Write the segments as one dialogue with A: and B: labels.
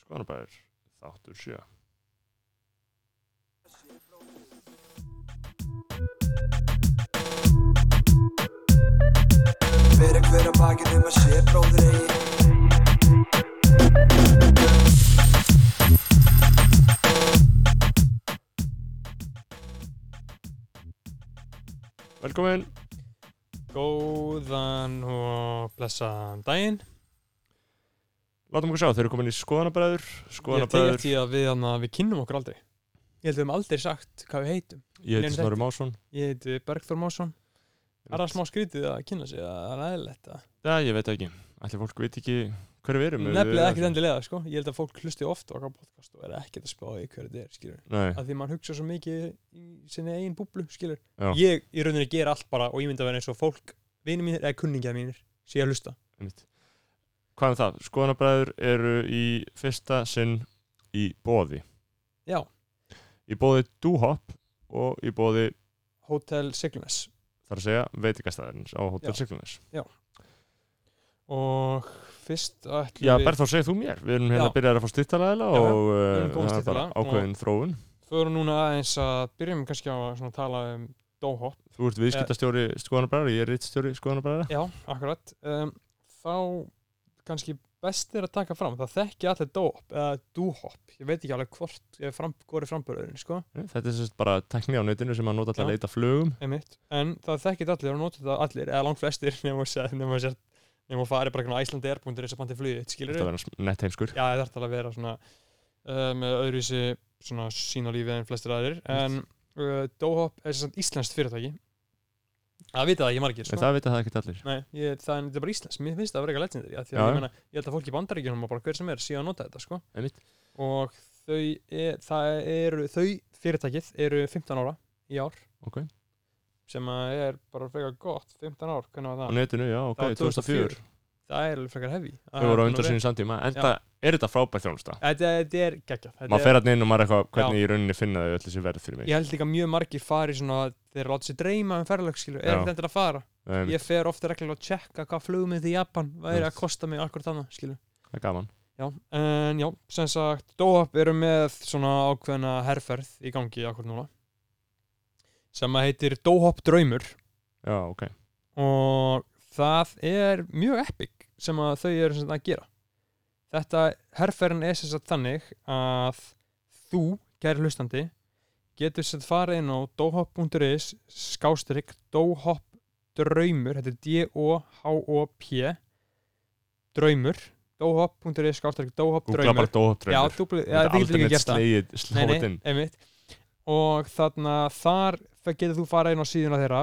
A: Skonarbæður, þáttur sjö
B: Hver er hver að bakið um að sé bróðir eigi
A: Velkomin,
C: Góðan og blessaðan daginn
A: látum okkur sjá, þeir eru komin í skoðanabræður
C: Ég tegi
A: Skoðanabræður,
C: eftir því að við, hana, við kynnum okkur aldrei Ég held við höfum aldrei sagt hvað við heitum
A: ég heiti
C: Lenu
A: Snorri Másson
C: Ég heiti Bergþór Másson Er það smá skrítið að kynna sig að það er eðlilegt að
A: Já, ég veit ekki, ætli fólk veit ekki hver við erum ef við-
C: Nefnilega ekkert endilega sko Ég held að fólk hlusti oft á okkar podcast og er ekkert að spá í hverju þetta er skilur
A: Nei,
C: að því mann hugsa svo mikið í sinni eigin búblu skilur
A: Já.
C: Ég í rauninni ger allt bara og ég myndi að vera eins og fólk vinir mínir eða kunningja mínir sé að hlusta
A: einmitt Hvað er það? Skoðanabræður eru í fyrsta sinn í bóði
C: Já,
A: Í bóði Dúhopp og í bóði,
C: Hotel Siglunes
A: þar að segja, veitingastæðarins á Hotel
C: Já.
A: Siglunis
C: og fyrst ætlum
A: Já,
C: við-
A: Berþór, segir þú mér, við erum hérna
C: Já.
A: að byrja að fá styrtalæðila
C: Já, já,
A: og uh,
C: erum góð
A: það er bara
C: styrktaraðila og-
A: ákveðin þróun
C: förum núna aðeins að byrjum kannski á að svona tala um Dohop.
A: Þú ert viðskiptastjóri skoðanabræðar, ég er rittstjóri skoðanabræðar
C: Já, akkurat. Um, þá kannski best er að taka fram, það þekki allir Dohop eða Dohop. Ég veit ekki alveg hvort ég fram, hvori frambörðurinn, sko,
A: Hm, Þetta er sérst bara tekni á netinu sem að nota til að
C: Já.
A: leita flugum
C: einmitt. En það þekki allir og notur það allir, eða langt flestir, nema að segja, nema að segja, nema að fara bara eitthvað æslandi erbúndir þess að bandi flugið, skilur
A: Þetta verður nett heimskur
C: Já, það þarf að vera svona uh, með öðruvísi svona sín á lífi en flestir aðrir en uh, Dohop er sem sagt íslenskt fyrirtæki Það vita það ekki margir sko.
A: En það vita það ekkert allir
C: Nei, ég, það er þetta er bara Íslands, mér finnst það að vera eitthvað legendir já, því
A: Já,
C: að
A: já.
C: ég, meina, ég held að fólk í bandaríkjunum og bara hver sem er sé að nota þetta sko.
A: Einmitt.
C: og þau, er, það eru, þau fyrirtækið eru 15 ára í ár
A: Ok.
C: sem að er bara frekar gott 15 ár, hvernig var
A: Á
C: það?
A: netinu, já, ok,
C: það var
A: 2004
C: Það er alveg frekar hefi
A: Þau voru
C: Ah,
A: á undan sínu samtíma Enda, er þetta frábært þjónusta?
C: Þetta þetta er geggjað Þetta
A: Maður
C: er-
A: fer hann inn og maður er eitthvað hvernig í rauninni finna þau öll þessi verð fyrir mig
C: Ég held líka mjög margir fari svona þeir láta sér dreyma um ferðalögskilu
A: Já.
C: er þetta endur að fara
A: um,
C: ég fer ofta reglulega að tjekka hvað flugum í Japan væri
A: Einmitt.
C: að kosta mig akkur þannig skilu
A: Það er gaman
C: Já, en já, sem sagt, Dohop eru með svona ákveðna herrferð í gangi akkur núna sem að heitir Dohop Draumur
A: Já, ok
C: og það er mjög epic sem að þau eru sem sagt að gera. Þetta herrferðin er sem sagt þannig að þú, kæri hlustandi, getur sem sagt farið inn á dohop.is skástrygg dohop draumur, þetta er D-O-H-O-P draumur, dohop.is skástrygg dohop
A: Google
C: draumur
A: bara dóhapdraumur
C: Já, dúbli, já, þið getur líka gert það
A: slegið
C: Nei,
A: slóðin
C: nei, einmitt Og þarna þar fe- getur þú fara inn á síðuna þeirra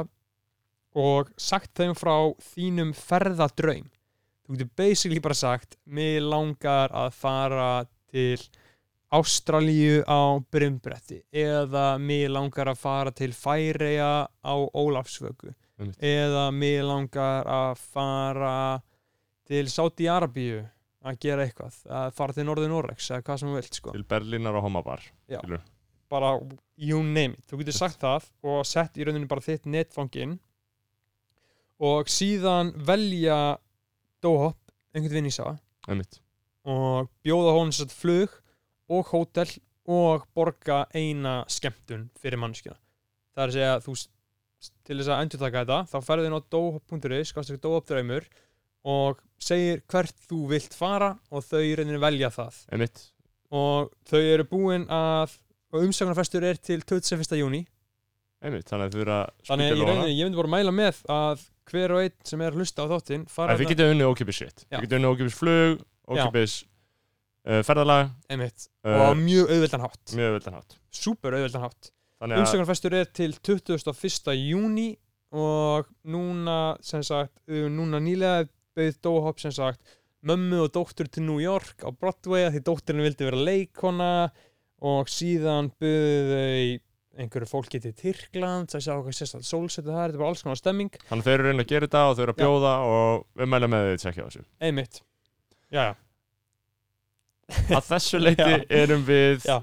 C: og sagt þeim frá þínum ferðadraum Þú getur basically bara sagt mig langar að fara til Ástralíu á Brimbretti eða mig langar að fara til Færeja á Ólafsvöku
A: Einmitt.
C: eða mig langar að fara til Sáti-Arabíu að gera eitthvað að fara til Norður Norex eða hvað sem þú vilt sko
A: Til Berlínar og Homabar
C: bara you name it, þú getur sagt það og sett í rauninu bara þitt netfangi inn og síðan velja Dohop einhvern vinn í sá
A: Einmitt
C: og bjóða honum sér flug og hótel og borga eina skemmtun fyrir mannskina það er að segja þú s- til þess að endurtaka þetta þá ferðu inn á dohop.is skastur dohopdraumur og segir hvert þú vilt fara og þau í rauninu velja það
A: Einmitt
C: og þau eru búin að og umsagnarfestur er til 21. júni
A: Einmitt, þannig að þau eru að spýta í
C: þannig að ég,
A: lófana.
C: rauninni, ég myndi bara að mæla með að hver og einn sem er að hlusta á þáttinn fara
A: En við getum unnið ókipis shit
C: Já.
A: Við getum unnið ókipis flug, ókipis uh, ferðalag
C: einmitt og á
A: uh,
C: mjög auðveldan hátt
A: Mjög veldan hátt
C: super auðveldan hátt
A: Þannig að
C: umsagnarfestur er til 21. júni og núna sem sagt, uh, núna nýlega bauð Dohop sem sagt mömmu og dóttur til New York á Broadway af því dótturinn vildi vera leikona og síðan buðu þau einhverju fólki til Tyrkland það sjá hvað sérstætt sólsetu það er þetta er bara alls konar stemming,
A: Þannig að þau eru að reyna að gera þetta og þau eru að
C: Já.
A: bjóða og við mælum með þau að tjekka á þessu.
C: einmitt já, já,
A: Að þessu leiti
C: Já.
A: erum við
C: Já.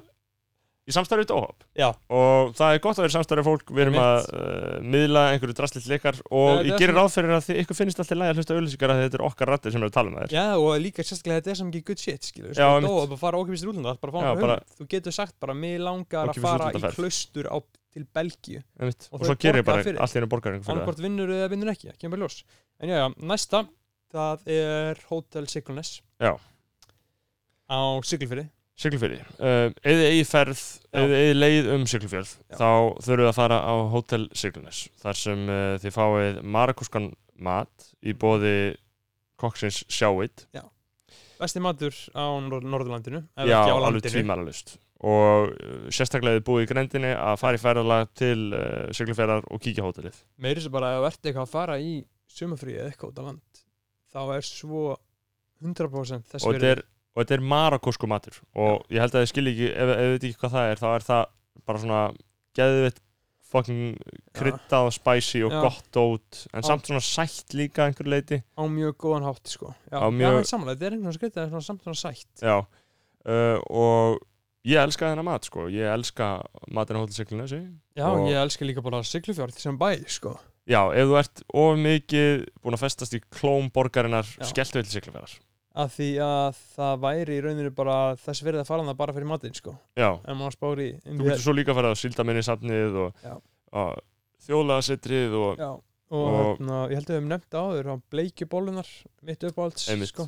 A: í samstarfið Dóhop
C: Já,
A: og það er gott að vera í samstarfið fólk við erum
C: Mitt.
A: að uh, miðla einhverju drastlitt leikar og
C: Nei, þetta
A: ég
C: er
A: gerir
C: svona-
A: ráð fyrir að þið, ykkur finnist alltaf læg að hlusta auðlýsingar að þetta er okkar rattir sem er að tala um með þér
C: já og líka sérstaklega þetta er sem ekki good shit skilur,
A: Já,
C: sko,
A: einmitt.
C: dó, bara fara ókipis rúlunda það er bara að fá
A: Já,
C: hann
A: bara-
C: hugmynd þú getur sagt bara, mig langar að
A: Ókeypis
C: fara í
A: útlandaferð."
C: klaustur á, til Belgíu
A: Einmitt.
C: Og
A: og,
C: þau
A: svo gerir ég
C: borga
A: bara
C: fyrir.
A: allt í hennu borgar einhver fyrir það
C: annarkvort vinnur eða vinnur ekki, það kemur bara í ljós en já, já, næsta, það er Hotel Sigluness
A: Já.
C: á Siglufyrði
A: Siglufjörði, uh, eða eigi ferð
C: Já.
A: eða eigi leið um Siglufjörð
C: Já.
A: þá þurfum við að fara á Hotel Siglunes þar sem uh, þið fáið marakúskan mat í bóði kokksins sjáit
C: besti matur á Nor Norðurlandinu ef
A: já,
C: ekki á
A: alveg
C: landinu
A: tvímalalust og uh, sérstaklega ef þið búið í grendinni að fara í ferðalag til uh, Siglufjörðar og kíkja á hótelið
C: meiri sem bara ef þú ert eitthvað að fara í sumafrí eða eitthvað út á land þá er svo 100% þess
A: og þetta er, og þetta er marakúsku matur og ég held að þið skilji ekki ef, ef þið veit ekki hvað það er þá er það bara svona geðvitt fucking kryddað og spicy og
C: Já.
A: gott ót en
C: Já.
A: samt svona sætt líka að einhverju leiti
C: á mjög góðan hátt sko. já,
A: Á
C: mjög...
A: mjög-
C: já en samanlega, þetta er einhvern veginn skrítið það er svona samt svona sætt
A: Já, uh, og ég elska þennan mat, sko. Ég elska matinn á hótelseglinu, þessi.
C: já,
A: Og-
C: ég elska líka bara Siglufjörð sem bæ sko.
A: Já, ef þú ert of mikið búin að festast í klóm borgarinnar,
C: Já.
A: skelltu til seglufjörðar.
C: að því að það væri í rauninu bara þess verið að fara það bara fyrir matinn sko.
A: Já,
C: en maður spári í
A: þú getur svo líka að fara á síldaminni safnið og,
C: Já.
A: og þjóðlaðasettrið og
C: já, og,
A: Og-
C: hérna, ég held að við hefum nefnt áður á bleikjubólunar mitt uppáhalds
A: Einmitt.
C: sko.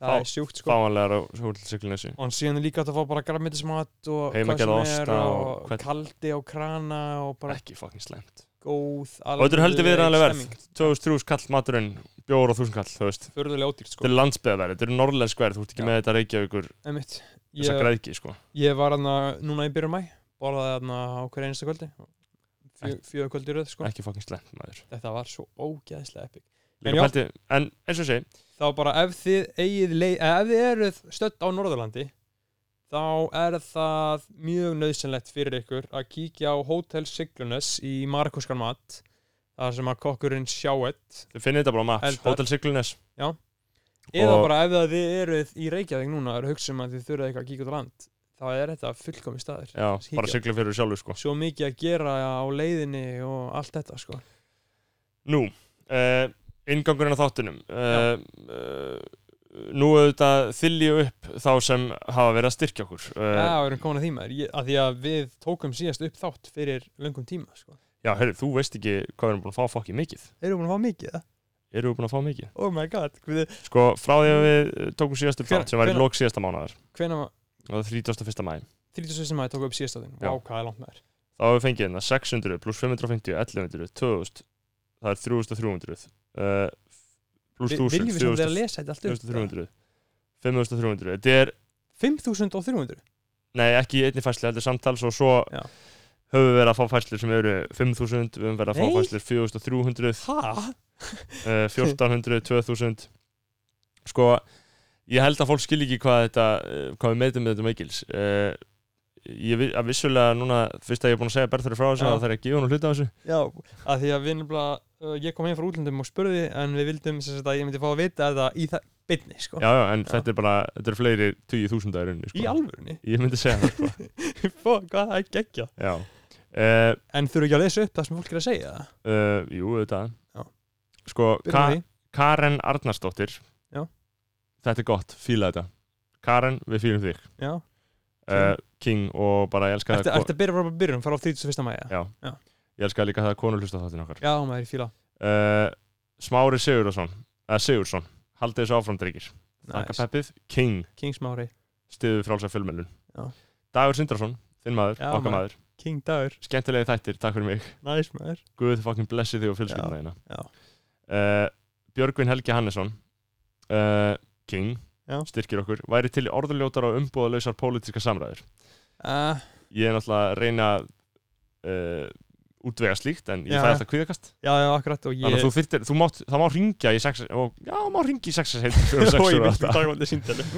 C: það
A: Fá-
C: er sjúkt sko.
A: fáanlegar á hótelseglinu, þessi.
C: og síðan er líka hægt að fá bara græmitismat og
A: Heimagerða
C: hvað sem er
A: osta og
C: og
A: hvern-
C: kaldi á krana og bara
A: Ekki fucking slæmt.
C: góð
A: Og þetta er höldu viðræðanlega verð.
C: stemming.
A: 2003 kall maturinn, bjóður og þúsund kall, þú veist.
C: furðulega ódýrt sko.
A: Þetta er landsbyðaverð, þetta er norrlensk verð, þú ert ekki
C: Já.
A: með þetta Reykjavíkur,
C: Einmitt.
A: þessa
C: ég,
A: græðki, sko.
C: ég var hann núna í byrjum mæ borðaði hann á hverja einasta kvöldi Fjö,
A: Ekki-
C: fjögur kvöldi í röð sko.
A: Ekki fucking slæmt, maður.
C: þetta var svo ógæðslega epic
A: Líka
C: En já.
A: pælti, en eins og ég segi,
C: þá bara ef þið eigið leið, eða ef þið eruð stödd á Norðurlandi þá er það mjög nöðsynlegt fyrir ykkur að kíkja á Hotel Siglunes í Markuskan mat þar sem að kokkurinn sjáett
A: þið finnir þetta bara á maps,
C: Eldar.
A: hótelseglunnes.
C: eða
A: Og-
C: bara ef að þið eruð í Reykjavík núna og eru að hugsa um að þið þurfið eitthvað að kíkja út á land þá er þetta fullkomi staður
A: Já,
C: Kíkja.
A: bara sigla fyrir sjálfu sko
C: svo mikið að gera á leiðinni og allt þetta sko
A: Nú, uh, ingangurinn á þáttunum uh, uh, Nú auðvitað þylju upp þá sem hafa verið að styrkja okkur uh,
C: Já, við erum komin að því maður, Ég- af því að við tókum síðast upp þátt fyrir löngum tíma sko.
A: Já, heyrðu, þú veist ekki hvað við erum búin að fá fokkið mikið
C: Erum við búin að fá mikið það?
A: Erum við búin að fá mikið?
C: Oh my god, hvað
A: Sko, frá því að við uh, tókum síðast upp
C: Hvenær-
A: þátt sem var í
C: hvenær-
A: lók síðasta mánuðar
C: hvenær,
A: og það er 31. mæ
C: 36. maður tók upp síðast á þinn
A: Já.
C: Vá, hvað er langt með þér
A: Þá hefur við fengið hérna 600 pluss 550, 1100, 2000 Það er 3300 uh, pluss
C: Vi-
A: 1000,
C: Viljum við sem vera
A: 4000,
C: að lesa þetta allt upp
A: 5300 5300, þetta er
C: 5300
A: Nei, ekki í einni fæslu, heldur samtals og svo
C: Já.
A: höfum við verið að fá fæslur sem eru 5.000, við höfum verið að
C: Nei.
A: fá fæslur 4.300,
C: Hæ?
A: eh, 1.400, 2.000 Sko, ég held að fólk skilji ekki hvað þetta, eh, hvað við meitum með þetta meikils uh, Ég vi- að vissulega núna, fyrst að ég er búin að segja Berður frá þessu,
C: Já.
A: að það er að gefa hún hluta af þessu
C: Já, að því að við nefnilega uh, ég kom heim frá útlöndum og spurði en við vildum sem sagt að ég myndi fá að vita þetta í það byrni, sko
A: Já, já, en
C: Já.
A: þetta er bara, þetta eru fleiri 10.000 að rauninni,
C: Í
A: sko
C: alvörunni?
A: Ég myndi segja það, sko
C: Fá, hvað það er geggja
A: Já uh,
C: En þurfum ekki að lesa upp það sem fólk er að segja það?
A: uh, Jú, þetta
C: Já.
A: Sko,
C: Byrjum á því.
A: Karen Arnarsdóttir
C: Já.
A: Þetta er gott, fíla þetta Karen, við fílum þig
C: Já,
A: uh, King og bara ég elska
C: ertu
A: það
C: ertu að byrja bara að byrjum, fara á 31. mæja
A: Já.
C: Já.
A: Ég elska líka það að konur hlusta þáttin okkar
C: Já, maður, ég fíla
A: uh, Smári Sigurðarsson eða Sigurðsson, haldið þessu áfram drengir Takka
C: nice.
A: peppið, King
C: King Smári,
A: stiðu frálsa fjölmjölun
C: Já.
A: Dagur Sindrason, þinn maður,
C: Já,
A: okkar
C: maður.
A: maður
C: King Dagur
A: Skemmtilegi þættir, takk fyrir mig
C: Nice, maður
A: Guð fucking blessi þig og fjölskyldina þína
C: Já.
A: uh, Björgvin Helgi Hannesson uh, King
C: Já.
A: styrkir okkur, væri til í orðurljótar og umbúðalausar pólitíska samræður
C: uh,
A: ég er náttúrulega að reyna að uh, útvega slíkt en ég
C: Já,
A: fæ
C: já.
A: alltaf kvíðakast
C: Já, já, akkurat og
A: þannig
C: ég
A: að þú þyrtir, þú mátt, það má ringja í sex og, já, má ringja í sex og
C: og ég vil
A: þá
C: dagvaldi síndelu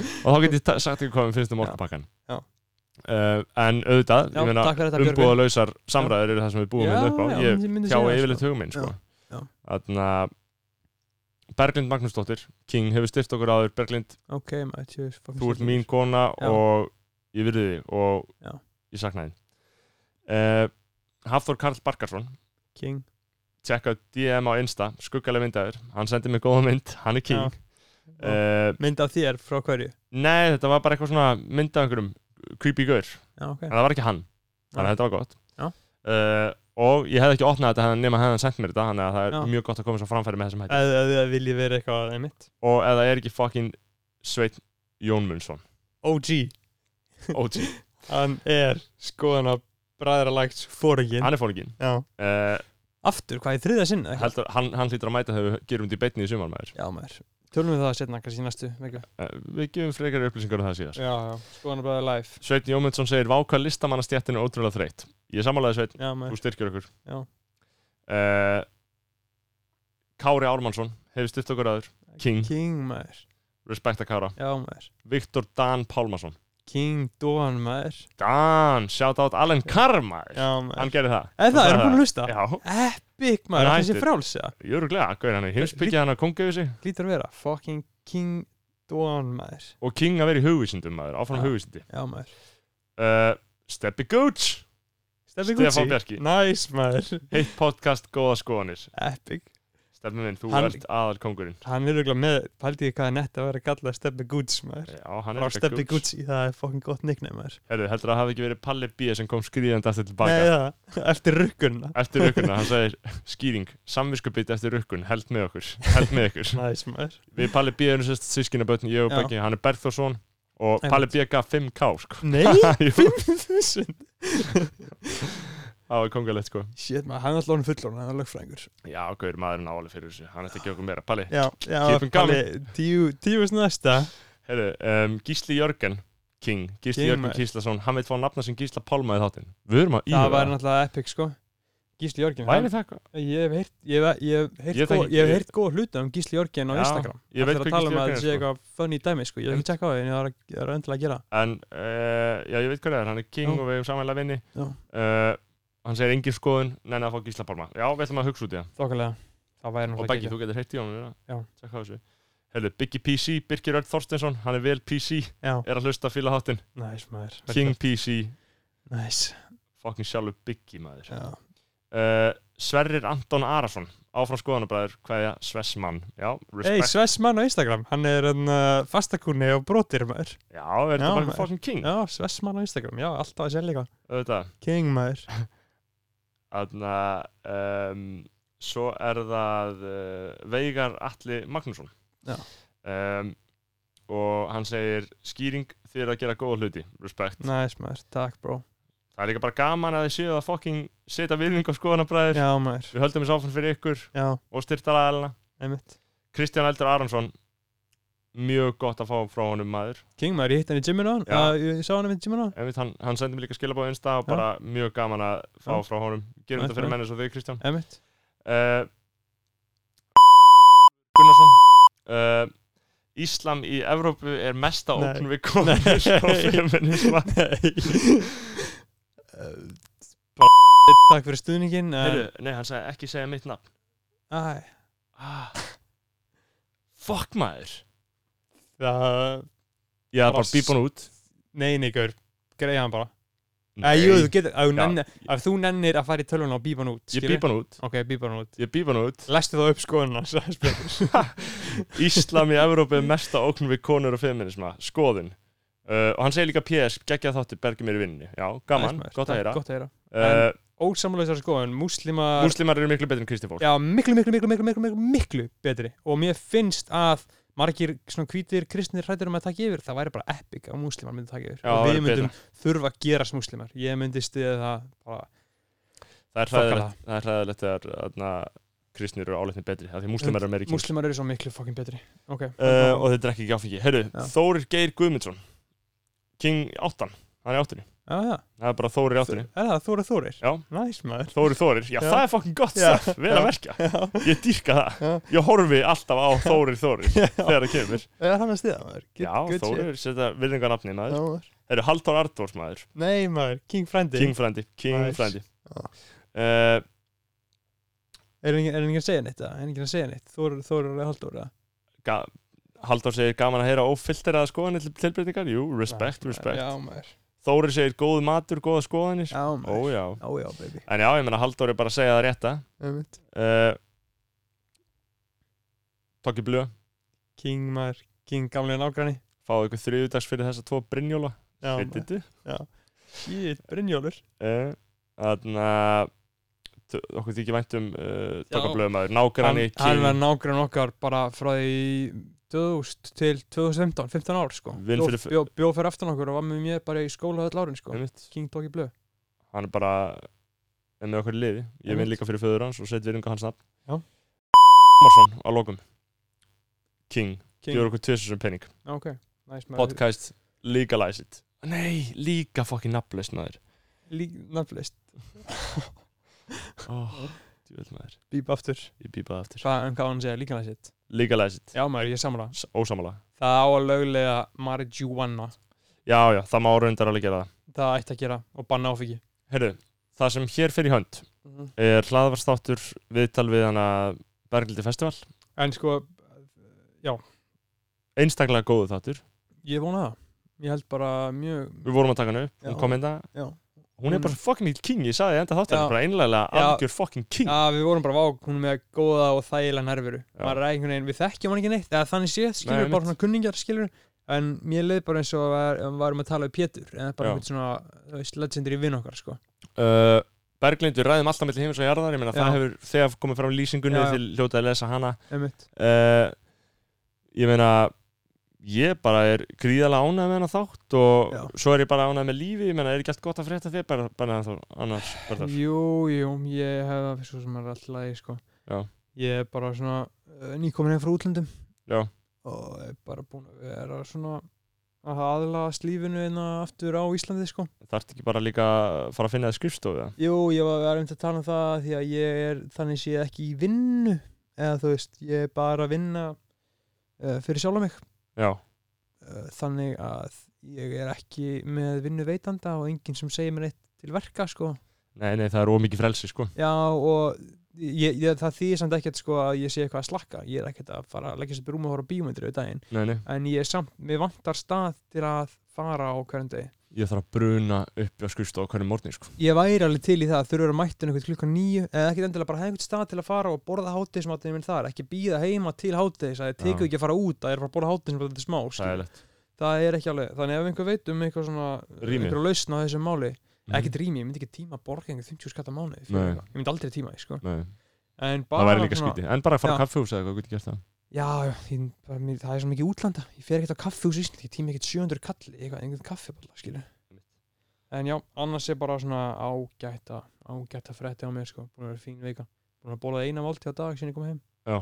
A: get ég ta- sagt ekki hvað við finnst um
C: Já.
A: orkupakkan
C: Já.
A: uh, en auðvitað,
C: Já,
A: ég meina
C: takk fyrir þetta Björgvin
A: umbúðalausar samræður eru það sem við búum
C: Já,
A: hérna upp á
C: já,
A: ég
C: myndi- myndi
A: tjá
C: segja það,
A: yfirleitt hugum minn sko.
C: Já, já.
A: þannig að Berglind Magnúsdóttir, King hefur styrt okkur áður Berglind,
C: Ok, maður, tjóðis
A: þú ert mín kona
C: Já.
A: og ég virði þig og
C: Já.
A: ég sakna þín uh, Hafþór Karl Barkarsson
C: King
A: tjekka DM á Insta, skuggalega myndaður hann sendi mig góða mynd, hann er king uh,
C: Mynd af þér frá hverju
A: Nei, þetta var bara eitthvað svona mynd af einhverjum creepy gaur,
C: Já, ok
A: en það var ekki hann þannig að
C: Já.
A: þetta var gott
C: Já.
A: Eh, og ég hefði ekki opnað þetta hefði- nema hefði hann sendt mér þetta þannig að það er
C: Já.
A: mjög gott að koma svo framfæri með þessum hætti
C: Eða það vilji vera eitthvað aðeins mitt
A: og ef það er ekki fucking Sveit Jón Munnsson
C: OG
A: OG,
C: Hann er skoðan af bræðralægt fóringin
A: hann er fólkin
C: Já
A: uh,
C: Aftur, hvað er þriða sinn? eða eitthvað?
A: heldur, hann, hann hlýtur að mæta þegar við gerum þetta í beinni í sumar maður
C: Já maður Tölum við það setna kannski í næstu veiku
A: uh, við gefum frekar upplýsingar um það síðast
C: Já, já Skoðan af bræðralægt
A: Sveit Jón Munnsson segir váka listamannastjættin er ótrúlega þreytt ég samálaði Sveit,
C: Já maður
A: þú styrkir okkur
C: Já.
A: Eh, Kári Ármannsson hefur styrkt okkur aður King,
C: King maður
A: respekta Kára
C: Já maður
A: Viktor Dan Pálmarsson
C: King Dóan maður
A: Dan, shout out Alan Karmar
C: Já maður
A: Hann gerði það
C: Eða það, erum við búin að hlusta?
A: Já,
C: Epic maður,
A: Hann
C: það sé
A: hættir.
C: frálsa
A: jöruglega, gauðir hann er heimsbyggja hann að konga yfir sig
C: Lítur að vera Fucking King Dóan maður
A: Og King að vera í hugvísindum maður, áfram
C: Já.
A: hugvísindi
C: Já maður
A: uh, Steppi Gooch,
C: Steffi
A: Stefán Bjarki.
C: Næs maður
A: heitt podcast, góða skoðanir
C: Epic
A: Steppi minn, þú
C: Hann-
A: ert aðal kongurinn
C: Hann er auðvitað með Paldi ég hvað er nett að vera að kalla Steffi Gucci maður
A: Já, hann
C: Frá
A: er
C: Steffi Gucci, það er fucking gott nickname maður
A: Herðu, heldur að það hafi ekki verið Palli B sem kom skrýðandi aftur til
C: Nei,
A: baka
C: það, eftir rukkunna
A: Eftir rökkuna, hann sagði skýring, samviskubit eftir rökkun, held með okkur, held með ykkur
C: Næs maður
A: Við Palli B erum sérst sískinabötn, ég og
C: Já.
A: Beggi, hann er Berþórsson Og
C: Einmitt.
A: Palli B gaf 5k, sko
C: Nei,
A: Jú.
C: 5000
A: Það var kongalegt, sko
C: Shit maður, hann er alltaf fullorinn, hann er lögfræðingur
A: Já, gauður maðurinn áalega fyrir þessu, hann ætti ekki okkur meira Palli,
C: Já, já,
A: Keeping
C: Palli, tíu, tíu veist næsta
A: heyrðu, um, Gísli Jörgen King, Gísli
C: King,
A: Jörgen
C: maður.
A: Gíslason hann veit fá nafna sem Gísla Pálma í þáttinn Við erum að
C: Það
A: íhuga
C: var náttúrulega epic sko Gísli Jörgen
A: Væri það eitthvað?
C: Ég hef heyrt, ég hef, ég hef heyrt,
A: Ég
C: ég góð,
A: þekki-
C: ég hef
A: ég-
C: heyrt góð hluta um Gísli Jörgen á
A: Já,
C: Instagram
A: ég veit
C: Það
A: hver
C: er að tala
A: Gísli Jörgen
C: um að það
A: er,
C: sé
A: sko.
C: eitthvað funny dæmi sko Ég hef ekki tjekkað á því en ég var að- ég var endilega að gera það.
A: En, uh, já, ég veit hvað það er, hann er King
C: Já.
A: og við erum samanlega vinni
C: Já.
A: uh, Hann segir engin skoðun, neina að fá Gísla Pálma Já, við ætlum að hugsa út í það
C: Þokkalega Það væri
A: Og
C: náttúrulega
A: Beggi,
C: geggjað.
A: þú getur heitt í honum
C: Já.
A: Tjekka á þessu Heyrðu, Biggi PC, Birgir Örn Þorstensson, hann er vel PC
C: Já,
A: Er að hlusta að fíla þáttinn
C: næs maður
A: King PC,
C: Næs
A: fucking sjálfur Biggi maður
C: Já,
A: uh, Sverrir Anton Arason Áfram skoðanabræður, hvaðja Svessmann Já,
C: Hey,
A: respect
C: Sves mann á Instagram, hann er en, uh, fastakúni og brotir maður
A: Já, er þetta
C: Já,
A: bara
C: maður.
A: fucking king
C: Já, Sves mann á Instagram, já, alltaf að segja líka
A: auðvitað
C: King maður
A: Þarna um, Svo er það uh, Veigar Atli Magnússon
C: Já.
A: um, Og hann segir Skýring þið er að gera góða hluti Respekt
C: Næs maður, takk bro
A: Það er líka bara gaman að þið séu að fucking setja virðing á skoðanabræður
C: Já maður,
A: Við höldum þessu áfram fyrir ykkur
C: já,
A: og styrtaraðalina
C: einmitt
A: Kristján Eldur Aronsson Mjög gott að fá frá honum maður
C: King maður, ég hitt hann í gyminu á hann
A: Já.
C: uh, Ég sá hann í gyminu á hann
A: Einmitt, hann, hann sendi mér líka skilabóð einsta og bara mjög gaman að fá
C: Já.
A: frá honum Gerum
C: Nei,
A: þetta fyrir
C: nei.
A: menn eins og þau Kristján
C: Einmitt,
A: uh, Gunnarsson uh, Íslam í Evrópu er mesta
C: Nei.
A: ókn við sko, kommunism og
C: Nei.
A: feminisma
C: takk fyrir stuðningin
A: Heyrðu, Nei, hann sagði ekki segja mitt nafn
C: Æ,
A: ah. Fuck maður
C: það
A: Ég er
C: Bara
A: bara bípan út
C: Nei, nei, gaur, greiða hann bara Æ,
A: Nei,
C: jú, þú getur, ef þú
A: Já.
C: nennir- ef þú nennir að fara í tölvun og bípa hann út
A: Ég
C: skilur?
A: bípan út
C: Ok, bípa hann út
A: Ég bípan út
C: Læstu þá upp skoðuna
A: Íslam í Evrópu er mesta ókn við konur og feminisma Skoðun uh, Og hann segir líka PS, geggja þáttir, bergi mér í vinninni Já, gaman, gott að heyra
C: Gott að heyra
A: uh,
C: Ósamlega skoðun, múslima
A: Múslimar eru miklu betri en kristið fólk
C: Já, miklu, miklu, miklu, miklu, miklu, miklu, miklu betri Og mér finnst að margir svona hvítir kristnir hrættur um að taka yfir Það væri bara epic að múslimar myndi taka yfir
A: Já,
C: Og
A: það
C: við
A: væri
C: myndum þurfa að gerast múslimar Ég myndi stiða það bara
A: Það er
C: Fuck
A: hræðilegt, það er hræðilegt þegar þarna, kristnir eru álitni betri af því að múslimar eru meiri kynst
C: Múslimar eru svo miklu fucking betri Ok
A: uh, og þeir drekki ekki áfengi Herru,
C: Já.
A: Þórir Geir Guðmundsson King 8, hann er í 8
C: Já, já
A: Það er bara Þórir í 8
C: Er það Þóra Þórir?
A: Já.
C: Næs maður
A: Þórir Þórir, já,
C: Já.
A: það er fucking gott
C: Já.
A: stöf, vel að
C: Já.
A: verka
C: Já
A: Ég dýrka það,
C: Já.
A: ég horfi alltaf á Þórir Þórir þegar það kemur
C: Er hann að stiða maður?
A: Já, Þórir, setja virðingarnafni maður
C: Þórir
A: Herru, Halldór Ardórs maður
C: Nei maður, King Frendi
A: King frændi, King
C: Nice.
A: frændi
C: Já.
A: uh,
C: Er enginn engin að segja neitt það? Er enginn að segja neitt? Þórir Þórir er haldur það?
A: ga- Halldór segir gaman að heyra ófilteraða skoðanir til tilbreytingar Jú, respect, respect
C: Já maður
A: Þóri segir góð matur, góða skoðanir
D: Já, maður.
A: ójá,
D: Já, já, baby.
A: en já, ég meina Halldór er bara að segja það rétta
D: Einmitt.
A: uh, Tokki blöð
C: King maður, King gamlega nágranni
A: fáðu ykkur þriðudags fyrir þessa tvo Brynjóla
C: Já, maður.
A: Veitir
C: Shit, Brynjólfur
A: Þannig að Eh, okkur þykir vænt um uh, Tokka
C: Já.
A: blöðmaður,
C: hann,
A: nágranni
C: hann var
A: King,
C: nágrann okkar bara frá því 2000 til 2015, 15 ár sko
A: Vinn
C: bjó,
A: fyrir-
C: bjó, bjó fyrir aftan okkur og var með mér bara í skóla öll árin sko
A: einmitt,
C: King tók í blöð
A: hann er bara er með okkur í liði, ég vinn
C: Einmitt.
A: líka fyrir föður hans og set virðingu hans nafn
C: Já.
A: Marsson á lokum King,
C: King,
A: gefur okkur tvisur sem penning
C: Já, ok, næs maður
A: podcast Legalize it Nei, líka fokkin nafnlaust maður
C: Lík, nafnlist,
A: oh, Djúvel maður,
C: bíp aftur
A: ég bípaði aftur
C: Hvað, um hvað hann segja, líka næsitt
A: Legalize it,
C: Já maður, ég samla
A: S- ósamala
C: Það á að löglega marijuana
A: Já, já, það má raundar alveg gera það
C: Það ætti að gera og banna áfengi
A: Herru, það sem hér fyrir hönd er hlaðvarstáttur viðtal við hana Berglindi Festival
C: En sko,
A: Einstaklega góðu þáttur,
C: ég vona það Ég held bara mjög
A: við vorum að taka hana upp, hún
D: Já.
A: kom hérna
D: Já.
A: Hún er bara fucking ill king, ég sagði enda þáttur
C: Já.
A: bara einlega
C: Já.
A: algjör fucking king
C: Já, við vorum bara vák, hún er með góða og þægilega nærveru
A: Já.
C: Maður er einhvern veginn, við þekkjum hann ekki neitt Eða þannig séð, skilur
A: Nei,
C: við bara
A: einmitt.
C: svona kunningar, skilur En mér leið bara eins og var, um, varum að tala við Pétur Eða bara
A: Já.
C: einhvern svona, þú veist, legendary vinn okkar, sko
A: uh, Berglindur ræðum alltaf mellir heimis og jarðar, ég meina
C: Já.
A: það hefur þegar komið fram í lýsingunni
C: Já, já.
A: til hljótað að lesa hana
C: Einmitt.
A: uh, ég meina ég bara er gríðalega ánægð með hana þátt og
D: Já.
A: svo er ég bara ánægð með lífi ég meina er ekki allt gott að frétta þér bara, bara þá, annars bara þar
C: Jú, jú, ég hef það svo sem er alltaf í, sko
A: Já.
C: Ég er bara svona uh, nýkomin heim frá útlöndum
A: Já.
C: Og er bara búin að vera svona að aðlaðast lífinu en aftur á Íslandi, sko
A: þarf ekki bara líka að fara að finna þér skrifstofu eða?
C: Jú, ég var verið um til að tala um það því að ég er þannig sé ekki í vinnu eða þú veist, ég er bara að vinna uh, fyrir sjálf mig
A: já,
C: uh, þannig að ég er ekki með vinnu veitanda og enginn sem segir mér neitt til verka sko.
A: nei nei það er ómikið frelsi sko
C: Já og ég, ég, það þýðir samt ekkert sko að ég sé eitthvað að slakka ég er ekkert að fara að leggja sér brúma og horfa á bíómyndir við daginn,
A: nei nei
C: en ég er samt, mér vantar stað til að fara á hverjum degi
A: ég þarf að bruna upp á skrifstofu á hvernig morgni sko
C: ég væri alveg til í það að þurfa að mættin einhvern klukkan nýju eða ekkert endilega bara hefði einhvern stað til að fara og borða hátegismatinn minn þar, ekki býða heima til hátegis að ég tekur
A: Já.
C: ekki að fara út að ég er bara að borða hátegismatinn smá skilur.
A: sæðilegt
C: það er ekki alveg, þannig ef einhver veit um eitthvað svona,
A: Rými. Mhm.
C: einhver lausn á þessu máli ekkert rými, ég myndi ekki tíma að borga einhver 50 skatta mánuði fyrir
A: Nei.
C: eitthvað. ég myndi aldrei tíma því sko.
A: nei
C: en
A: það
C: bara
A: væri líka skrítið en bara að fara
C: Já.
A: á kaffehús eða eitthvað, getur gert það
C: já, já, því, bara, mér, það er svo mikið útlanda ég fer ekkert á kaffi úr sísni, ég tíma ekkert 700 kall eitthvað, einhvern kaffiballa, skilur en já, annars er bara svona ágæta ágæta frétti á mér, sko búin að vera fín vika, búin að bólaði eina málti á dag sem ég kom heim,
A: Já.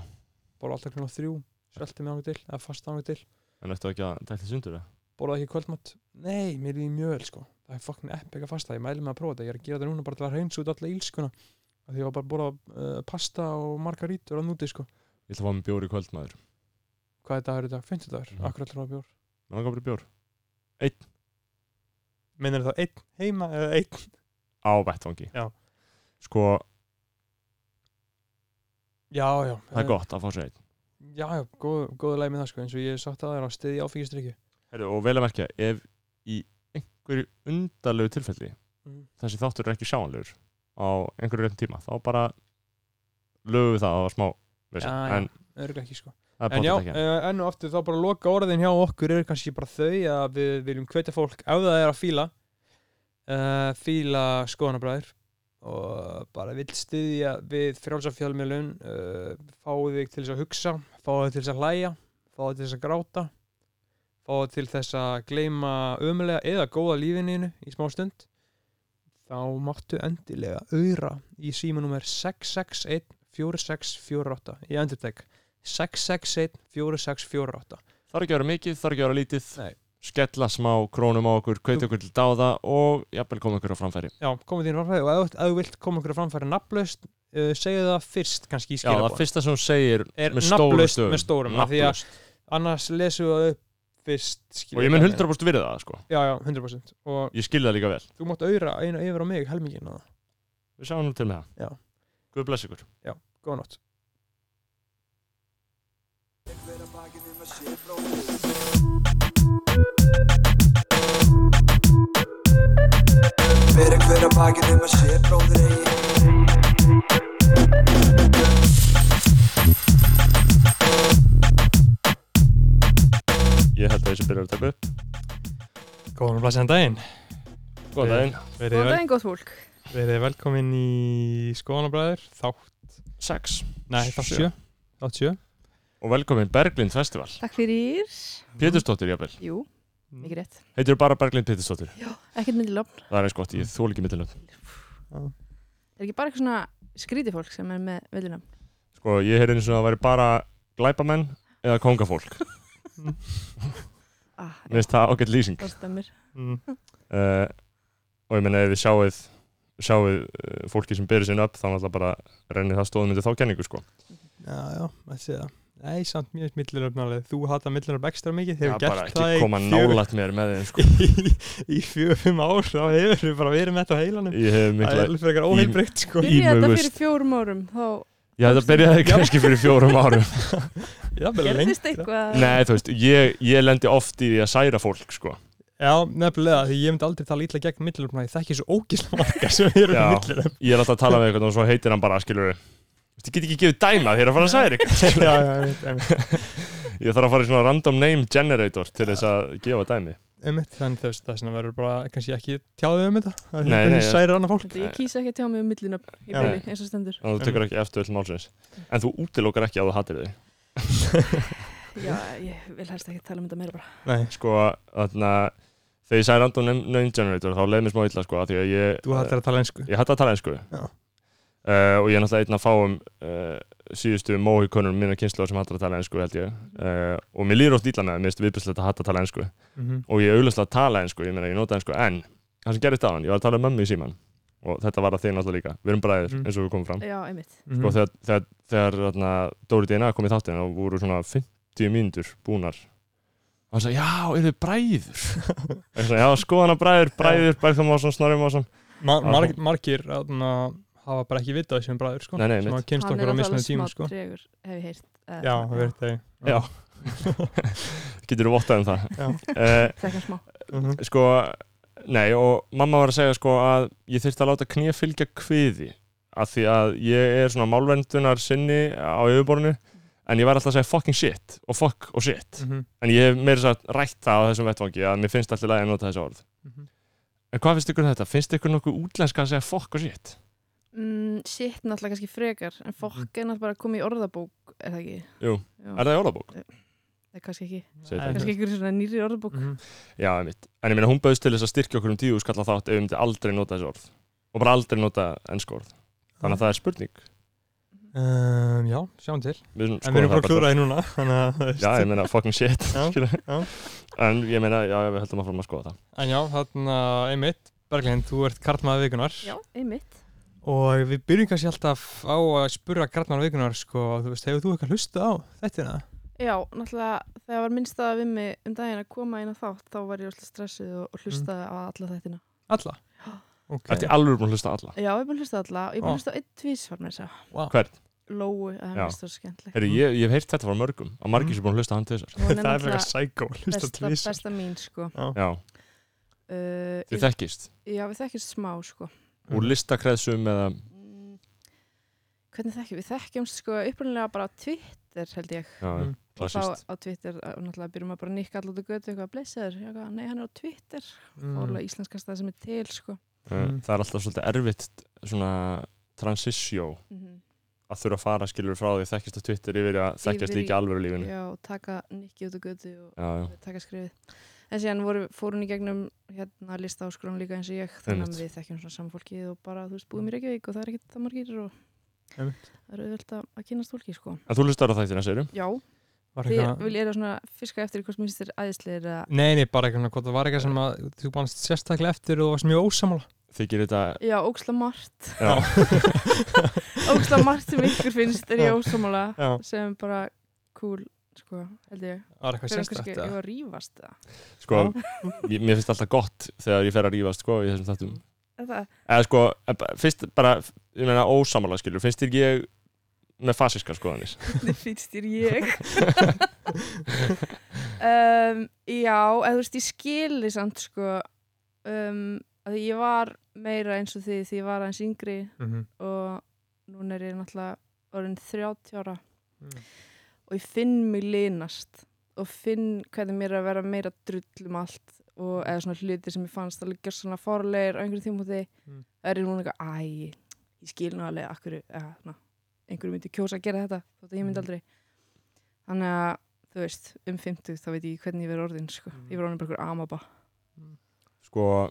C: bólaði alltaf klunum þrjú svelti mig ángu til, eða fast ángu til
A: en ertu ekki að tækla sundur það
C: bólaði ekki kvöldmatt, nei, mér líði mjög vel, sko það er fucking epic að fasta, ég mæli mig að prófa þetta ég er að gera þetta núna bara til að reynsa út alla ílskuna af því ég var bara að bóla uh, pasta og margarítur á núti, sko
A: ég ætla að fá mér bjór í kvöld maður
C: hvað er dagur í dag, 50 dagur,
A: Mhm.
C: akkur allar á bjór
A: Mig langar bara í bjór.
C: meinar þá einn heima eða einn
A: á vettvangi
C: Já.
A: sko
C: já, já, Eh,
A: það er gott að fá sér einn
C: já, já, góð, góðu læg með það sko eins og ég hef sagt að það er á stiði áfengistrykju
A: Heru, og vel að merkja, ef í einhverju undarlegu tilfelli
C: Mhm.
A: þessi þáttur er ekki sjáanlegur á einhverju reyndum tíma, þá bara lögum við það að það var smá veist,
C: Já, já.
A: en
C: örgulega ekki sko
A: það er
C: en já,
A: bátt ekki
C: eh, enn og aftur þá bara loka orðin hjá okkur eru kannski bara þau að við viljum hvetja fólk ef það er að fíla uh, fíla skoðanabræður og bara vill styðja við frjálsafjálmiðlun uh, fáið þig til þess að hugsa fáið þig til þess að hlæja fáið þig til þess að gráta fáið þig til þess að gleyma ömulega eða góða lífininu í smá stund þá máttu endilega auðra í símanúmer 661 4648 í endurtek 661 4648
A: þarf ekki að vera mikið, þarf ekki að vera lítið
C: Nei.
A: skella smá krónum á okkur, kveita okkur til dáða og jafnvel koma okkur á framfæri
C: Já, komið þínu framfæri og ef þú- ef þú vilt koma okkur að framfæri nafnlaust, uh, segja það fyrst kannski í
A: já, það
C: skilabóð
A: fyrsta sem hún segir
C: Er
A: með stórum
C: nafnlaust
A: stöfum
C: með stórum af því að
A: nafnlaust,
C: annars lesum við það upp fyrst
A: og
C: skilabóð
A: ég mun 100% virða það sko
C: Já, já, 100% og
A: ég skilði það líka vel,
C: þú mátt auðra einu yfir á mig helmingin að það
A: við sjáum nú til með það
C: Já.
A: Guð bless ykkur
C: Góða nótt
B: Hver að baki nema sé bróðir bakið nema sé bróðir eigi
A: Ég held að þessi byrjar að taka upp
C: Góðan og blæsjan daginn
A: Góðan daginn
C: Verið,
D: Góðan
C: vel,
D: daginn, góð fólk
C: verið velkomin í Skoðanabræður Þátt,
A: 6
C: nei, þátt
A: Sjö.
C: sjö Þátt sjö
A: Og velkomin Berglind Festival
D: Takk fyrir
A: Mhm. Pétursdóttir, jafnvel
D: Jú, mikið rétt
A: Heitir bara Berglind Pétursdóttir
D: Ekkert myndi lofn
A: Það er eins gott,
C: Mhm.
A: ég þól ekki mittilönd
D: Er ekki bara eitthvað svona skrítið fólk sem er með villunum
A: Sko, ég heyrði eins og það væri bara glæpamenn eða kongafólk
D: ah,
A: Mér finnst það ágætt lýsing
D: Það stemmir
C: mm.
A: uh, og ég meina ef þið sjáuð sjáuð uh, fólki sem byrjur sinna upp þá náttúrulega bara rennir það stóðum undir þá kenningu sko.
C: Já, já, að sé það Nei, samt mjög millilöfnarlega Þú hata millilöfn ekstra mikið
A: það
C: Hefur
A: er bara
C: gert það
A: ekki
C: í
A: koma
C: fjögur-
A: nálægt mér með þeim sko.
C: í, í fjöfum ár þá hefur við bara verið með þetta á heilanum
A: ég hef
C: það er
A: mikla
C: alveg frekar óheilbreykt sko
A: Í-
D: Byrja þetta
A: mögust.
D: fyrir fjórum árum Þá
A: já það byrjaði kannski fyrir fjórum árum
C: já,
D: gerðist eitthvað
A: nei þú veist, ég, ég lendi oft í því að særa fólk sko.
C: já, nefnilega, því ég myndi aldrei tala ítla gegn millilöfna ég þekki svo ógisla marga sem eru
A: Já.
C: með millilöfn
A: ég er alltaf að tala með eitthvað og svo heitir hann bara skilur ég get ekki gefið dæma þegar að fara að særa ykkur
C: já, já, einmitt, einmitt,
A: ég þarf að fara í svona random name generator til þess að gefa dæmi
C: einmitt þannig þú veist, það er svona verður bara kannski ekki tjáðið um þetta það
A: Nei,
C: er
A: nei,
C: kannski særir annað fólk
D: Þetta, Ég kýsa ekki að tjá mig um millunum í
C: Já.
D: byrju eins og stendur
A: þannig að þú
C: Mhm.
A: tekur ekki eftir öll málsins en þú útilokar ekki að þú hatir þau
D: Já, ég vil helst ekki tala um þetta meira bara
C: nei,
A: sko, þarna þegar ég sagði random name- name generator þá leið mér smá illa sko, af því að ég eh,
C: þú hattar að tala einsku
A: ég hætti að tala einsku
C: Já.
A: uh, og ég er náttúrulega einn að fáum uh, síðustu móhikonur minna kynslu sem hættar að tala einsku held ég uh, og mér líður oft illa með það, mér finnst viðbjörnslegt að hætta að tala einsku
C: Mhm,
A: og ég auðvitað að tala einsku, ég meina ég nota einsku en það sem gerist á hann, ég var að tala um mömmu í síman og þetta var að þeim náttúrulega líka, við erum bræðir
C: Mhm.
A: eins og við komum fram
D: Já, einmitt
A: sko, þegar, þegar, þegar þarna, Dóri Dina kom í þáttin og voru svona 50 mínútur búnar og hann sagði, já, eru þið bræður Ég sagði, já, skoðana bræður, bræður, Bergþór Másson, Snorri Másson
C: Mar marg- margir þarna, hafa bara ekki vitað þessum bræður sko
A: Nei, nei,
C: sem
A: mitt.
C: hafa kynst okkur á mismunum tímum sko
D: Hann er alltaf alveg smá tregur, hef ég heyrt eh,
C: já, það
D: svona,
C: verður þegar
A: Já. getur þú vottað um
C: Já.
A: það uh,
D: Þekkar smá
C: Mhm.
A: sko, nei, og mamma var að segja sko að ég þyrfti að láta knýja fylgja kviði af því að ég er svona málvendunar sinni á yfirborinu en ég var alltaf að segja fucking shit og fuck og shit
C: Mhm.
A: en ég hef meira sagt rætt það á þessum vettvangi að mér finnst alltaf lægi að nota þessi orð
C: Mhm.
A: En hvað finnst ykkur um þetta? Finnst ykkur nokkuð útlenska að segja fokk og shit?
D: Mm, Shit, náttúrulega kannski frekar En fokk er náttúrulega bara að koma í orðabók Er það ekki?
A: Jú.
D: Já,
A: Er það í orðabók?
D: það er kannski ekki
A: Segir
C: Nei.
A: það.
D: kannski einhverjum svona nýri orðbók
C: Mhm.
A: Já, einmitt. En ég meina hún bauðst til þess að styrkja okkur um tíu skalla þátt ef við myndi aldrei nota þessi orð. Og bara aldrei nota ennsk orð. Þannig að það er spurning.
C: Um, já, sjáum til.
A: Við skulum
C: En við
A: skoða Sko, það
C: erum bara að klúra því núna, þannig að, þú veist.
A: Já, ég meina fucking shit.
C: Já,
A: skilur.
C: já.
A: en ég meina, já, við höldum að fara að skoða það.
C: En já, þarna einmitt, Berglind, þú ert kartmaður vikunar
D: Já, einmitt
C: og við byrjum kannski alltaf á að spura kartmaður vikunar, sko, þú veist, hefur þú eitthvað hlusta á þetta?
D: Já, náttúrulega þegar var minnstaða við mig um daginn að koma inn á þátt þá var ég alltaf stressuð og, og hlustaði á alla þættina
C: Alla?
D: Já.
C: Ok.
A: Þetta er alveg búin að hlusta á alla.
D: Já, ég er búin að hlusta á alla og ég er búin
C: Ó.
D: að hlusta á einn tvís var með þess að
C: Wow.
A: Hvern?
D: Lóu, að hann
A: Já.
D: er stór skemmtleg
A: Heyri, ég, ég hef heyrt þetta frá mörgum. Að margir
C: Mm.
A: sem búin að hlusta á hann til þessar.
D: og
C: Það
D: hann er
C: er frekar
D: náttúrulega
C: sækó, hlusta
D: besta,
C: tvísar.
D: besta mín sko
A: Já,
D: uh,
A: þið
D: ég,
A: þekkist.
D: Já, við þekkjum smá sko
A: Úr listakreðsum eða...
D: mm, Hvernig þekkjum? Við þekkjum sko upprunalega bara á Twitter held ég
A: Já,
C: Mm.
D: Þá
A: klassist.
D: á Twitter, uh, náttúrulega byrjum að bara nikka allat og götu eitthvað blessaður, Já, hvað, nei hann er á Twitter mm. og alveg íslenskast það sem er til sko.
A: Mm. Það er alltaf svolítið erfitt svona transisjó
D: Mhm.
A: að þurfa að fara skilur frá því að þekkjast á Twitter yfir í að þekkjast
D: Yfir í-
A: líka alvöru lífinu já,
D: Já, og taka nikki út og götu og
A: já.
D: taka skrifið en síðan voru, fór hún í gegnum hérna lista áskrón líka eins og ég þannig að
A: Einmitt.
D: við þekkjum svona samfólkið og bara þú veist búum í Reykjavík og það er ekkert það margir og
C: Einmitt.
D: það eru auðvöld að, að kynast fólki sko.
A: En þú hlustar á þættina, segir
D: Já,
C: Var
D: því
C: eitthvað...
D: vil ég er svona fiska eftir hvort mér finnst þér æðislegir að
C: Nei, nei, bara eitthvað, hvort það var eitthvað sem að þú bannst sérstaklega eftir og þú varst mjög ósamála.
A: Þykir þetta
D: Já, óksla margt
A: já,
D: óksla margt sem ykkur finnst er ég ósámála
C: Já.
D: sem bara cool sko, held ég
C: Var eitthvað
D: Hver er kannski
C: sérstaklega
D: ég var að rífast það
A: Sko, ég, mér finnst alltaf gott þegar ég fer að rífast sko, í þessum þáttum
D: Er það?
A: Eða sko, en ba- fyrst bara ég meina ósamála skilur, finnst þér ekki ég með fasiskar skoðanir
D: Hvernig finnst þér ég? um, já, eða þú veist, ég skili samt sko um, að ég var meira eins og því því ég var aðeins yngri
C: Mhm.
D: og núna er ég náttúrulega orðin 30 ára
C: Mm.
D: og ég finn mig linast og finn hvernig mér er að vera meira drull um allt og eða svona hluti sem ég fannst að liggja svona forleir á einhverjum tímúti
C: Mm.
D: það er ég núna eitthvað, æ, ég skil nú alveg akkur, eða, na, einhverju myndi kjósa að gera þetta þótt að ég
A: Mm.
D: myndi
C: Mhm.
D: aldrei þannig að, þú veist, um 50 þá veit ég ekki hvernig ég verið orðin, sko
A: Mm.
C: Mhm.
D: ég verið orðin bara einhver amaba
A: sko,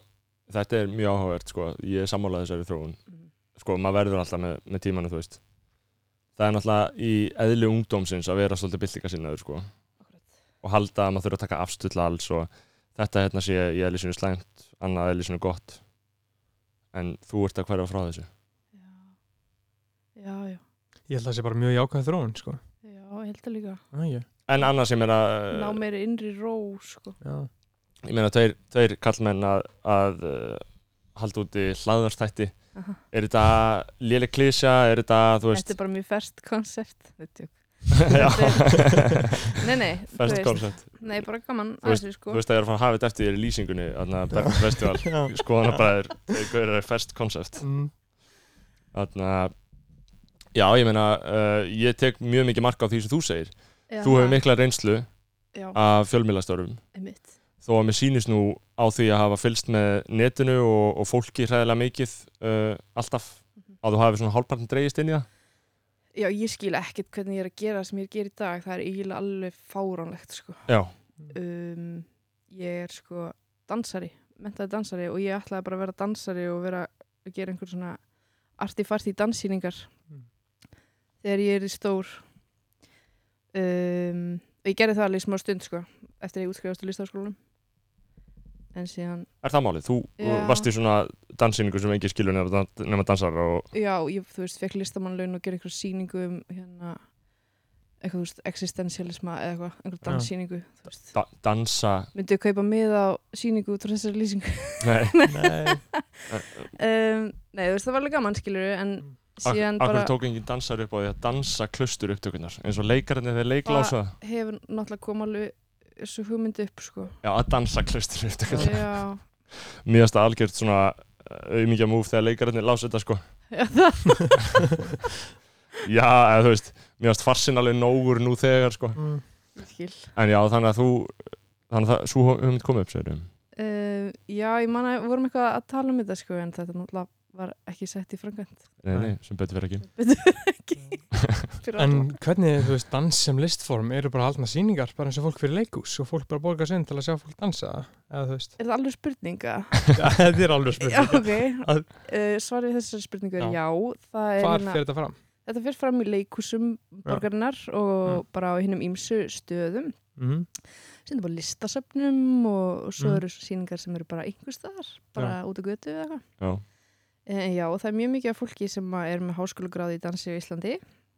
A: þetta er mjög áhugavert sko. ég er sammála þessari þróun
D: Mhm.
A: sko, maður verður alltaf með, með tímanu þú veist það er náttúrulega í eðli ungdómsins að vera svolítið byltingasinnaður sko. og halda að maður þurfa að taka afstöð til alls og þetta hérna sé í eðli sinu slæmt annað eðli sinu gott en þú ert að hverja frá þessu
D: já, já, já
C: Ég held að það sé bara mjög jákvæð þróun sko.
D: Já, ég held að líka.
C: ah, ég.
A: en annað sem er að
D: Ná meira innri ró, sko.
C: Já.
A: ég meina tveir, tveir kallmenn að, að uh, halda úti hlaðarstætti
D: Aha.
A: er þetta léleg klísja, er þetta þú veist
D: Þetta er bara mjög fest koncept. Þetta er
A: Já.
D: Nei, nei, þú
A: Fast
D: veist.
A: concept.
D: Nei, bara gaman
A: Þú
D: að þessu, sko.
A: þú veist að ég er að fara að hafa þetta eftir þér í lýsingunni þarna Bernd Festival
C: Já.
A: skoðanabræður, þeir gaurar fast concept
C: Mm.
A: þarna já ég meina uh, ég tek mjög mikið mark á því sem þú segir
D: Já,
A: þú hefur mikla Ah. reynslu
D: Já,
A: af fjölmiðlastörfum
D: einmitt.
A: þó að mér sýnist nú á því að hafa fylst með netinu og, og fólki hræðilega mikið uh, alltaf
D: Mhm.
A: að þú hafi svona hálfpartin dreigist inn í það
D: Já, ég skil ekkert hvernig ég er að gera það sem ég er að gera í dag. Það er eiginlega alveg fáránlegt, sko.
A: já,
D: Um, ég er, sko, dansari, mentaði dansari og ég ætlaði bara að vera dansari og vera að gera einhver svona artifarti danssýningar
C: Mm.
D: þegar ég er í stór. Um, og ég gerði það alveg í smá stund, sko, eftir að ég útskrifast í listaháskólanum. En síðan
A: er það málið? Þú
D: Já.
A: varst í svona dansýningu sem engin skilur nema, dan- nema dansar og
D: já, ég, þú veist, fekk listamannlaun og gerði eitthvað sýningu um hérna, eitthvað, þú veist, existentialisma eða eitthvað, einhver
C: Já.
D: danssýningu, þú veist.
A: da dansa
D: Myndið að kaupa miða á sýningu út frá þessari lýsingu?
A: nei,
C: Nei.
D: Um, nei, þú veist, það var alveg gaman, skilur en
C: Mm.
A: akkur
D: síðan bara
A: tók engin dansar upp á því að dansa klustur upptökunar eins og leikarinn þegar leiklása
D: hefur náttúrulega koma alveg þessu hugmyndi upp, sko.
A: já, að dansa klustur upptökunar
D: já,
A: mjög að algjört svona auðmíkja múf þegar leikarinn lása þetta sko
D: já, það,
A: já, eða þú veist, mjög að farsin alveg nógur nú þegar sko
C: Mm.
D: ég skil.
A: En já, þannig að þú þannig að það, svo höfum komið upp, segir um
D: Um, já, ég man að við vorum eitthvað að tala um þetta, sko, en þetta náttúrulega var ekki sett í frangönd.
A: Nei, nei, sem betur fyrir ekki
C: En hvernig, þú veist, dans sem listform eru bara haldna sýningar, bara eins og fólk fyrir leikús og fólk bara borgar sinn til að sjá fólk dansa eða þú veist,
D: Er það alveg spurninga?
C: Já, þetta er alveg
D: Já,
C: spurning
D: ok.
C: Að-
D: Uh, svarið við þessari spurningu er
C: Já.
D: já. það er
C: Hvar
D: hérna,
C: fer þetta fram?
D: þetta fyrir fram í leikúsum borgarinnar og bara á hinnum ímsu stöðum.
C: Mm.
D: Sem er bara listasöfnum og, og svo
C: Mm.
D: eru sýningar sem eru bara einhvers staðar, bara út á götu eða eitthvað.
A: Já,
D: Eh, Já, og það er mjög mikið af fólki sem að er með háskólagráði í dansi á Íslandi.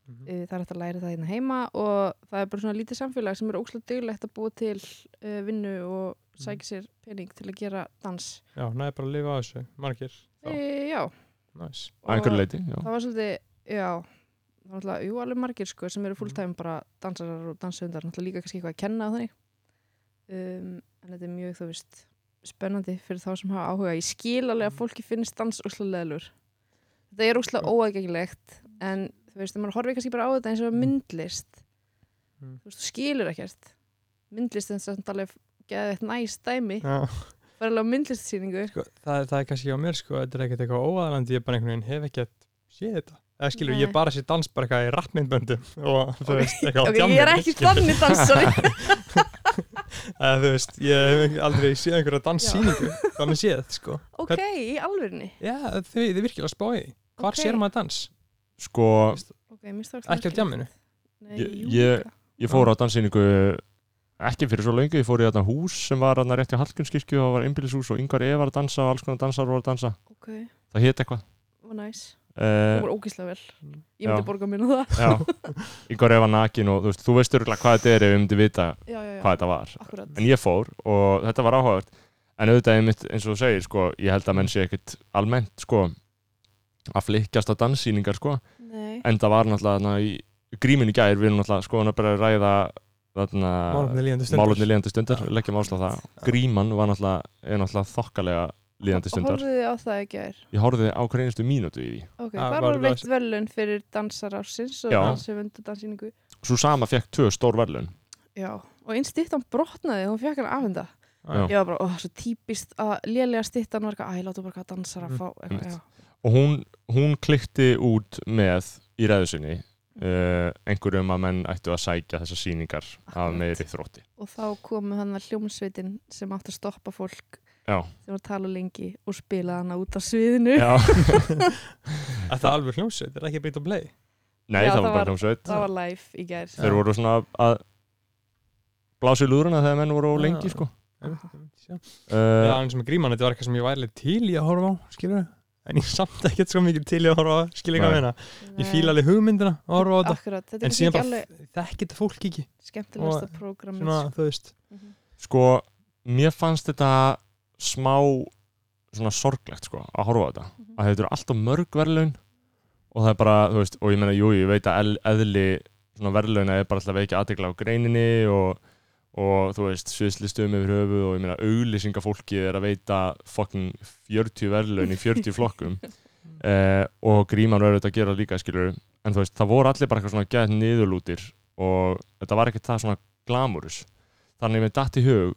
C: Mhm.
D: Eh, Það er hægt að læra það hérna heima og það er bara svona lítið samfélag sem er ókslega duglegt að búa til uh, vinnu og
C: Mm.
D: sækja sér pening til að gera dans.
C: Já, næði bara að lifa á þessu, margir Já.
D: E, já,
C: Næs,
A: að einhverju leiti, já
D: það var svolítið, já það var náttúrulega, jú, alveg margir sko sem eru fulltime bara dansarar og dansöndar náttúrulega líka kannski eitthvað að kenna á þannig um, en þetta er mjög, þú veist spennandi fyrir þá sem hafa áhuga ég skil alveg
C: Mm.
D: að fólki finnst dans úrslega leðlur þetta er úrslega óaðgengilegt en þú veist, þegar maður horfir kannski bara á þetta eins og myndlist
C: Mm.
D: þú veist, þú skilur ekkert myndlist er samt alveg geðið eitt næst dæmi,
C: Já.
D: það er alveg á myndlistsýningu
C: sko, það, er- það er kannski á mér sko, þetta er ekkert eitthvað óaðalandi, ég bara einhvern veginn hef ekkert séð þetta, eða skilur, ég
D: Nei.
C: bara sé dans bara eitthvað í rappmyndböndum og þú veist, eitthvað á
D: ok, ég er
C: djamminu,
D: ekki
C: skilur.
D: þannig dansari
C: Eða, þú veist, ég hef aldrei séð einhverja
D: Já.
C: danssýningu, þannig séð, sko
D: ok, í alvörni
C: Já, þau, þau virkilega spáði Hvar
D: Ok.
C: sér maður dans?
A: Sko,
D: Ok, mér stóðst
C: Ekki á djamminu?
D: Nei,
A: Ég-
D: jú,
A: ég-
D: líka.
A: ég fór á dansýningu ekki fyrir svo lengi, ég fór í þarna hús sem var þarna rétt í Hallgjörnskirkju og var einbýlishús og yngvar Eva var að dansa og alls konar dansar voru að dansa
D: Ok,
A: það hét eitthvað
D: var næs. Það
A: uh,
D: voru ógíslega vel.
C: Mm.
D: Ég myndi
A: Já.
D: borga mér á það.
A: Já, yngvar Eva nakin og þú veist, þú veist örgulega hvað þetta er ef við myndi vita
D: Já, já, já.
A: hvað þetta var
D: Akkurat.
A: en ég fór og þetta var áhugavert en auðvitað einmitt, eins og þú segir sko, ég held að menn sé ekkit almennt sko, að flikkjast á danssýningar sko.
D: Nei.
A: en það var náttúrulega þarna, í gríminu í gær við erum náttúrulega sko hann að bara ræða þarna,
C: Málefni líðandi stundur
A: málumni liðandi stundur leggjum ásla það, gríman var náttúrulega, er náttúrulega þokkalega líðandi stundar
D: Hóruðu þið á það í gær?
A: Ég horfði á hverja einustu mínútu í því
D: Ok,
C: Ah,
D: það
C: var
D: var
C: það-
D: veitt velun fyrir dansar ársins og
A: Já.
D: dansöfund og dansýningu
A: Svo sama fekk tvö stór verðlun
D: Já, og einn stýttan brotnaði, hún fekk hann afhenda
C: Ah,
A: Já.
D: Ég var bara, ó, svo típist að lélega stýttan var eitthvað, æ, látum bara hvað dansar að
C: Mm,
D: fá eitthvað,
A: einmitt.
D: já.
A: og hún, hún klikti út með í ræðu sinni uh, einhverjum að menn ættu að sækja þessar sýningar af
D: Akkurat.
A: meiri þrótti
D: og þá komu hann að hljómsveitin sem átti að stoppa fólk
A: Já.
D: sem var að tala lengi og spila hana út af sviðinu
A: Já,
C: Er það alveg hljómsveit? Er það ekki beitt og blei?
A: nei
D: Já,
A: það var
D: það
A: bara
D: var-
A: hljómsveit
D: það var live í gær
A: þeir
C: Já.
A: voru svona að blása í lúðruna þegar menn voru á
C: Já.
A: lengi sko.
D: Aha.
C: Já,
A: uh,
C: eins og með gríman, þetta var eitthvað sem ég væri til í að horfa á, skilur En ég samt ekkert svo mikið til í að horfa á, skilur ég hvað
A: Nei.
C: meina Ég fíla alveg hugmyndina að horfa á þetta
D: akkurat, þetta
C: En
D: er
C: síðan
D: ekki
C: bara
D: alveg
C: þekkir þetta fólk ekki
D: skemmtilegasta Mhm. prógram
C: Svona, þú veist
A: sko, mér fannst þetta smá svona sorglegt sko, að horfa á þetta að þetta eru alltaf mörg verðlaun og það er bara, þú veist, og ég meina, jú, ég veit að el- eðli svona verðlauna er bara alltaf ekki aðdegla á greininni og, og þú veist, sviðslistum yfir höfu og ég meina, auglýsingafólkið er að veita fucking 40 verðlaun í 40 flokkum eh, og gríman verður þetta að gera líka, skilur en þú veist, það voru allir bara eitthvað svona gæðt niðurlútir og þetta var ekkert það svona glamurus þannig að mér datt í hug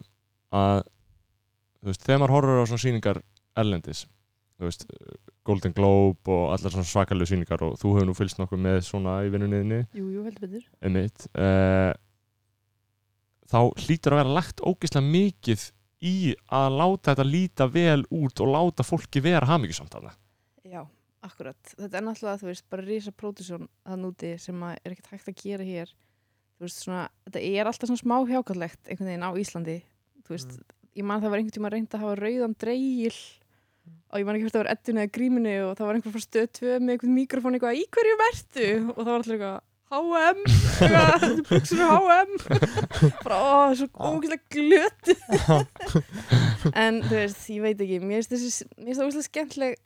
A: að þú veist, þegar maður horfur á svona sýningar erlendis, þú veist Golden Globe og allar svona svakalegu sýningar og þú hefur nú fylgst nokkuð með svona í vinnunniðinni,
D: jú, jú, heldur betur
A: emitt uh, þá hlýtur að vera lagt ógeðslega mikið í að láta þetta líta vel út og láta fólki vera hamingjusamt hana
D: já, akkurat, þetta er náttúrulega, þú veist bara risa pródusjón að núti sem að er ekkert hægt að gera hér þú veist svona, þetta er alltaf svona smá hjákallegt einhvern veginn á Íslandi þú veist, ég man það var einhvern tíma reynd að hafa rauðan dreigil og ég man ekki hvort það var eddun eða gríminu og það var einhver frá stöð 2 með einhvern mikrofón eitthvað, í hverju vertu? og það var alltaf eitthvað H&M, eitthvað, þetta buksur er H&M bara, ó, svo ógeðslega glötu en þú veist, ég veit ekki mér finnst þessi, mér finnst það ógeðslega skemmtileg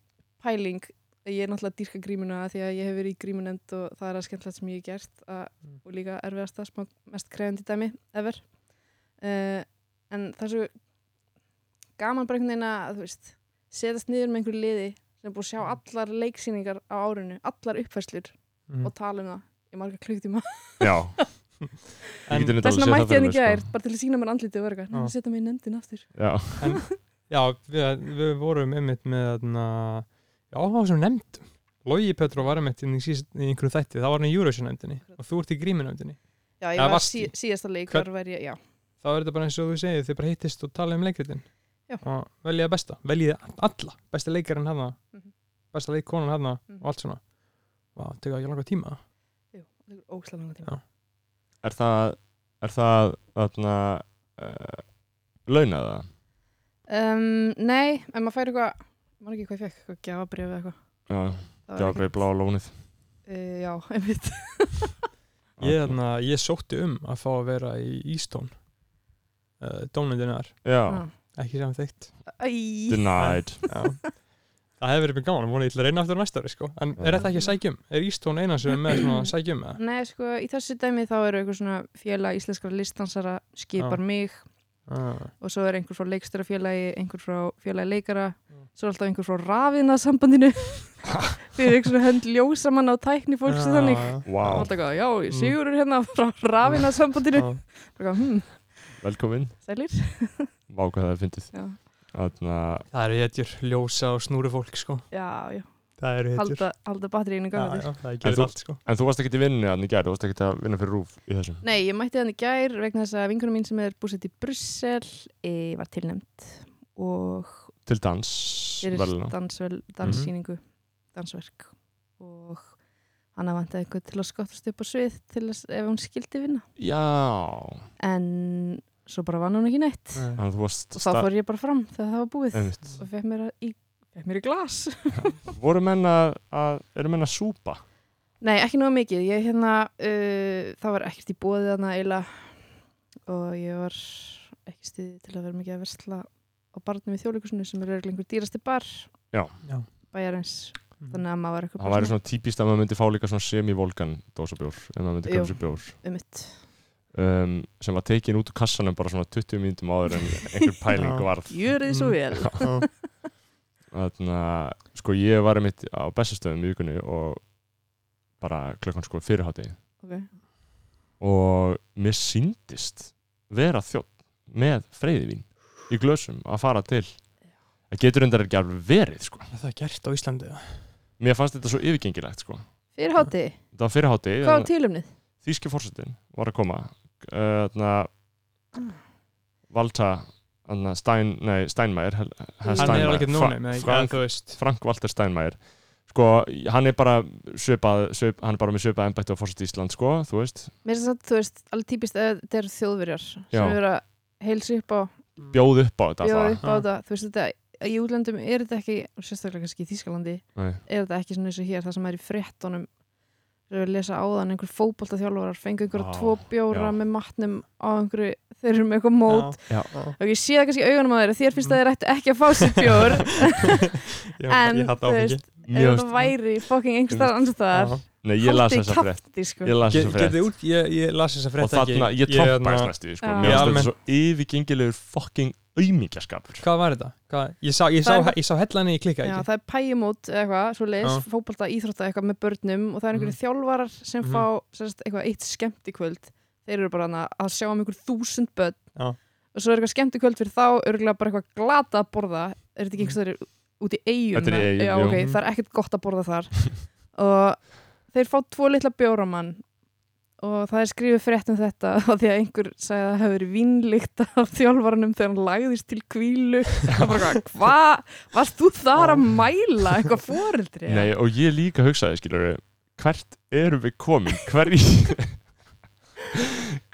D: pæling, ég er náttúrulega að dýrka grímuna af því að ég hef verið í grímunend og það er að skemmtilegt sem ég hef gert að,
C: Mm.
D: og líka erfiðasta, smá mest krefandi dæmi ever uh, en það er svo gaman bara einhvern veginn að þú veist, setast niður með einhverju liði sem er búið að sjá allar leiksýningar á árinu, allar uppfærslur
C: Mm.
D: og tala um það í marga klukktíma
A: Já,
C: En,
A: myndi alveg
D: þess vegna
A: séð
D: mætti ég hann
A: fyrir
D: ekki
A: mér, sko.
D: að bara til að sína mér andlitið og verka,
C: sko. Já.
D: ah. setja mig í nefndin aftur
A: Já,
C: já, við, við vorum einmitt með þarna Já, það var sem nefnd Logi Petró var einmitt í, síst, í einhverju þætti Það var hann í Eurovision nefndinni og þú ert í grímin nefndinni
D: já, ég
C: Eða
D: var
C: varstu?
D: sí, síðasta leik
C: Hvern-
D: hver var ég, já,
C: þá er þetta bara eins og þú segir, þið bara hittist og talið um leikritin
D: Já.
C: og veljiði besta, veljiði alla besta leikarinn hafna,
D: Mhm.
C: besta leikkonan hafna
D: Mhm.
C: og allt svona Vá, tekur það ekki langa tíma
D: Jú, það er óslega langa tíma
C: Já.
A: er það er það þarna uh, launaða?
D: um, nei, en maður fær eitthvað maður ekki hvað ég fekk, eitthvað gjafabrif eða eitthvað
A: Já,
D: Það
A: það var
D: var ekkert-
A: bara bláa lónið
D: Eh, já, einmitt
C: ég, þarna, ég sótti um að fá að vera í Ístón uh, dónundinar,
D: Ah.
A: Já,
C: ekki sem þeitt
D: Æ,
A: denied
C: það hefur verið mjög gaman, vonið ég ætla að reyna aftur á næsta ári sko. en er þetta ekki að sækjum? Er Ístón eina sem er með svona að sækjum? eða?
D: Nei, sko, í þessu dæmi þá eru eitthvað svona félag íslenskara listansara skipar mig
C: Ah,
D: og svo er einhver frá leikstörafélagi, einhver frá félagi leikara,
C: Mm.
D: svo er alltaf einhver frá rafina sambandinu fyrir einhver svona hönd ljósamann á tækni fólks
C: Ah.
D: og þannig.
C: já,
A: Vá,
D: Alltaf eitthvað, já, Sigur er hérna frá rafina
C: já,
D: sambandinu.
C: já.
D: Hmm,
A: velkomin
D: sælir.
A: Vá hvað það er fyndið
D: Já,
A: Þarna,
C: það eru hetjur, ljósa og snúru fólk sko.
D: já, já.
C: það eru hetjur
D: halda, halda batteríinu
C: Já,
D: gafið.
C: já, það
A: þú-
C: gerir allt sko
A: En þú varst ekki í vinnu hann í gær, þú varst ekki að vinna fyrir rúf í þessum
D: Nei, ég mætti hann í gær vegna þess að vinkunum mín sem er búsett í Brussel e, var tilnæmt og
A: Til dans,
D: fyrir
A: verðlauna.
D: dansvel, danssýningu dansverk og hann að vantaði einhver til að skottast upp á svið til að, ef hún skildi vinna
A: Já,
D: en svo bara vann hún ekki neitt
C: Nei.
A: þannig að þú varst
D: og þá fór ég bara fram þegar það var búið
A: Einmitt.
D: og fekk mér, að- í, fekk mér í glas
A: Voru menn að, að eru menn að súpa?
D: Nei, ekki náðu mikið ég hérna, uh, það var ekkert í bóðið þarna eila og ég var ekki stiði til að vera mikið að versla á barnum í þjóðleikusinu sem er örugglega einhver dýrasti bar
A: Já.
C: Já.
D: bæjarins þannig að maður var eitthvað
A: Það væri svona típist að maður myndi fá líka svona semi-volkan dósabjór, ef maður myndi
D: Jú.
A: köpsa bjór
D: um mitt
A: um, sem var tekin út úr kassanum bara svona 20 mínútum áður en einhver pæling
C: Já.
A: varð
D: Gjörið svo vel
C: Já.
A: Þannig að, sko, ég var einmitt á bestastöðum í vikunni og bara klukkan sko fyrirhátti
D: ok,
A: og mér síndist vera þjótt með freyðivín í glösum að fara til það getur undar ekki alveg verið sko.
E: Er það gert á Íslandi? eða?
A: mér fannst þetta svo yfirgengilegt sko.
D: fyrir hátti,
A: þetta var fyrirhátti
D: hvað var tilumnið?
A: þýski fórsetin var að koma uh, na, Valta na, Stein, nei, Steinmeier hel, hel,
E: Hann
C: Hann er
A: Steinmeier,
C: alveg
A: Fra-
C: núni með ekki,
A: Frank,
C: en þú veist
A: Frank Walter Steinmeier sko, hann er bara svipað, svip, hann er bara með svipað embætti á fórseti Ísland sko, þú veist,
D: Mér finnst þetta, þú veist, alveg típist að þetta eru þjóðverjar
A: Já.
D: sem eru að heilsa upp á
A: bjóð upp á þetta
D: bjóða
A: það.
D: upp á þetta, þú veist þetta í útlöndum er þetta ekki, og sérstaklega kannski í Þýskalandi
A: Nei.
D: er þetta ekki svona eins og hér, það sem er í fréttunum þeir eru að lesa áðan einhver fótboltaþjálfarar fengu
A: Á,
D: einhverja tvo bjóra
A: Ah, já.
D: með matnum á einhverju, þeir eru með eitthvað mót
A: Já.
D: og ég sé það kannski í augunum á þeirra þér finnst að þeir ættu ekki að fá sér bjór
E: Já,
D: En,
E: ég hatt
D: þú
E: áfengi
D: ef
A: Mjög,
D: það væri fucking einhverstaðar annars staðar
A: nei, ég las
D: haldið
A: þessa frétt
D: kjafti, sko.
A: ég las
C: Ge-
A: þessa frétt
C: Getið út, ég, ég las þessa
A: og
C: frétta ekki
A: þarna, ég trompaðist
C: hérna-
A: næstu því, sko. mér
D: Já.
C: Já,
A: finnst þetta
C: almennt.
A: svo yfirgengilegur fucking aumingjaskapur
C: Hvað var þetta? Hvað? Ég sá, ég sá,
D: Það er-
C: ég sá hellanni, ég klikkaði
D: Já,
C: ekki
D: það er pæjumót eða eitthvað, svo leis,
C: Já.
D: fótbolta, íþrótta eitthvað með börnum og það er einhverju
C: Mhm.
D: þjálfarar sem
C: Mhm.
D: fá sérst, eitthvað eitt skemmtikvöld þeir eru bara hana, að sjá um einhver þúsund börn
C: Já.
D: og svo er eitthvað skemmtikvöld fyrir þá örgulega bara eitthvað glata að borða er þetta ekki einhvers þeir út í eigum
A: Þetta er í Eyjum,
D: já,
A: jú.
D: ok, það er ekkert gott að borða þar og þeir fá tvo litla bjóramann og það er skrifið frétt um þetta og því að einhver sagði að það hefur verið vínlíkt af þjálfaranum þegar hann lagðist til kvílu og bara hvað, hvað Varst þú þar að mæla eitthvað fóreldri?
A: Nei, og ég líka hugsaði, skilur hvert erum við komin, hverji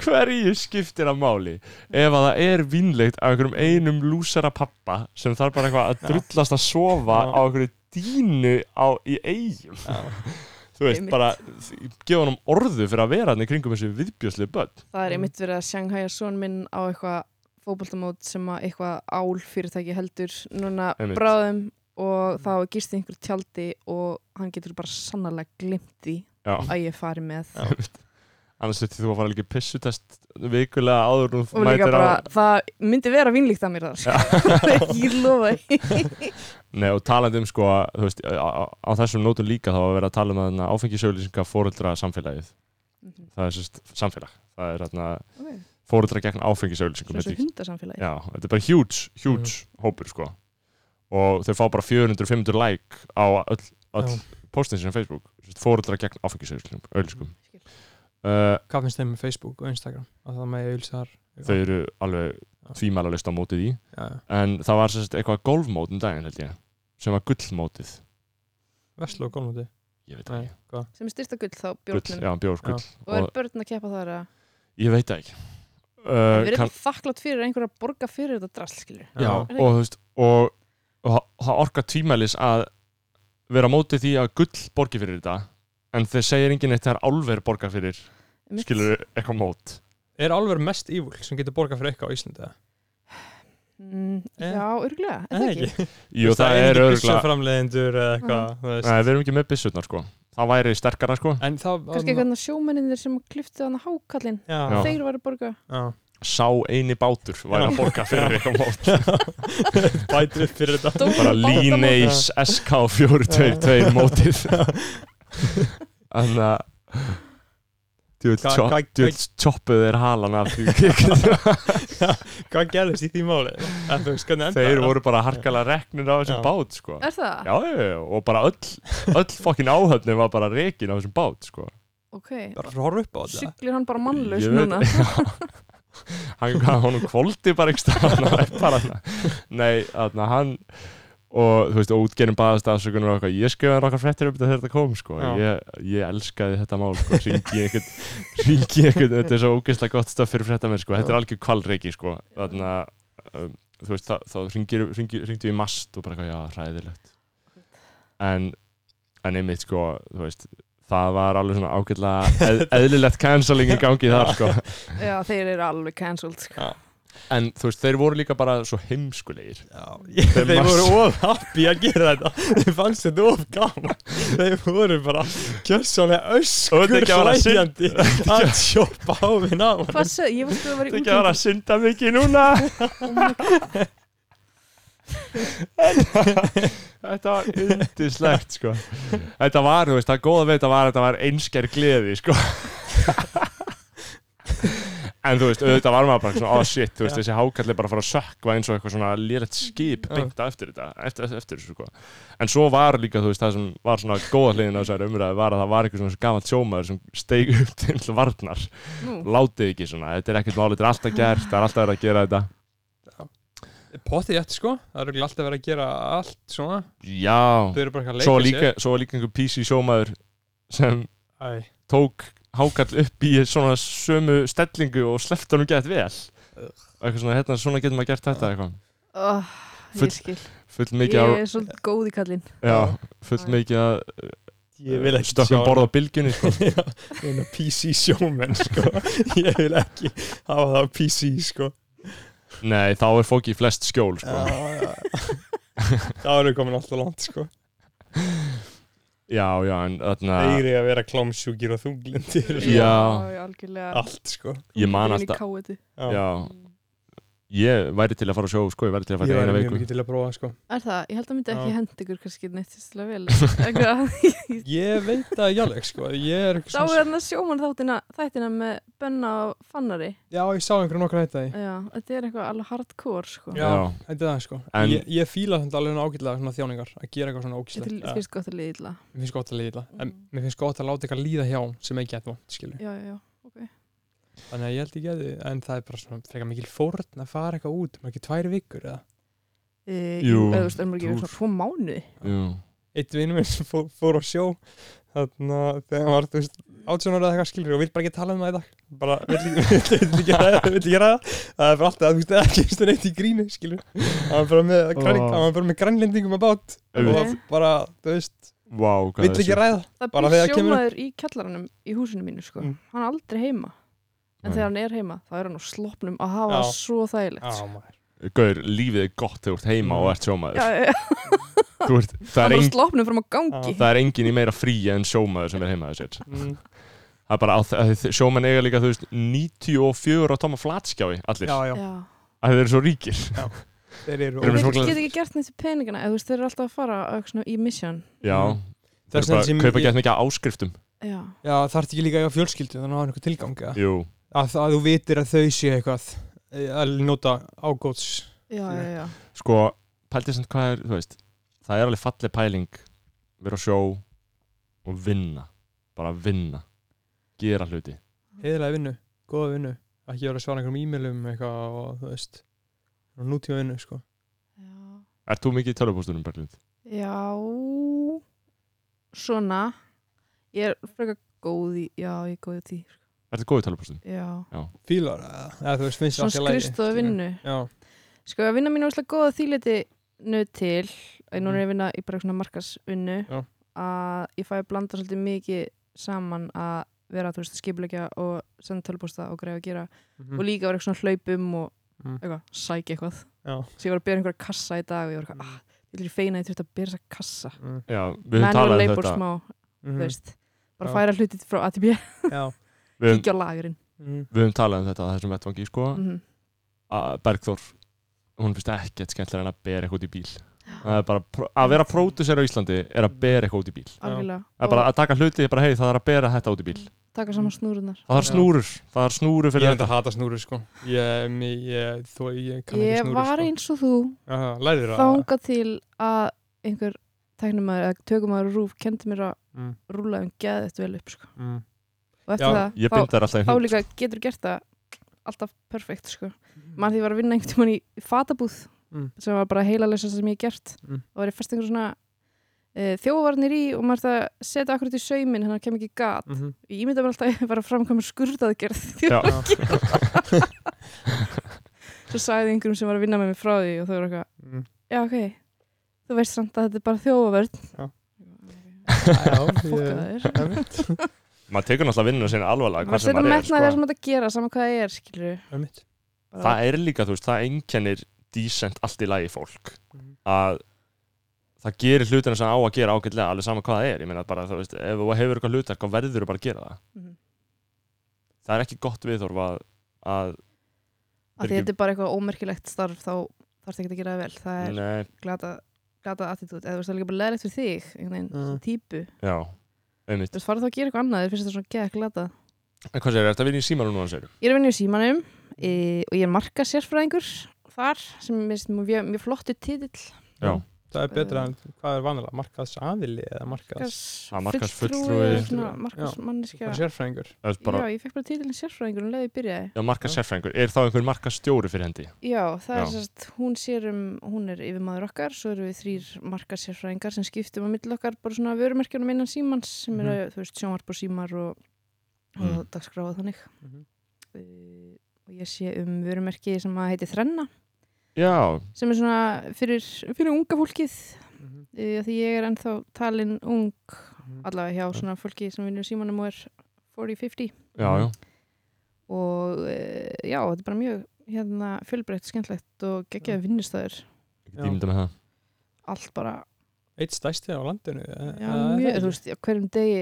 A: hverju skiptir að máli ef að það er vinnlegt af einhverjum einum lúsara pappa sem þarf bara eitthvað að drullast að sofa
C: Já.
A: á einhverju dínu á, í eigum þú veist,
D: Einmitt.
A: bara gefa honum orðu fyrir að vera hann í kringum þessu viðbjörslu börn
D: Það er einmitt verið að sjanghæja son minn á eitthvað fótboltamót sem að eitthvað ál fyrirtæki heldur núna
A: Einmitt.
D: bráðum og þá er gist í einhverju tjaldi og hann getur bara sannarlega glimt því
A: Já.
D: að ég fari með
A: annars þetta þú að fara líka í pissutest vikulega áður en þú
D: og líka
A: mætir
D: bara,
A: á
D: það myndi vera vínlíkt að mér þar sko. ég lofa því.
A: Nei, og talandi um sko, þú veist, á, á, á þessum nótum líka þá að vera að tala um að áfengisauðlýsinga fóreldra samfélagið.
D: Mhm.
A: Það er sérst samfélag. Það er þarna
D: Ok,
A: fóreldra gegn áfengisauðlýsingum.
D: svona svo
A: Þetta, er-
D: hundasamfélagi
A: já, þetta er bara huge, huge hópur sko. Og þau fá bara 400-500 like á öll, öll
C: Já.
A: postin sinni á Facebook. Sérst, fóreldra gegn áfengisauðlýsingum.
D: Skil.
A: Uh,
C: Hvað finnst þeim með Facebook og Instagram? Að það með ölsar
A: þau eru alveg
C: Já.
A: tvímælalist á mótið í.
C: ja,
A: En það var sérst eitthvað golfmót um daginn held ég, sem var gullmótið.
C: Veslu og Gólmóti
A: Ég veit það
C: Nei,
A: ekki.
C: hvað?
D: sem er styrta gull þá
A: Gull,
D: bjórnum
A: já, bjór, gull.
D: og er börn að keppa þar að
A: Ég veit það ekki uh,
D: við erum
A: kann,
D: kann... þakklátt fyrir að einhverja borga fyrir þetta drasl skilur
A: já,
C: Já.
A: og, þú veist, og, og það- það orkar tvímælis að vera á móti því að gull borgi fyrir þetta en þeir segir enginn eitt þegar álver borga fyrir
D: Einmitt.
A: skilur eitthvað mót
C: Er alveg mest evil sem getur borgað fyrir eitthvað á Íslandi? eða?
D: Mm,
C: Eh.
D: já, örgulega, er það ekki? Mm.
A: Jú, það, er örgulega
C: Framleiðendur eða eitthvað þú veist.
A: Nei, við erum ekki með byssurnar sko Það væri sterkara sko
C: En það
D: Kannski eitthvað sjómenninir sem kliftu hann að hákallin
A: Já.
D: Þeir varu borga
C: Já.
A: Sá eini bátur væri að borga fyrir eitthvað mót
C: Bætir upp fyrir þetta
D: Dóra
A: Bara
D: bátamót.
A: Líneis SK422 mótið Þannig að
C: Hva- hvað-
A: Djöld choppuð er halan af því
C: Hvað gerðist í því máli? En þú veist hvernig enda
A: Þeir voru bara harkalega reknir á þessum
C: Já.
A: bát sko.
D: Er það?
A: Já, já, já, og bara öll, öll fokkin áhöfni var bara rekin á þessum bát sko.
D: Ok,
C: Bara fyrir að horfa upp á þetta
D: siglir hann bara mannlaus
A: Ég
D: núna
A: já. Hann hann- honum kvóldi bara ekki stafna Nei, þarna hann og þú veist, og útgerum baðast afsökunar og eitthvað, ég skrifaði hann okkar frettir um þetta þegar þetta kom sko.
C: Já.
A: ég, ég elskaði þetta mál sko. ringi einhvern, ringi einhvern þetta er svo ógeðslega gott stöf fyrir frettamenn sko. þetta er algjör kvalreiki sko. þarna, um, þú veist, þá, þá ringir, ringir, ringdu í mast og bara eitthvað, já, hræðilegt en, en einmitt sko, þú veist það var alveg svona ágætlega eð, eðlilegt canceling í gangi þar sko.
D: Já, þeir eru alveg cancelled sko.
A: en þú veist, þeir voru líka bara svo heimskulegir
C: Já,
A: Þeir
C: þeir
A: mars-
C: voru of happy að gera þetta Þeir fannst þetta of gaman Þeir voru bara
A: Og
C: kjössanlega
A: þetta
C: öskur
A: ekki að vera synd.
C: hlægjandi að sjoppa á minn á honum.
D: Hvað segir, ég var sko að vera í
A: Þetta ekki að vera að synda mikið núna Þetta var yndislegt sko Þetta var, þú veist, það góða við þetta var að Þetta var einsker gleði sko En þú veist, auðvitað var maður bara svona Oh shit, þú veist,
C: Já.
A: þessi hákall er bara að fara að sökva eins og eitthvað svona lélegt skip byggt eftir þetta, eftir, eftir, eftir þessu sko En svo var líka, þú veist, það sem var svona góða hliðin á þessari umræði var að það var eitthvað svona gamalt sjómaður sem steig upp til varnar
D: Nú,
A: Látið ekki svona, þetta er ekkert máli, þetta er alltaf gert, það er alltaf verið að gera þetta
C: Pottið jætt sko, það eru alltaf verið að gera allt svona,
A: Já,
C: þau eru bara eitthvað að
A: svo var
C: leika
A: líka, svo var líka einhver PC sjómaður sem
C: sér
A: tók hákall upp í svona sömu stellingu og sleppt honum gett vel eitthvað svona, hérna, svona getur maður gert þetta eitthvað
D: oh,
A: Full-
D: ég skil
A: full
D: Ég
A: mikið að,
D: er svolítið góð í kallinn
A: já, full mikið að
E: Ég vil ekki
A: stökkum borða á bylgjunni sko.
E: Já, eina PC sjómenn sko. ég vil ekki hafa það á PC sko.
A: nei, þá er fóki flest skjól sko.
E: Já, já. þá erum við komin alltaf langt sko.
A: já, já, en þarna
E: þeir eru að vera klámsjúkir og þunglindir
A: Já.
D: já algjörlega
E: allt sko.
A: Ég man
D: Komin í
A: alltaf-
D: káetu.
A: já, ég væri til að fara á sjó sko, ég væri til að fara í eina
E: mjög
A: veiku
E: mikið til að prófa sko.
D: Er það? Ég held að myndi ekki
E: Já.
D: henda ykkur kannski neitt sérstaklega vel Eitthvað.
C: Ég veit það ekki alveg sko, ég er
D: Sá
C: svona,
D: hérna sjóman þáttina þættina með Benna og Fannari
C: já ég sá einhverjum nokkur hætta því
D: Já, þetta er eitthvað alveg hardcore sko
C: Já,
A: Já.
C: þetta er það sko
A: En-
C: Ég, ég fíla þetta alveg svona ágætlega svona þjáningar að gera eitthvað svona
D: Þetta
C: ógætlegt
D: er- finnst gott að liða illa
C: Mér finnst gott að líða illa, en
D: Mm.
C: mér finnst gott að láta eitthvað líða hjá sem ekki eitthvað, skilju
D: Já, já, já
C: Þannig að ég held ekki að þið, en það er bara svona frekar mikil fórn að fara eitthvað út, maður ekki tvær vikur eða
D: e,
A: Jú,
D: Eða þú veist, erum við ekki
A: túr.
D: verið svona tvo mánuði
A: Jú.
C: Eitt vinnum minn sem fór, fór á sjó þannig að þegar hann var, þú veist, átsjónar eða eitthvað skilur og vill bara ekki tala um það í dag bara, vill ekki- vill- vill ekki ræða, vill ekki ræða það er bara alltaf, þú veist, ekki veist neitt í gríni skilur, hann var bara með, græn,
A: Ó.
C: hann var bara með grænlendingum að bát og
A: Auðvitað.
C: bara, þú veist,
A: Vá, hvað
C: vill
A: er
C: ekki
A: þessu?
C: ræða
D: Það
C: Bara
D: býr
C: þegar kemur-
D: sjómaður í kjallaranum í húsinu mínu sko
C: Mm.
D: Hann er aldrei heima En
A: Nei.
D: þegar hann er heima, þá er hann á sloppnum að hafa
C: Já.
D: það svo þægilegt
C: Á,
D: sko.
C: maður.
A: Gaur, lífið er gott þegar þú ert heima
C: Mm.
A: og ert
D: Já,
A: sjómaður
D: já, já,
A: Þú ert, það, er
D: hann er á
A: engin,
D: sloppnum fram á gangi
A: það er engin í meira fríi en sjómaður sem er heima þessir
C: Mm,
A: það er bara á, að þið- sjómenn eiga líka þú veist 94 á tóma flatskjái allir,
C: já, já,
D: Já,
A: að þeir eru svo ríkir
C: þeir
A: Þeir eru
C: eru
D: þeir
A: með
D: geta
A: svoleiðis-
D: ekki gert neitt í peningana eða þú veist, þeir eru alltaf að fara á eitthvað svona í mission
A: já,
C: Mm.
A: þeir eru
C: Þess vegna
A: bara
C: sem
A: að kaupa
C: ég-
A: gett mikið af áskriftum
D: Já,
C: Já, þarf ekki líka að eiga fjölskyldu þannig að hafa einhver tilgang eða?
A: jú,
C: að, að þú vitir að þau séu eitthvað eh, að nota ágóts
D: já, já, já
A: sko pæltið sem hvað er, þú veist það er alveg falleg pæling vera á sjó og vinna bara vinna, gera hluti
C: heiðlega vinnu, góða vinnu ekki vera að svara einhverjum e-mailum eitthvað og þú veist og nútíma vinnu sko
D: Já,
A: Er þú mikið í tölvupóstunum, Berglind?
D: Já, svona. Ég er frekar góð í, já, ég er góð í því, sko.
A: Er þú góð í tölvupóstunum?
D: já.
C: fílar eða eða þú veist finnst
D: Svona skrifstofu vinnu.
C: já,
D: Sko, að vinna mín er óslega góð að þýliti nöð til, að núna er ég að vinna í bara svona markasvinnu,
C: Já.
D: að ég fæ að blanda svolítið mikið saman að vera, þú veist, skipulegja og senda tölupósta og greið að gera og
A: Mm.
C: mhm,
D: líka vera eitthvað svona hlaupum og
C: Mm.
D: eitthvað, sækja eitthvað.
C: já
D: Svo ég var að bera einhverja kassa í dag og ég var eitthvað,
C: Mm.
D: ah, ég vil ég feina að ég þurft að bera þessa kassa.
C: mhm,
A: Já, við höfum
D: Manual
A: talað um
D: labor
A: þetta
D: smá, þú
C: mhm,
D: veist bara
C: Já. Um.
D: færa hlutið frá A til B
C: já
A: Við höfum,
D: kíkja á lagurinn
C: mhm,
A: við höfum talað um þetta á þessum vettvangi, sko
D: mm
A: að Bergþór hún finnst ekkert skemmtilega en að bera eitthvað út í bíl Það er bara, pró- að vera pródusera á Íslandi er að bera eitthvað út í bíl
D: algjörlega
A: Það er bara
D: og
A: að taka hluti, bara hei, það er að bera þetta út í bíl.
D: taka saman snúrunar
A: Það er
C: Já.
A: snúrur, það er snúrur
C: ég
A: fyrir
C: er
A: þetta.
C: þetta að hata snúru sko ég, mér, ég, þó, ég kann ekki
D: ég
C: snúru
D: var
C: sko.
D: eins og þú
C: Aha, lærir það
D: þangað til að einhver tæknumæður eða tökumæður á rúf kendi mér að
C: Mm,
D: rúla um geðið þetta vel upp sko.
C: mm.
D: og eftir
C: Já,
A: Ég
D: það þá,
A: bindar alltaf í
D: þá
A: hnút.
D: líka getur gert það alltaf perfekt sko. mann því ég var að vinna einhvern tímann í fatabúð
C: Mm.
D: sem var bara heila leysa sem ég hef gert
C: Mm.
D: og var ég fyrst einhver svona e, þjófarnir í og maður það setja akkurat í saumin þannig að kem ekki gat
C: Mhm,
D: ég ímynda mér alltaf að ég var að framkvæma skurðaðgerð því
A: Já.
D: að svo sagði einhverjum sem var að vinna með mér frá því og þau voru eitthvað,
C: mm.
D: já ok þú veist samt að þetta er bara þjófavörn
C: Já.
D: já,
C: ég-
D: fokkaður
A: Maður tekur náttúrulega vinnuna sinni alvarlega,
D: maður
A: hvað sem
D: setur
A: maður er.
D: metnaði
A: Sko.
D: það sem þetta gera saman hvað það er, skilur
C: Það er mitt
A: Það er líka, þú veist, það einkennir dísent allt í lagi fólk.
C: Mhm.
A: Að það gerir hlutina sem á að gera ágætlega, alveg sama hvað það er. Ég meina bara, þú veist, ef þú hefur eitthvað hlutar, hvað verður þú bara að gera það?
D: mhm.
A: Það er ekki gott viðhorf að, að
D: að því þetta er bara eitthvað ómerkilegt starf þá þarf þetta ekki að gera það vel það er
A: nei,
D: glata gata attitút eða þú veist það er líka bara leðilegt fyrir þig einhvern veginn,
C: Mm.
D: sem típu,
A: já, einmitt
D: þú veist farið þá að gera eitthvað annað þér finnst það svona gegg glata
A: En hvað segir, er þetta vinni í símanum núna, segir
D: ég er að vinna í símanum e, og ég er marka sérfræðingur þar sem mér finnst mjög, mjög flottu titill
A: Já,
C: það er betra en hvað er vanilega markaðs aðili eða markaðs
A: að markas
D: fulltrúi,
A: fulltrúi.
D: svona
C: bara
D: markasmanneskja
C: sérfræðingur
A: það er bara,
D: Já, ég fekk bara títilin sérfræðingur um leið ég byrjaði.
A: já, markas sérfræðingur Er þá einhver markas stjóri fyrir hendi?
D: Já, það er
A: Já.
D: sérst, hún sér um, hún er yfir maður okkar, svo eru við þrýr markasérfræðingar sem skiptum á milli okkar bara svona vörumerkjunum innan símans sem eru, þú veist, sjónvarp og símar og, og
A: Mm.
D: dagskráða þannig.
C: Mhm.
D: Uh, og ég sé um vörumerki sem að heiti Þrenna,
A: Já,
D: sem er svona fyrir, fyrir unga fólkið,
C: Mhm.
D: uh, því ég er ennþá talin ung,
C: Mhm.
D: allavega hjá svona fólki sem vinnur í símanum og er 40-50.
A: já, já,
D: og e, já, þetta er bara mjög hérna, fjölbreytt, skemmtlegt og geggjaði vinnustæður,
A: ég
C: Já.
A: get ímynda með það
D: allt bara
C: eitt stæsti á landinu
D: já, mjög, þú veist, á hverjum degi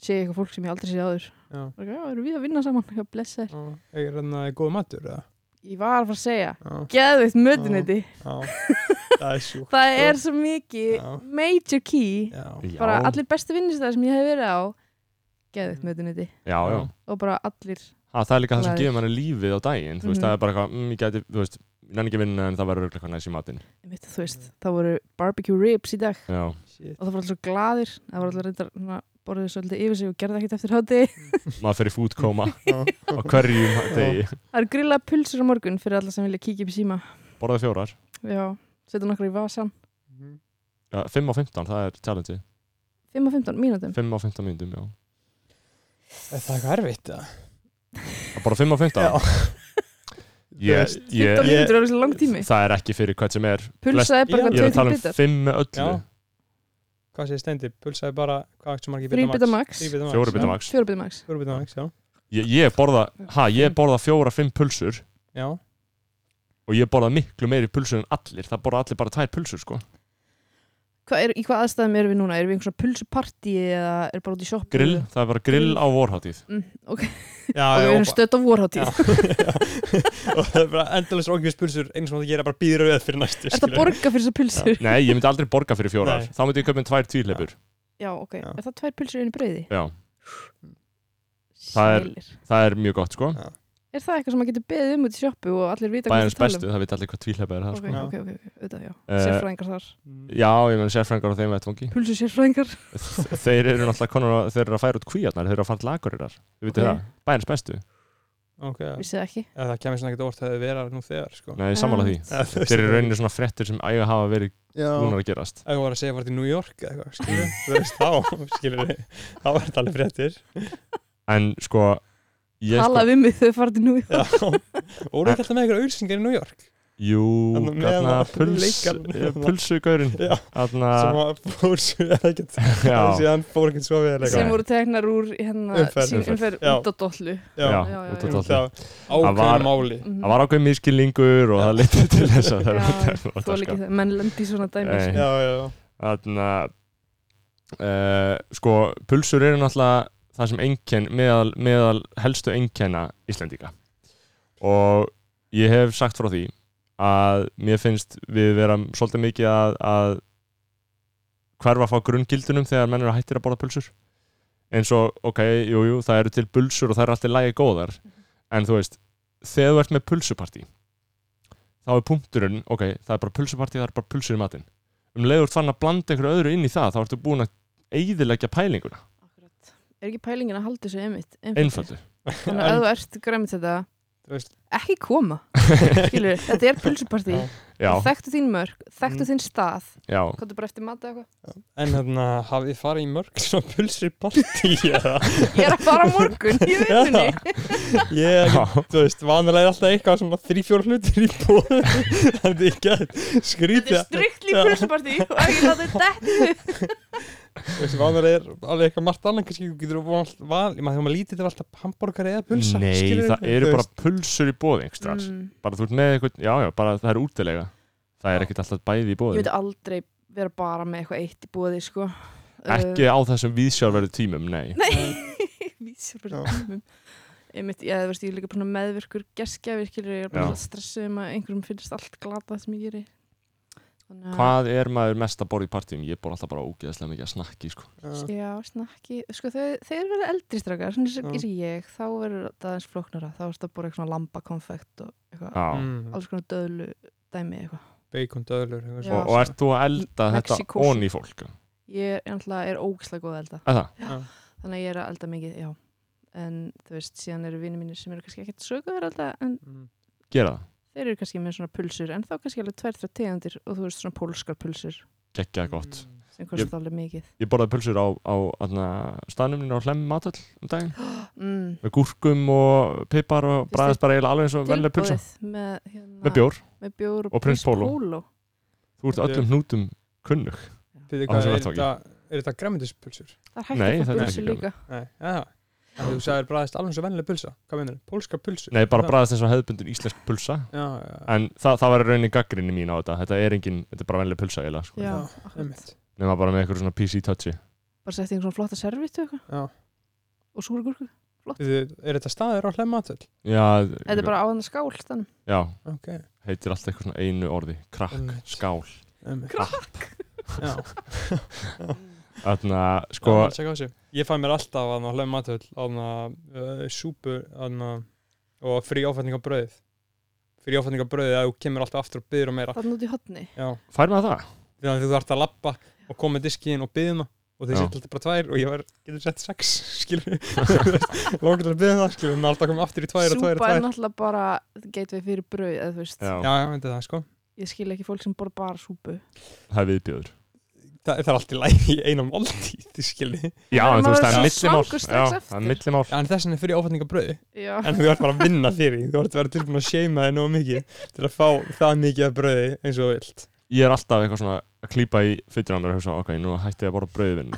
D: sé ég eitthvað fólk sem ég aldrei sé áður
C: Já.
D: bara, já, erum við að vinna saman, já, blessa þér
C: er hérna góð matur eða?
D: ég var að fara að segja,
C: Já,
D: geðveitt mötuniti
C: já. það er sjúkt
D: það
C: sko.
D: er svo mikið
C: Já.
D: major key,
C: já,
D: bara
A: já,
D: allir bestu vinnustæður sem ég hef verið á geðveitt
C: Mm.
D: mötuniti
A: já, já.
D: og bara allir
A: Ha, það er líka það sem
D: Glaðir.
A: gefur manni lífið á daginn þú veist,
D: Mhm.
A: það er bara eitthvað, mm, ég geti, þú veist ég nenni ekki að vinna en það verður örugglega eitthvað næs í matinn
D: mitt, þú veist,
C: Mm.
D: það voru barbecue ribs í dag
A: já,
C: shit
D: og það voru allir svo glaðir, það voru allir reyndar svona, borðið svolítið yfir sig og gerði ekkert eftir hátti
A: maður fyrir fútkoma
C: Já.
A: á hverjum degi,
D: Það eru grillað pulsur á morgun fyrir alla sem vilja kíkja upp í síma.
A: borðaði fjórar
D: Já, setja nokkru í vasan.
C: Mhm.
A: já, 5 á 15, það er challenge
D: 5 og 15
A: 5
D: mínútum.
A: á 15 myndum, já
C: er það eitthvað erfitt eða?
A: Að Bara 5 á 15?
C: Já.
A: Ég,
D: 15
A: ég,
D: mínútur er alveg langt tími.
A: það er ekki fyrir hvað sem er
D: Pulsaði bara
C: Já.
A: Ég er
D: hvað
A: að tala um
D: 20 bitar.
A: 5 með öllu
C: Já. hvað segir stendi, pulsaði bara hvað ekki sem margir
D: Þrír bita max.
C: Þrýr bita max,
A: Fjóra bitar
C: já.
A: max
D: 4 bitar max.
C: fjóra bita max, já,
A: Ég, ég borða, ha, ég borða fjóra, fimm pulsur
C: já.
A: og ég borða miklu meiri pulsur en allir það borða allir bara tvær pulsur, sko
D: Hva er, í hvað aðstæðum erum við núna? Erum við einhverjum pulsupartí eða er bara út í sjoppu?
A: Grill, það er bara grill á vorhátíð
D: Mm, ok,
C: já,
D: og við
C: já,
D: erum stödd á
C: Já.
D: vorháttíð.
C: og það er bara endalist ógjus pulsur eins og það gera bara býður auðvitað fyrir næstu
D: Er þetta
C: skilurðu.
D: borga fyrir þessar pulsur? Já.
A: Nei, ég myndi aldrei borga fyrir fjórar
C: Nei.
A: þá myndi ég köpa með tvær tvíleipur
D: ok.
C: Já.
D: Er það tvær pulsur inn í brauði?
A: Já, Það er-
D: Sælir. Er...
A: það er mjög gott, sko
D: það eitthvað sem maður getur beðið um út í sjoppu og allir vita
A: Bæjarins
D: hvað það
A: bestu, það veit allir hvað tvíleipa er það,
D: um. Ok,
A: sko
C: Já.
D: ok, ok, ok, auðvitað, já.
A: Eh,
D: Sérfræðingar þar.
A: Já, ég meðan sérfrængar á þeim vettvangi
D: Pulsu sérfræðingar.
A: Þeir eru náttúrulega konar, að- þeir eru að færa út kvíarnar þeir eru að fara til akurirar, við veitum
D: Ok.
A: það Bæjarins bestu,
C: ok, já.
D: Vissið ekki.
C: Ef það kemur svona ekkert óvart að þau vera nú þegar sko.
A: nei, sammála því
C: Eða þú veist,
A: Þeir eru rauninni svona frettir sem æga hafa verið
C: Já.
A: búnar að gerast
C: Ef þú var að segja vart í New York eða eitthvað, skilur þú veist þá, skilur við þá er þetta alveg fréttir
A: En sko ég,
D: Tala
A: sko,
D: við um mig þau farið nú í
C: Já, og þú ekki alltaf með eitthvað auðsingar í New York
A: Jú,
C: Þarna meðan
A: þarna
C: á
A: puls,
C: leikarnum,
A: eh,
C: þarna.
A: pulsugaurinn
C: Já.
A: Þarna,
C: sem að fór sér ekkert
A: já, já,
C: síðan fór ekkert svo við
D: sem voru teknar úr hérna,
C: Umferð.
D: sín-
A: Umferð.
D: umferð
C: Já.
D: út á dollu
A: já,
D: já, já,
A: út
D: já.
A: af allir Það var-
C: ákveðin máli
D: Mhm.
A: Það var ákveð miskilningur og það leytið til þess að það
D: Já,
A: er
D: þú var ekki það, menn lendi í svona dæmi
A: Nei.
D: sko.
C: já, já, já,
A: Þarna uh, Sko, pulsur eru náttúrulega það sem einkenn, meðal, meðal helstu einkenna Íslendinga og ég hef sagt frá því að mér finnst við vera svolítið mikið að, að hverfa frá grunngildunum þegar menn eru hættir að borða pulsur eins og, ok, jú, jú, það eru til pulsur og það eru alltaf lægi góðar en þú veist, þegar þú ert með pulsupartí þá er punkturinn, ok, það er bara pulsupartí, það er bara pulsur í matinn um leiður þú ert fann að blanda einhverju öðru inn í það þá ertu búin að eigðilegja pælinguna
D: Akkurat. er ekki pælingin að halda þessu einmitt
A: einfaldu
D: einföldu? þannig að ef þú ert græmið þetta
C: þú veist
D: ekki koma, skilur, þetta er pulsupartí
C: Já.
A: já, Mm.
D: þekktu þín mörg, þekktu þín stað
A: já,
D: hvað bara eftir mat eða
C: en hérna, hafið þið farið í mörg svona pulsri partí eða
D: eitthvað ég er að fara á morgun, ég veit henni
C: ég er ekki
A: já,
C: þú veist, vanilega er alltaf eitthvað svona þrý-fjór hlutir í bóðum þannig ég get
D: þetta er
C: skrítið
D: striktli
C: Já.
D: pulsupartí og ekki láta þetta detti þig.
C: þú veist, vanilega er alveg eitthvað margt annað kannski þú getur von alltaf val maður þegar maður lítið til alltaf hambúrgar eða pulsa
A: nei,
C: skilurðu?
A: það eru
C: Þú
A: bara
C: veist,
A: pulsur í bóði einhverstaðar,
D: Mm.
A: bara þú ert með eitthvað já, já, bara það er útilega það er ekkert alltaf bæði í
D: ég
A: bóði
D: myndi aldrei vera bara með eitthvað eitt í bóði sko.
A: ekki á þessum viðsjárverðu tímum, nei
D: vísur bara tímum einmitt, já, þú veist, ég er líka bara svona meðvirkur geskjafir, skilur, ég er bara
A: Já.
D: svona stressuð um að einhverjum finnst allt glata sem ég geri Þannig að-
A: Hvað er maður mest að borða í partíum? Ég bor alltaf bara ógeðslega mikið að snakki sko.
E: Já.
D: Já, snakki, sko þau, þeir verða eldri strákar, svona sem
E: Já.
D: eins og ég, þá verður það aðeins flóknara, þá ertu að bora eitthvað svona lambakonfekt og eitthvað,
A: Já.
C: mm,
D: alls konar döðlu dæmi eitthvað.
C: Bacon döðlur eitthvað
D: Já.
A: og,
C: svona.
A: og ert þú að elda þetta
D: Mexíkósúpa.
A: onni fólk?
D: Ég er náttúrulega, er ógislega góð að elda,
A: Er það?
D: þannig að ég er að elda mikið, já, en þú veist, síðan eru vinir mínir sem eru kannski ekkert sögur að elda, en
C: Mm.
A: Gera það?
D: þeir eru kannski með svona pulsur, en þá kannski alveg tvær, þrjá tegundir og þú veist svona pólskar pulsur
A: Gekkja
C: Mm.
A: gott.
D: sem kostar alveg mikið.
A: Ég borðaði pulsur á, á aðna, staðnumninu á hlemm matöll um daginn.
D: Mm.
A: Með gúrkum og pipar og
D: Fyrst
A: bræðast bara eiginlega alveg eins og velja pulsa.
D: Tilboðið Með, hérna,
A: Með bjór.
D: með bjór og,
A: Og Prins Póló. Þú ert
C: Þetta er-
A: öllum hnútum kunnug. Á
C: Fyrir hvað,
A: þessum
C: er
A: vettvangi.
C: þetta, er þetta græmitispulsur?
D: Það er hægt
A: Nei,
D: að
A: þetta
D: fá
A: er
D: pulsur
A: ekki
D: líka.
C: Nei, já, en þú sagðir bræðist alveg svo vennileg pulsa Hvað meinar, pólska pulsur?
A: Nei, bara
C: Já.
A: bræðast eins og hefðbundin íslensk pulsa.
C: Já, já, já,
A: En það, það var raunin gaggrinni mín á þetta. Þetta er engin, þetta er bara venlega pulsa eiginlega. Sko.
D: Já,
C: Já,
D: akkurat.
C: einmitt
A: Nefna bara með eitthvað svona PC touchi.
D: bara setja einhvern svona flotta servitu eitthvað
C: Já.
D: og súra gúrku
C: Bíddu, Er þetta staðir á hlæma aðtöld?
A: Já,
D: þetta er bara á þannig skál stann
A: já,
C: Ok,
A: heitir alltaf eitthvað svona einu orði. Krakk,
C: Einmitt.
A: skál.
C: einmitt Já,
A: Þannig sko,
C: sko Ég fæ mér alltaf að hlæma aðtöld á hana eh, súpu hana, og frí áfætninga bröðið frí áfætninga bröðið að þú kemur alltaf aftur og byður og
A: Ah.
C: meira
D: þannig út í hotni
C: Já,
A: fær maður það?
C: þannig að þú þarft að lappa og koma með diskiðin og byðum og þeir
A: Já.
C: setja alltaf bara tvær og ég var, getur sett sex skilur langar til að byða það skilur en alltaf komum aftur í tvær og tvær og
D: súpa er
C: tvær
D: náttúrulega bara geit við fyrir brauð eða þú veist
A: Já,
C: Já, já, veitir það sko
D: ég skil ekki fólk sem borða bara súpu
A: það er viðbjöður.
C: Þa, það er allt í lægi í einum máltíð skilur
A: Já,
D: Það er
A: en þú veist, það er
D: maður
A: millimál.
D: svangur
A: Já,
D: strax
A: það er
D: eftir.
A: millimál.
C: en þessan er fyrir áfætningabröði
D: já
C: en þú ert bara að vinna fyrir því. þú ert að vera tilbúin að seima þig nógu mikið til að fá það mikið af bröði eins og þú vilt
A: Ég er alltaf eitthvað svona að klípa í fyttir á mér og hugsa, ok, nú hætti ég að borða brauðvinn.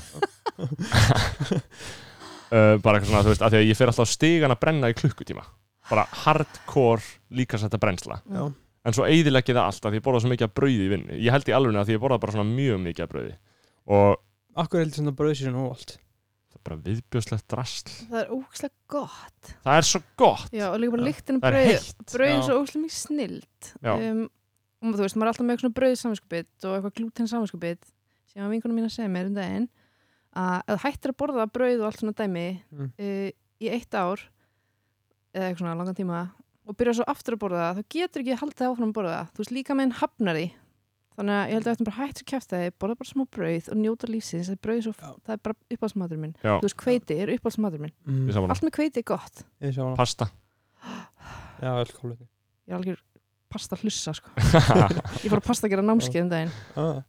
A: uh, bara eitthvað svona, þú veist, af því að ég fer alltaf á stigan að brenna í klukkutíma. Bara hardcore líkasætta brennsla.
C: Já.
A: En svo eyðileggi það alltaf því ég borða svo mikið að brauði í vinnu. Ég held í alveg að því ég borða bara svona mjög mikið að brauði. Og
C: Akkur heldur svona bröði sér nú allt
A: það er bara viðbjöðslegt drasl.
D: það er ógæslega gott
A: Það er svo gott.
D: já og líka
A: Já.
D: bara líktinu
A: Það er
D: brauð
A: heitt.
D: brauð er
C: Já.
D: svo ógæslega mikið snild
A: Já.
D: um, og þú veist maður er alltaf með eitthvað brauð saminskupið og eitthvað glúten saminskupið sem að vinkunum mín að segja mér um daginn að ef þú hættir að borða brauð og allt svona dæmi
C: Mm.
D: uh, í eitt ár eða eitthvað svona langan tíma og byrja svo aftur að borða það þá getur ekki haldið áfram að borða það þú veist líka með einn hafnar því þannig að ég held að þetta bara hættir kæft að borða bara smá brauð og njóta lífsins það er, brauð svo,
C: Já.
D: það er bara uppáhaldsmatur minn
A: Já.
D: þú veist hveiti er uppáhaldsmatur minn
A: Ég
C: mm.
A: saman
D: allt með hveiti er gott
C: Ég sá hana
A: Pasta.
C: Já, öll kólutni
D: ég er algjör pasta hlussa sko. ég fór að pasta gera námskeið um daginn
C: ah,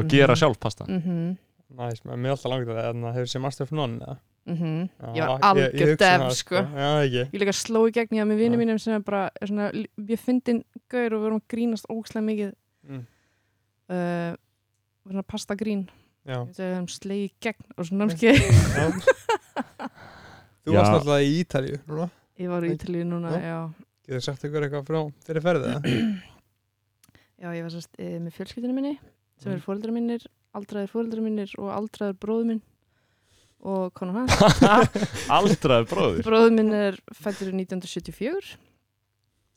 A: og gera sjálf pasta.
D: mm -hmm.
C: Næs, nice, mér er alltaf langt að það en það hefur sér Master of None eða? Já,
D: mm-hmm.
C: ég-
D: Ég var
C: ég
D: algjör
C: hugsa
D: dev,
C: það,
D: sko.
C: Já, ekki
D: ég líka sló í gegn ég með
C: Já.
D: vinnum mínum sem er bara er svona, ég fyndin gaur og við vorum að grínast ógslega mikið
C: Mm.
D: uh, svona pasta grín
C: Já
D: við hefum slegið í gegn og svona námskeið
C: Já. Þú
A: Já.
C: varst alltaf í Ítalíu núna.
D: ég var í Ítalíu núna, já
C: Getur sagt ykkur eitthvað frá fyrir ferðið
D: já, ég var sérst uh, með fjölskyldinu minni sem
C: Mm.
D: eru fóreldrar minnir, aldraður fóreldrar minnir og aldraður bróður minn og konan hans
A: Aldraði bróður.
D: bróður minn er fættur í 1974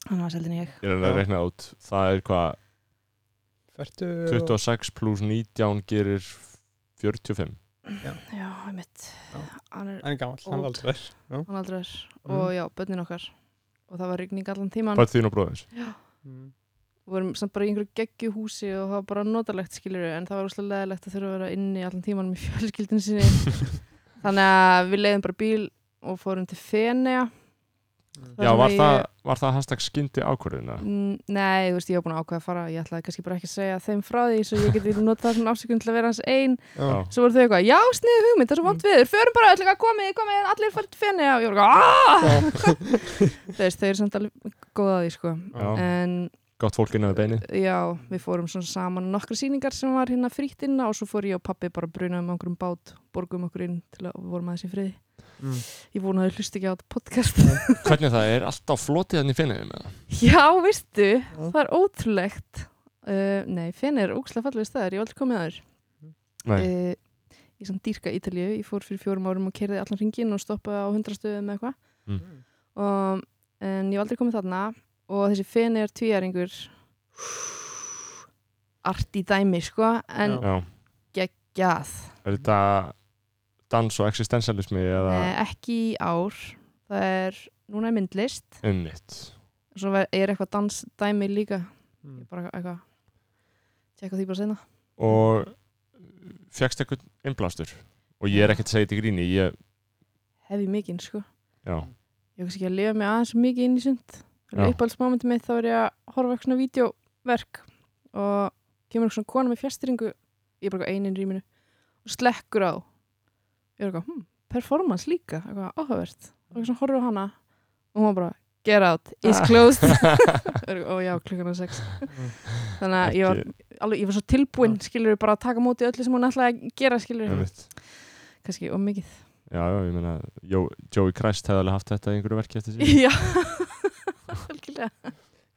D: hann var seldin ég
A: Ég er að reyna það út. Það er hvað
C: Fertu
A: 26 pluss 19 gerir 45
D: já, ég mitt
C: Já.
D: hann er,
C: En gammal, hann er
D: Old.
C: aldrei
D: hann aldraður og já, börnin okkar og það var rigning allan tíman
A: Bætt þín og bróðins
C: mm.
D: við vorum samt bara í einhverju geggjuhúsi og það var bara notalegt skilur en það var úslega leðilegt að þurfa að vera inni allan tíman með fjölskyldin sinni þannig að við leiðum bara bíl og fórum til Fenea
A: Já, var
D: sem
A: það,
D: ég-
A: var það hashtag skyndi ákvörðina?
D: Mm, Nei, þú veist, ég var búin að ákveða að fara ég ætlaði kannski bara ekki að segja þeim frá því svo ég geti notað svona afsökun til að vera hans einn
A: Já.
D: svo voru þau eitthvað, já, sniðu hugmynd, það er svo vant viður förum bara öll eitthvað, komið, komið, allir fyrir til Fenea og ég var eitthvað, aaaah þú veist, þau eru samt alveg góða því, sko
A: Já.
D: en
A: Gott fólk innan við beini
D: Já, við fórum svona saman á nokkra sýningar sem var hérna frítt inna og svo fór ég og pappi bara að bruna um einhverjum bát, borgum okkur inn til að við vorum aðeins í friði.
C: Mm.
D: Ég vona að þau hlust ekki á þetta podcast.
A: Hvernig það er alltaf flotið þannig finniði með það?
D: Já, veistu, það er ótrúlegt. Uh, nei, Fenni er ógslag fallið staðar, ég var aldrei komið aður.
A: Nei,
D: Uh, ég samt dýrka Ítalíu, ég fór fyrir fjórum árum og kerði allan ringin og stoppaði á hundrastöðum eða eitthvað.
A: Mm.
D: og, en ég hef aldrei komið þarna og þessi fenir tvíæringur art í dæmi sko, en
A: Já.
D: geggjað
A: Er þetta dans og existentialismi eða
D: Nei, Eh, ekki í ár það er, núna er myndlist
A: ummitt?
D: svo ver- er eitthvað dansdæmi líka
C: Mm.
D: bara eitthvað tjekka því bara sena
A: Og fjækst eitthvað innblástur? Og ég er ekkert að segja þetta í gríni, ég,
D: hefi mikinn sko
A: já,
D: ég er kannski ekki að lifa mig aðeins of mikið inn í sund
A: Já.
D: uppáhaldsmomentum mitt þá er ég að horfa á eitthvað svona vídeoverk og kemur eitthvað svona kona með fjastringu ég er bara eitthvað einin rýminu og slekkur á ég er eitthvað, hm, performance líka eitthvað áhugavert og ég svona horfa á hana og hún var bara, get out, it's closed og já, klukkan er sex þannig að ég var, alveg, ég var svo tilbúinn skilur bara að taka á móti öllu sem hún ætlaði að gera skilur,
A: ummitt.
D: kannski og mikið
A: Já, já, ég meina, Jó, Joey Christ hefði alveg haft þetta í einhverju verki eftir sig.
D: já, algjörlega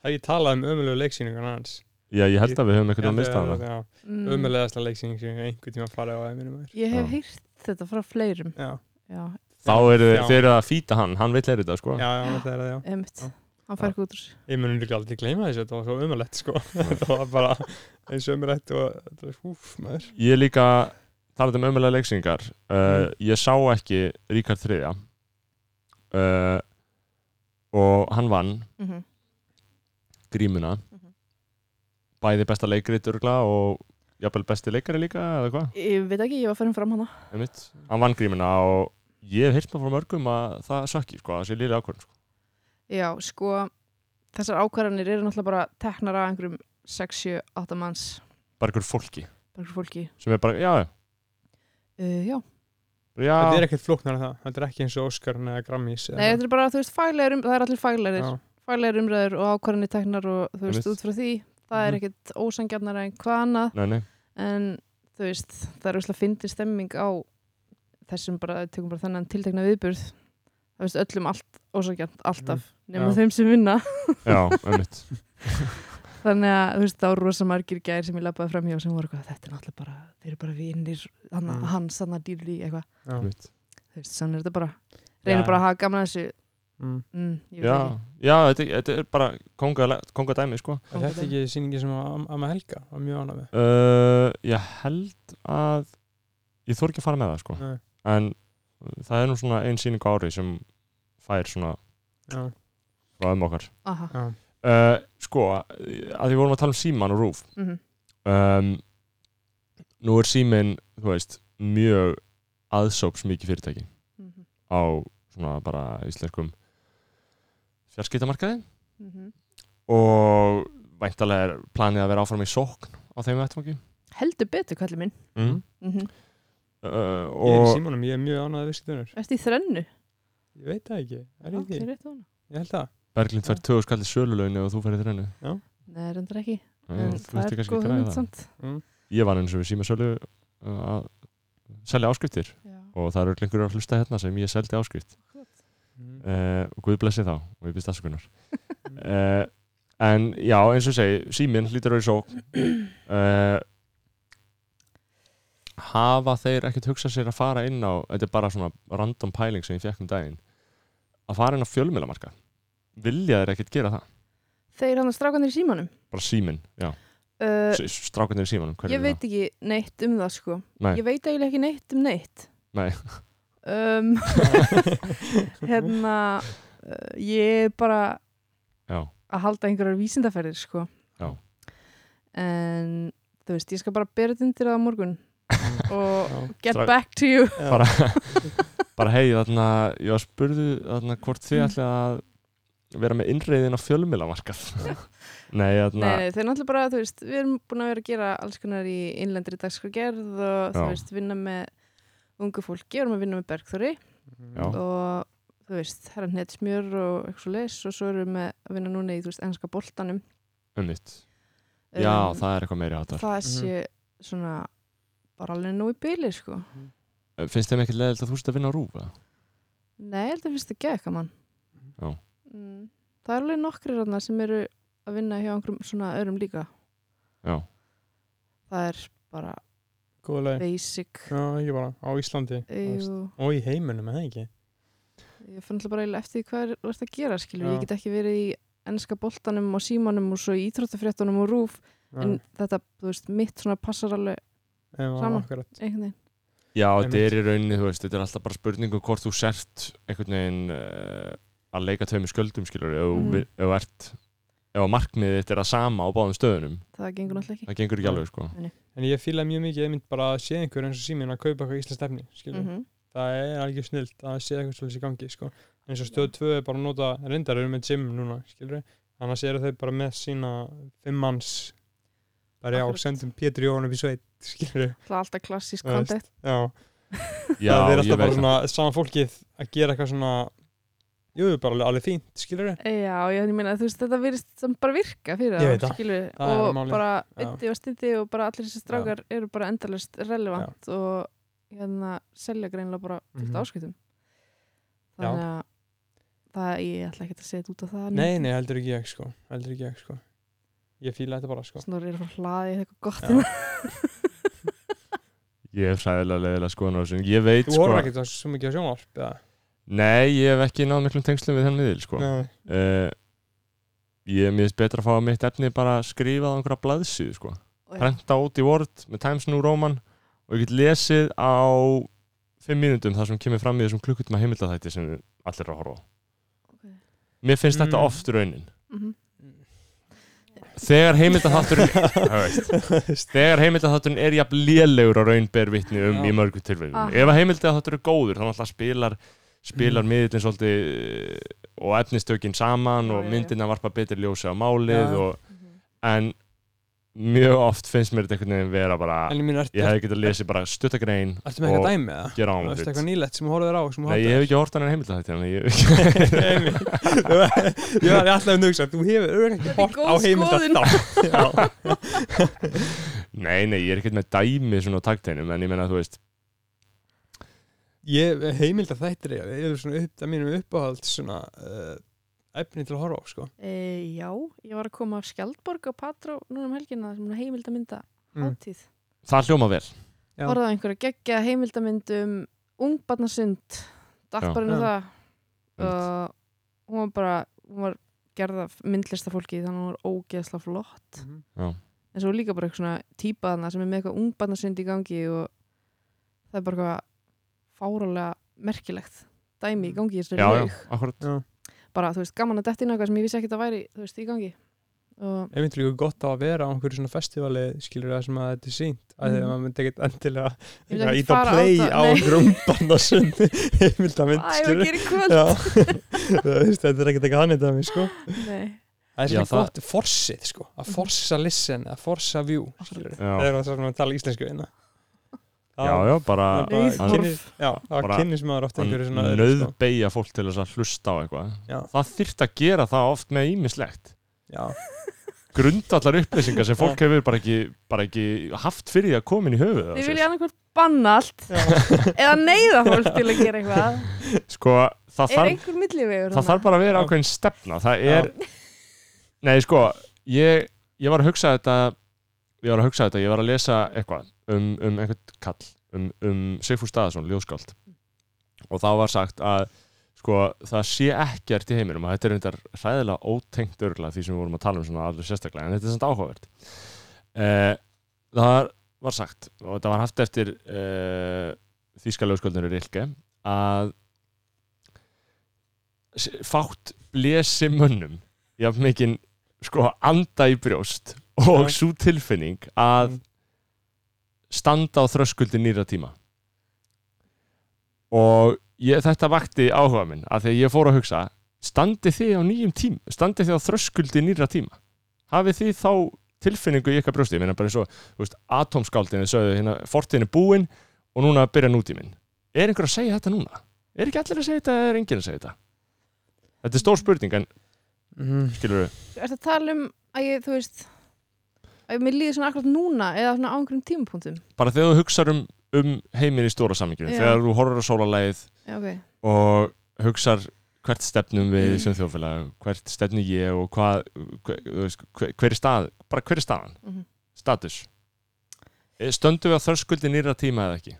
C: Það ég talaði um ömulegu leiksýningun hans
A: Já, ég held að við höfum eitthvað að mista hana.
C: hana
D: Mm.
C: Ömulegasta leiksýning sem ég hef einhvern tíma farið á að minum er
D: Ég hef
A: Já.
D: heyrt þetta frá fleirum
C: Já,
D: Já,
A: Þá eru
C: Já.
A: þið eru að fýta hann, hann vill er þetta, sko.
C: já, já, það er það, já
D: einmitt
C: Já.
D: Hann fær ekki út úr þessu.
C: Ég mun líka aldrei gleyma þessu, þetta var svo ömulegt sko Þetta var bara eins ömulegt og þetta var húf maður
A: Ég líka, talað um ömulega leiksingar,
C: Mm.
A: uh, ég sá ekki Ríkard þriðja uh, og hann vann
D: Mhm.
A: grímuna
D: Mhm.
A: bæði besta leikrit örgla og jafnvel besti leikari líka eða hvað,
D: Ég veit ekki, ég var fyrir fram hana
A: einmitt hann vann grímuna og ég hef heyrt maður frá mörgum að það sökki, sko, að það sé lýri ákvörðin sko.
D: Já, sko Þessar ákvarðanir eru náttúrulega bara teknar af einhverjum 6-7-8 manns
A: bara einhver fólki
D: bara einhverjum fólki
A: sem er bara, já,
D: uh, Já,
A: já, já
C: Þetta er ekkert flóknar en það, þetta er ekki eins og Óskarn eða Grammys
D: nei, þetta er bara, þú veist, faglegar um, það er allir faglegarir faglegar umræður og ákvarðanir teknar og þú
A: Einmitt.
D: veist, út frá því það er
C: Mhm.
D: ekkit ósangjarnara en hvað annað
A: nei, nei.
D: en þú veist, það er úrslega fyndið stemming á þessum bara, tökum bara þennan tiltekna viðburð það veist öllum allt ósangjarnt alltaf, nema
C: Já.
D: þeim sem vinna
A: já, einmitt
D: þannig að þú veist, þá er rosa margir gæðir sem ég lappaði fram hjá sem voru eitthvað, þetta er náttúrulega bara þeir eru bara vinnir, hann,
C: Mm.
D: hans, hann dýrli, eitthvað,
C: Já.
A: einmitt.
D: þú veist, þannig er þetta bara reynir
C: Já.
D: bara að hafa gaman að þessu
C: Mm.
D: mm, ég veit
A: já, já, þetta, þetta er bara konga, konga dæmi, sko
C: Er Þetta er ekki sýningi sem að Amma Helga var mjög ánað með
A: uh, ég held að ég þór ekki að fara með það, sko
C: Nei.
A: en það er nú svona ein sýning á ári sem fær svona
C: Já,
A: frá um okkar
D: ekki aha,
C: já,
A: Uh, sko, að því vorum að tala um síman og rúf
D: mm -hmm.
A: um, Nú er símin, þú veist, mjög aðsóps mikið fyrirtæki
D: Mm -hmm.
A: á svona bara íslenskum fjarskiptamarkaði
D: Mm
A: og væntalega er planið að vera áfram í sókn á þeim vettvangi
D: heldur betur, kallið minn
A: mm.
D: mm -hmm.
A: uh,
C: ég er Mhm. í
A: og,
C: símanum, ég er mjög ánað að viskitunar
D: eftir í þrennu
C: Ég veit það ekki, er
D: Já,
C: ég
D: það
C: ekki,
D: er rétt á hana.
C: ég held það
A: Berglind fær töðu skallið sölulaunni og þú færir þrennu
D: Nei, reyndar ekki,
A: Nei,
D: en
A: þú
D: það
A: veist
D: er
A: ekki að
D: góð
A: græða
D: hugmynd
A: það
D: samt
C: mm.
A: Ég var eins og við síma sölu uh, að selja áskriftir
D: Já.
A: og það eru lengur að hlusta hérna sem ég seldi áskrift
C: Mm.
A: uh, og Guð blessi þá og ég byrst afsökunar uh, en já, eins og ég segi síminn hlýtur að vera svo uh, hafa þeir ekkert hugsað sér að fara inn á þetta er bara svona random pæling sem ég fekk um daginn að fara inn á fjölmiðlamarka vilja þeir ekkert gera það
D: þeir hann að strákanir í símanum
A: bara síminn, já,
D: uh,
A: S- strákarnir í símanum hverjir
D: ég
A: eru
D: veit ekki neitt um það sko
A: Nei.
D: ég veit eiginlega ekki neitt um neitt
A: Nei.
D: um,
C: Mm.
D: hérna uh, ég er bara
A: það?
D: að halda einhverjar vísindaferðir sko
A: Já.
D: en þú veist ég skal bara bera þetta undir það á morgun og
C: Já.
D: get
A: Strák-
D: back to you
A: já, bara bara hei, þarna, ég var spurðu þarna hvort
D: Mm.
A: þið ætli að vera með innreiðin á fjölmiðlamarkað nei,
D: nei,
A: þarna
D: nei, þeir náttúrulega bara þú veist við erum búin að vera að gera alls konar í innlendri dagskragerð og þú
A: Já.
D: veist vinna með ungu fólki, við erum að vinna með Bergþóri
A: Já.
D: og þú veist, herra neitt smjör og eitthvað svo leis og svo erum við með að vinna núna í, þú veist, enska boltanum
A: Ummitt. Já,
D: Um,
A: það er eitthvað meiri hátar.
D: það sé svona bara alveg nú í byli, sko
A: Finnst þeim ekki leðilt að þú sért að vinna á rúfa?
D: Nei, ég held að finnst það gekk að mann
A: Já.
D: mm, Það er alveg nokkri rannar sem eru að vinna hjá einhverjum svona öðrum líka
A: Já.
D: Það er bara
C: Góða leið
D: basic
C: Já, ekki bara, á Íslandi
D: Jú,
C: Og í heiminum, eða ekki
D: ég fann alltaf bara eiginlega eftir því hvað er, þú ert að gera skilur,
C: Já.
D: ég get ekki verið í enska boltanum og símanum og svo í ítróttafréttunum og rúf en þetta, þú veist, mitt svona passar alveg saman.
C: akkurat
D: einhvern veginn
A: Já,
C: Einmitt.
A: þetta er í rauninni, þú veist, þetta er alltaf bara spurning um hvort þú sért einhvern veginn uh, að leika tveimur sköldum, skilur, ef þú
D: Mhm.
A: vi- ef þú ert, ef að markmiðið þetta er að sama á báðum stöðunum,
D: það gengur náttúrulega ekki
A: það gengur ekki
C: Já.
A: alveg, sko.
C: en ég fílaði mjög mikið, ég mynd bara að sé einhver eins og síminn að kaupa eitthvað íslenskt efni mm
D: Mhm.
C: það er algjör snilt að sé eitthvað svolítið í gangi sko. En eins og stöð 2 er bara að nota reyndar eru með gym núna skilur. annars eru þau bara með sína fimm manns bara já,
D: Akkurat.
C: sendum Pétur Jóhann upp í sveit skilur.
D: það er alltaf klassísk
C: Já, veist.
D: kontakt
C: já,
A: Já,
C: það
A: ég
C: er
A: veit
C: alltaf bara
A: það.
C: svona sama fólkið að gera eitthvað svona jú, bara alveg, alveg fínt skilur.
D: já, ég, ég meina, þú veist, þetta virðist sem bara virka fyrir
C: Ég veit það.
D: skilur,
C: Það er
D: og
C: málið.
D: bara
C: Já.
D: yndi og stindi og bara allir þessi strákar eru bara endalist relevant og hérna selja greinlega bara fullt
C: Mhm.
D: mm áskiptum
C: Já.
D: þannig að það, ég ætla ekki að setja út á það
C: nei, nei, heldur ekki ég sko, heldur ekki ég sko ég fíla þetta bara sko
D: Snor er að fara að hlaði eitthvað gott
C: Já.
D: hérna.
A: Ég hef sæðilega leðilega skoðan á þessu. Ég veit,
C: þú
A: sko,
C: horfður ekki það svo mikið á sjónvarp eða?
A: nei, ég hef ekki náð miklum tengslum við þennan miðil, sko.
C: Nei.
A: Uh, ég miðist betra að fá mitt efni bara skrifað á einhverja blaðsíðu, sko.
C: Eh.
D: Og já,
A: prenta út í Word með Times New Roman og ég get lesið á fimm mínútum það sem kemur fram í þessum klukkutíma heimildathætti sem allir eru að horfa á.
D: ok.
A: Mér finnst þetta
C: Mm.
A: oft raunin.
D: Mhm.
A: Þegar heimildathátturinn Það veist. þegar heimildathátturinn er jafn lélegur á raunber vitni um
C: Já.
A: í mörgum tilfellum.
D: Ah.
A: Ef að heimildatháttur er góður þá náttúrulega spilar spilar miðillin svolítið eh, og efnistökin saman
D: Já,
A: og
D: já, já.
A: myndina varpa betur ljósi á málið
C: Já, já.
A: og, en mjög oft finnst mér þetta einhvern veginn vera bara
C: en ég minn,
A: Ég
C: ertu
A: hefði getað lesið bara stuttagrein
C: ertu með eitthvað
A: og
C: dæmi eða?
A: gera á mig
C: Veistu
A: hlut.
C: eitthvað nýlegt sem þú horfður á sem þú
A: Nei,
C: hatar?
A: ég hef ekki hort hann en heimildahætti hann hérna, ég hef
C: Nei, nei. ég var alltaf um hugsa þú hefur örugglega
D: Þetta
C: ekki
D: er
C: hort á
D: góð skoðun.
C: heimildar þá
A: Nei, nei, ég er ekkert með dæmi svona á takteinum en ég meina, þú veist
C: ég heimildar þættir ég ég er svona upp, það mínum uppáhald svona uh, efni til að horfa á sko
D: E, já, ég var að koma af Skjaldborg og Patró núna um helgina sem heimildamynda
C: Mm.
D: hátíð mm.
A: Það hljóma vel
C: Já.
D: Orðaði einhverja geggja heimildamyndum Ungbarnasund Dagbarinn og
C: Já.
D: það og hún var bara hún var gerð af myndlista fólki þannig að hún var ógeðsla flott
C: Mhm.
D: en svo líka bara eitthvað svona típa þarna sem er með eitthvað ungbarnasund í gangi og það er bara eitthvað fárálega merkilegt
C: Mm.
D: dæmi í gangi í þessari
A: Já, já,
D: laug.
A: akkurat
D: bara, þú veist, gaman að detti inn á eitthvað sem ég vissi ekkert að væri, þú veist, í gangi og
C: ég myndi líka gott á að vera á einhverju svona festivali skilur það sem að þetta er sínt að því að
D: Mhm.
C: maður myndi ekkert endilega
D: Ég myndi ekki
C: ít að
D: fara á
C: play
D: það,
C: á
D: nei.
C: grumbarna sinn heimildar mynd
D: hvað er að
C: skilur
D: gera í kvöld?
C: Já. Þú veist, þetta er ekkert eitthvað hann þetta sko
D: Nei,
C: það er
A: Já,
C: svona
A: það-
C: gott forsið sko að forsa listen, að forsa view skilur
A: Já.
C: það er það sem að tala íslensku hérna
A: Já, já, bara
C: Það-
D: Nei,
C: það-
A: hann-
C: kynnist- já, það
A: bara-
C: kynnis maður oft einhverju svona öðru, sko.
A: nöðbeigja fólk til þess að hlusta á eitthvað
C: Já.
A: Það þyrft að gera það oft með ímislegt
C: já,
A: Grundallar upplýsingar sem fólk hefur bara ekki, bara ekki haft fyrir því að koma inn í höfuð
D: þið vilja annarkvæmt banna allt eða neyða fólk til að gera eitthvað
A: Sko, það
D: er
A: þarf
D: einhver millivegur
A: það þarf bara að vera
C: Já.
A: ákveðin stefna það
C: Já.
A: er nei sko, ég, ég var að hugsa þetta ég var að hugsa þetta, ég var að lesa eitthvað um, um einhvern kall um, um Sigfús Staðarsson, ljóskáld og þá var sagt að sko, það sé ekkert í heiminum og þetta er reyndar hræðilega ótengt örgulega því sem við vorum að tala um svona alveg sérstaklega en þetta er samt áhugavert eh, það var sagt og þetta var haft eftir eh, þýska ljóskáldinu Rilke að s- fátt blesi mönnum jafn mikið sko anda í brjóst og
C: Já.
A: svo tilfinning að
C: Mm.
A: standa á þröskuldi nýra tíma og ég, þetta vakti áhuga minn af því að ég fór að hugsa standi þið á nýjum tím standi þið á þröskuldi nýra tíma hafið þið þá tilfinningu í ykkar brjósti ég meina bara eins og, þú veist, atomskáldinu sögðu hérna, fortin er búin og núna byrja nútíminn er einhver að segja þetta núna? er ekki allir að segja þetta eða er enginn að segja þetta? þetta er stór spurning en
C: Mhm.
A: skilur við
D: Þú ert að tala um að ég, þú veist að mér líður svona akkurat núna eða svona á einhverjum tímapunktum
A: bara þegar þú hugsar um, um heiminn í stóra saminginu
D: Já.
A: þegar þú horfur á sólalæð
D: Já, ok,
A: og hugsar hvert stefnum við
C: Mm.
A: sem þjóðfélag, hvert stefnum ég og hvað, hver, þú veist, hver, hver er stað bara hver er staðan,
D: Mhm.
A: status Eh, stöndum við að þörskuldi nýra tíma eða ekki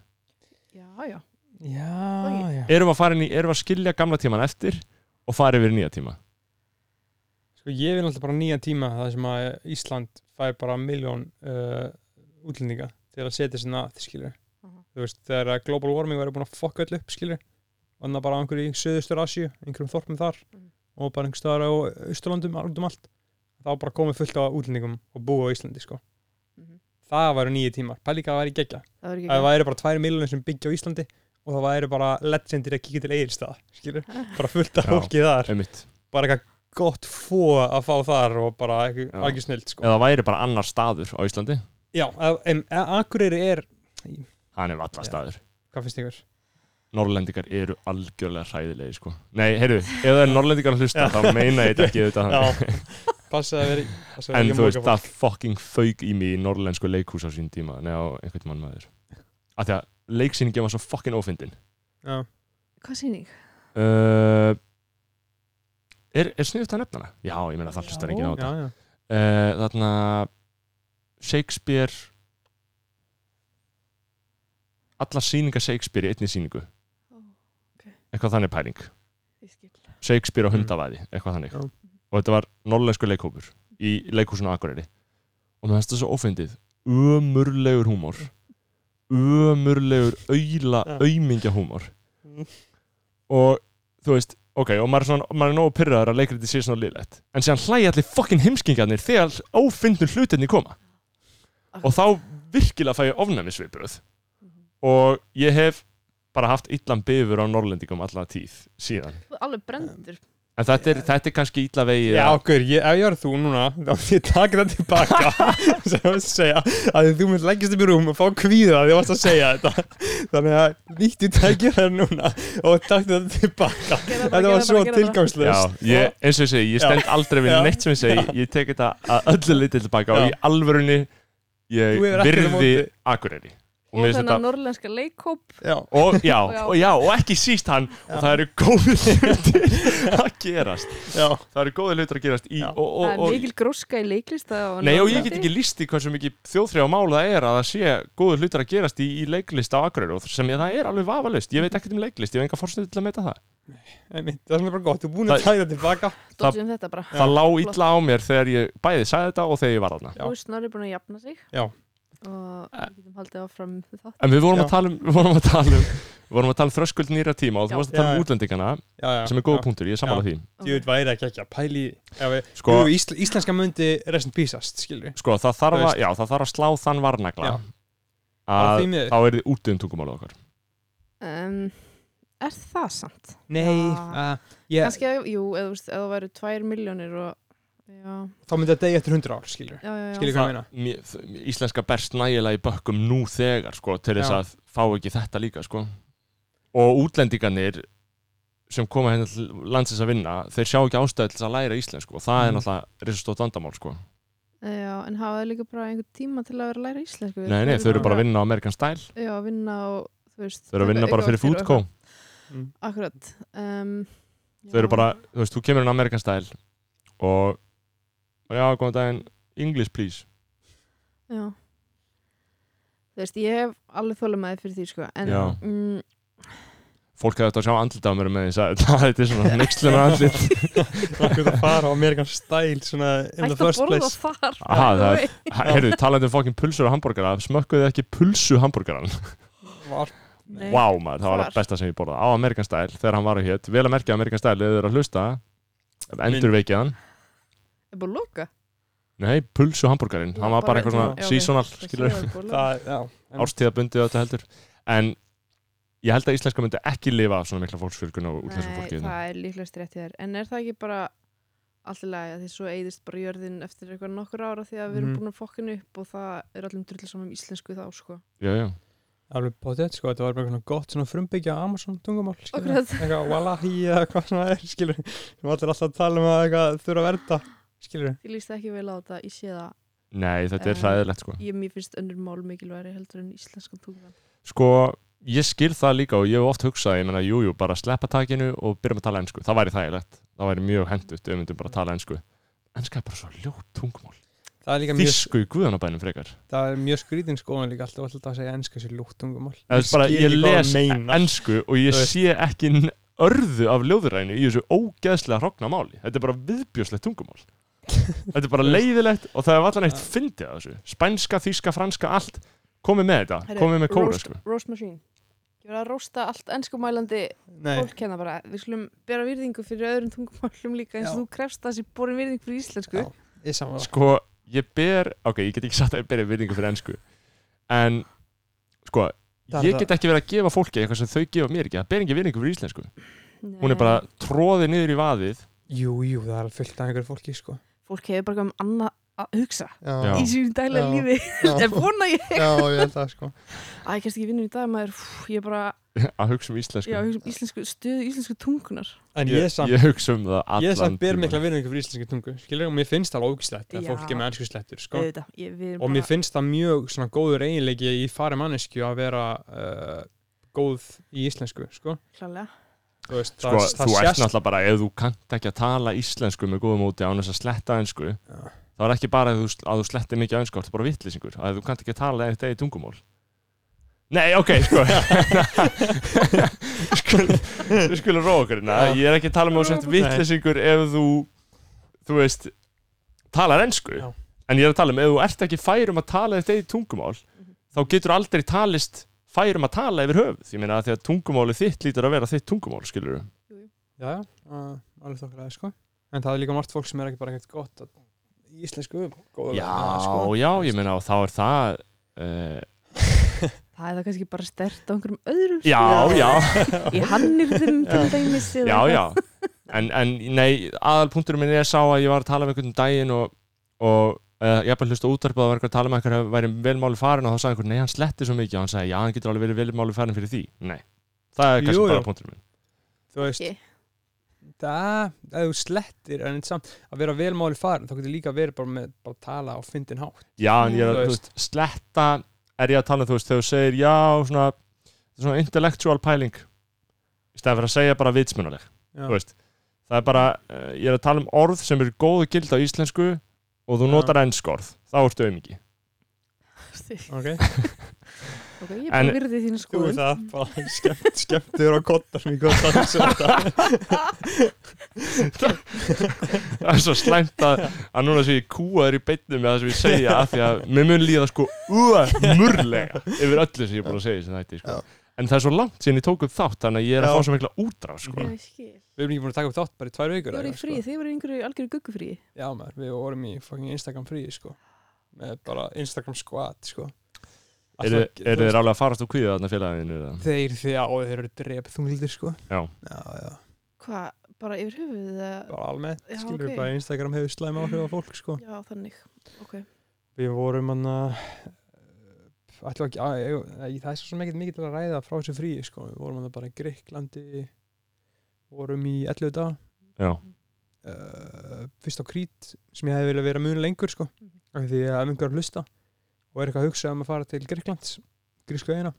D: já, já
C: já, já
A: erum við að, fara inn í, erum við að skilja gamla tíman eftir og fara yfir í nýja tíma
C: Sko ég vil alltaf bara nýja tíma það sem að Ísland fær bara miljón uh, útlendinga til að setja sinna að, skilur.
D: Aha.
C: Þú veist, þegar að global warming verður búin að fokka öll upp, skilur. Og það bara á einhverju í söðustur Asíu, einhverjum þorpum þar
D: Mm.
C: og bara einhverjum staðar á Östurlandum, út um allt. Þá bara komið fullt af útlendingum og búa á Íslandi, sko.
D: Mhm.
C: Það væru nýja tímar. Pælíka það væri geggja.
D: það verður
C: Það
D: ekki
C: væri bara tvær miljónir sem byggja á Íslandi og það væri bara legendir að kíkja til eigilstað, skilur. Bara fullt af
A: Já.
C: fólki þar
A: einmitt
C: bara eitthvað gott fó að fá þar og bara ekki,
A: Já.
C: algjör snilt sko.
A: eða það væri bara annar staður á Íslandi
C: Já, en Akureyri er
A: hann er valla
C: Já.
A: staður
C: hvað finnst ykkur?
A: Norrlendingar eru algjörlega hræðilegi sko. Nei, heyrðu, ef það er Norrlendingar að hlusta þá meina ég þetta ekki auðvitað hann
C: Já, passa að vera passa að
A: En
C: vera
A: þú
C: ekki
A: veist,
C: að móka
A: það fucking fauk í mig í norrlensku leikhús á sín tíma Nei, á einhvern mann maður Af því að leiksýningi var svo fucking ófindin
C: fólk. Já.
D: hvað sýning?
A: uh, Er, er sniðut að nefna hana? Já, ég meina það hlustar
D: Já.
A: enginn á
C: Já,
A: þetta uh,
C: já,
A: Þarna Shakespeare Allar sýningar Shakespeare í einni sýningu
D: Ó,
A: Eitthvað þannig pæling
D: ég skil.
A: Shakespeare og hundavæði, eitthvað þannig
C: Mm. Já. Mm.
A: og þetta var norrlensku leikhópur í leikhúsinu á Akureyri og mér finnst það svo ófindið ömurlegur húmor ömurlegur auðla
C: Já.
A: aumingja húmor
C: Mm.
A: og þú veist ok, og maður er, svona, maður er nógu pyrraður að leikriti sé svona liðlegt en séðan hlæja allir fokkin heimskingarnir þegar ófindnur hlutinni koma
C: Ah.
A: og þá virkilega fæ ég ofnæmisviðbröð
C: Mhm.
A: og ég hef bara haft illan bifur á norrlendingum alla tíð síðan
D: Þú er alveg brendur
A: En þetta er, þetta er kannski ítla vegið
C: já okkur, ég, ef ég var þú núna þá myndi ég taka það tilbaka sem ég var að segja að þú mynd leggjast upp í rúm og fá kvíða því ég varst að segja þetta þannig að nýttu tækja það núna og takta það tilbaka
D: Gerðu það
C: þetta
D: bara, gerðu
C: var
D: það
C: svo
D: bara, gerðu það bara.
A: Já,
C: tilgangslöst
A: ég, eins og ég segi, ég
C: Já.
A: stend aldrei við
C: Já.
A: neitt sem ég segi Ég tek þetta að öllu litið tilbaka og
C: Já.
A: í alvörunni ég
C: Þú hefur ekkert á
A: virði
C: móti.
A: Akureyri Og,
D: og
A: mér finnst
D: þennan
A: þetta,
D: norrlenska leikkóp
C: Já,
A: og, já,
D: Já.
A: og já, og ekki síst hann Og það eru góðir hlutir að gerast
C: já,
A: Það eru góðir hlutir að gerast í
C: Já.
A: og, og,
D: það er
A: og,
D: mikil gróska í leiklist á
A: Nei, og ég
D: Norðurlandi.
A: get ekki líst í hversu mikið þjóðþrjá mál það er að það sé góður hlutir að gerast í, í leiklist á Akureyri og sem ég, það er alveg vafalust, ég veit ekkert um leiklist, ég hef enga fórstöðu til að meita það
C: einmitt, það er bara gott, þú er búin að taka það tilbaka
D: Dodgum þetta bara
A: það lá
D: flott.
A: illa á mér þegar ég bæði sagði þetta og þegar ég var þarna
C: Já.
D: Þú er snorri búin að jafna sig
C: Já.
D: Og
A: Eh.
D: við getum haldið áfram með þátt
A: en við vorum
C: Já.
A: að tala um við vorum að tala um, við vorum að tala um þröskuld nýra tíma og
D: Já.
A: þú varst að tala
C: Já,
A: um
C: já.
A: útlendingana
C: já, já,
A: sem er
C: já.
A: góða punktur, ég er sammála því
C: Djúið væri ekki ekki að pæli ef við,
A: sko,
C: Jú, ísl, Íslenska myndi rest in peaceast, skilur við
A: sko það, þarf
C: Þú
A: að, já, það þarf að slá þann varnagla
C: Já.
A: að
C: því miður.
A: þá er þið út um tungumálið okkar
D: um, Er það samt?
C: Nei,
D: Já.
C: uh, ég,
D: Kannski, að- jú, eða þú veist, eða það væru tvær miljónir og Já,
C: þá myndi það degi eftir 100 ár, skilur við
D: já, já, já
C: Skilur hvað ég meina
A: Mér- þ- íslenska berst nægilega í bökkum nú þegar sko, til þess
C: Já.
A: að fá ekki þetta líka sko. og útlendinganir sem koma hérna til landsins að vinna þeir sjá ekki ástæði til þess að læra íslensku og það er
C: Mhm.
A: náttúrulega risastótt vandamál sko.
D: Já, en hafa þau líka bara einhver tíma til að vera að læra íslensku
A: Nei, nei, þau eru bara að vinna á American Style
D: Já, vinna og, þú veist
A: Þau eru að
D: taka
A: vinna bara fyrir
D: aukaverkir og
A: foodco
D: eitthvað. Akkurat um,
A: Þau eru bara, þú veist, þú kemur inn á American Style og, og já, góðan daginn English please
D: Já Þú veist, ég hef alveg þólumæði fyrir því, sko En
A: Já.
D: mm,
A: Fólk hefði þetta að sjá andlita á mér með þess að þetta er svona nexluna andlit
C: Akkur að fara á Amerikan stæl svona in the
D: hægt að
C: first
D: borða
C: place
D: þar
A: Aha, það er-
D: Nei.
A: Herðu, talandi um fokkin pulsur og hambúrgara smökkuðu ekki pulsu hambúrgaran
C: Var,
A: Vá wow, maður, það var
D: Hvar?
A: það besta sem ég borða á American Style þegar hann var að hétt, vel að merkja American Style eða þau eru að hlusta, endur veikið hann
D: Er búin að loka?
A: Nei, pulsu hambúrgarin, hann var bara eitthvað
D: Já,
A: svona
D: ok.
A: seasonal,
D: Það
A: skilur
D: sé að er búin að loka.
C: það, já, en-
A: árstíðabundi og þetta heldur en ég held að íslenska myndi ekki lifa af svona mikla fólksfjölgun og útlensum fólki
D: Nei,
A: hérna.
D: það er líklegast rétt hér En er það ekki bara allt í lagi að því svo eigðist bara jörðin eftir eitthvað nokkur ára því að við erum
C: Mhm.
D: búin að fokkin upp og það er allir drull saman um íslensku þá sko
A: já, já.
C: alveg potið, sko, þetta var bara svona gott svona frumbyggja Amazon tungumál, skilur
D: Akkurat.
C: eitthvað Wallahi eða hvað svona er, skilur sem allir alltaf tala um að eitthvað þurfa að verða skilur
D: Ég líst ekki vel á þetta, ég sé það
A: Nei, þetta er
D: Eh,
A: hræðilegt sko
D: Ég mér finnst önnur mál mikilværi heldur en íslenskan tungan
A: sko, ég skil það líka og ég hef oft hugsað, ég menna, jú, jú, bara sleppa takinu og byrjum að tala ensku, það væri þægilegt það væri mjög hendugt ef við myndum bara að tala ensku enska er bara svo ljótt tungumál
C: það er líka mjög,
A: þísku í guðanabænum frekar
C: það er mjög skrítin skoðan líka alltaf alltaf að segja enska sér lútt tungumál
A: Eða bara,
C: skil
A: ég
C: ekki hvað
A: les
C: það meinar.
A: ensku og ég
C: Þú veist.
A: sé ekki n- örðu af ljóðurænu í þessu ógeðslega hrogna máli þetta er bara viðbjöslegt tungumál þetta er bara leiðilegt og það er allan eitt fyndið af þessu, spænska, þýska, franska allt, komið með þetta,
D: Herri,
A: komið með kóra
D: roast-
A: sko.
D: Roast Machine Ég verða að rósta allt ennskumælandi
E: Nei,
D: fólk hérna bara Við skulum bera virðingu fyrir öðrum tungumálum líka eins
C: Já.
D: og þú krefst það sem borin virðingu fyrir íslensku
C: Já. Ég saman
A: sko, ég ber ok, ég get ekki sagt að ég ber virðingu fyrir ennsku en, sko
C: Það er
A: ég
C: það-
A: get ekki verið að gefa fólki eitthvað sem þau gefa mér ekki, það ber ekki virðingu fyrir íslensku hún
D: Nei.
A: er bara tróðið niður í vaðið
C: Jú, jú, það er alveg fullt af einhverju fólki sko.
D: Fólk hefur bara um annað að hugsa
A: Já.
D: í sínu dælega
C: Já.
D: lífi
C: já,
D: En vona ég
C: ég held það sko.
D: Æ, ég kannski ekki vinnur í dag maður Fú, Ég er bara,
A: að hugsa um íslensku
D: já, ég hugsa um íslensku stöðu íslensku tungunar
C: En
A: ég,
C: ég samt
A: ég hugsa um það allan
C: Ég samt ber
A: tímann.
C: mikla virðingu fyrir íslenski tungu skilur og mér finnst það alveg ógislegt að
D: Já.
C: fólk er með ennsku slettur sko.
D: Auðvitað, ég, við erum
C: og
D: bara
C: mér finnst það mjög svona góður eiginleiki í fari mannesku að vera uh, góð í íslensku sko.
D: klálega
C: Þú veist,
A: Sko, þú ert náttúrulega bara, ef þú kannt ekki að tala íslensku með góðum úti án þess að sletta einsku,
C: Já.
A: þá er ekki bara að þú, að þú slettir mikið á einsku, það er bara vittlisingur, að þú kannt ekki að tala eitt eða tungumól. Nei, ok, sko. Skul- Við skulum róa okkur hérna.
C: Já.
A: Ég er ekki að tala með þú sett
D: Róa okkur.
A: vittlisingur ef þú, þú veist, talar einsku.
C: Já.
A: En ég er að tala um, ef þú ert ekki færum að tala eitt eða tungumál, þá getur aldrei talist færum að tala yfir höfuð. Ég meina að því að tungumáli þitt lítur að vera þitt tungumál, skilur
C: já, já, uh, alveg þokkalega sko. en það er líka margt fólk sem er ekki bara ekkert gott að, í íslensku góður
A: Já,
C: að, sko.
A: já, ég meina og þá er það uh,
D: Það er það kannski bara stert á einhverjum öðrum
A: Já,
D: stöðum.
A: já,
D: Í hannirðum til dæmis eða
A: já,
D: eitthvað.
A: já En, en nei, aðalpunkturinn minn er sá að ég var að tala með einhvern um daginn og, og uh, ég er bara hlusta útvarpað og var eitthvað að tala með einhver að væri velmáli farin og þá sagði einhver, nei, hann sletti svo mikið og hann sagði, já, hann getur alveg verið velmáli farin fyrir því Nei, það er kannski
C: Jú,
A: bara
C: jú.
A: punkturinn minn
C: þú veist
D: Ekki.
C: það, ef þú slettir en samt, að vera velmáli farin þá getur líka verið bara með bara að tala á fyndin hátt
A: Já, en ég er að,
C: Þú
A: þú veist, sletta er ég að tala um, þú veist, þegar þú segir, já, svona, svona intellectual pæling í stæðan fyrir að segja bara vitsmunaleg
C: já,
A: þú veist, það er bara uh, ég er að tala um orð sem eru góðu gild á íslensku og þú
C: Já.
A: notar ennsk orð þá ertu aumingi
C: ok
D: Ok, ég
A: En-
D: bara virði þínu
E: þú
D: skoðun
E: er það bara skemmt, skemmtur á kottar sem ég gott að hugsa þetta
A: það er svo slæmt að, að núna sé ég kúaður í beinni með það sem ég segja af því að mér mun líða sko uh, murlega yfir öllu sem ég er búin að segja sem þetta
E: Já.
A: sko. en það er svo langt síðan ég tók upp þátt þannig að ég er
E: Já.
A: að fá svo mikla útrá sko.
D: Ég skil.
C: við erum ekki búin að taka upp þátt bara í tvær
D: Þið
C: vikur eða
D: voru í
C: eitthvað, sko.
D: frí, þið voru í einhverju algjöru guggufrí
C: Já maður, við vorum í fucking Instagram fríi sko með bara Instagram squad sko
A: eru
C: Alltaf-
A: er þið rálega að farast úr kvíða þarna félaginu eða?
C: Þeir því á þeir eru drep þunglítir sko
A: Já.
C: Já, já,
D: Hvað, bara yfir höfuð eða?
C: bara almennt
D: Já,
C: skilur
D: ok.
C: okay. bara að Instagram hefur slæm áhrif á fólk sko
D: Já, þannig Ok,
C: Við vorum hann að ætlum ekki, að, ég, ég, það er svo sem ekkert mikið til að ræða frá þessu fríi sko við vorum hann bara í Greiklandi vorum í 11 dag
A: Já.
C: uh, fyrst á krít sem ég hefði viljað vera mun lengur sko af því að ef einhver er að hlusta og er eitthvað að hugsa um að fara til Gríklands grísku eina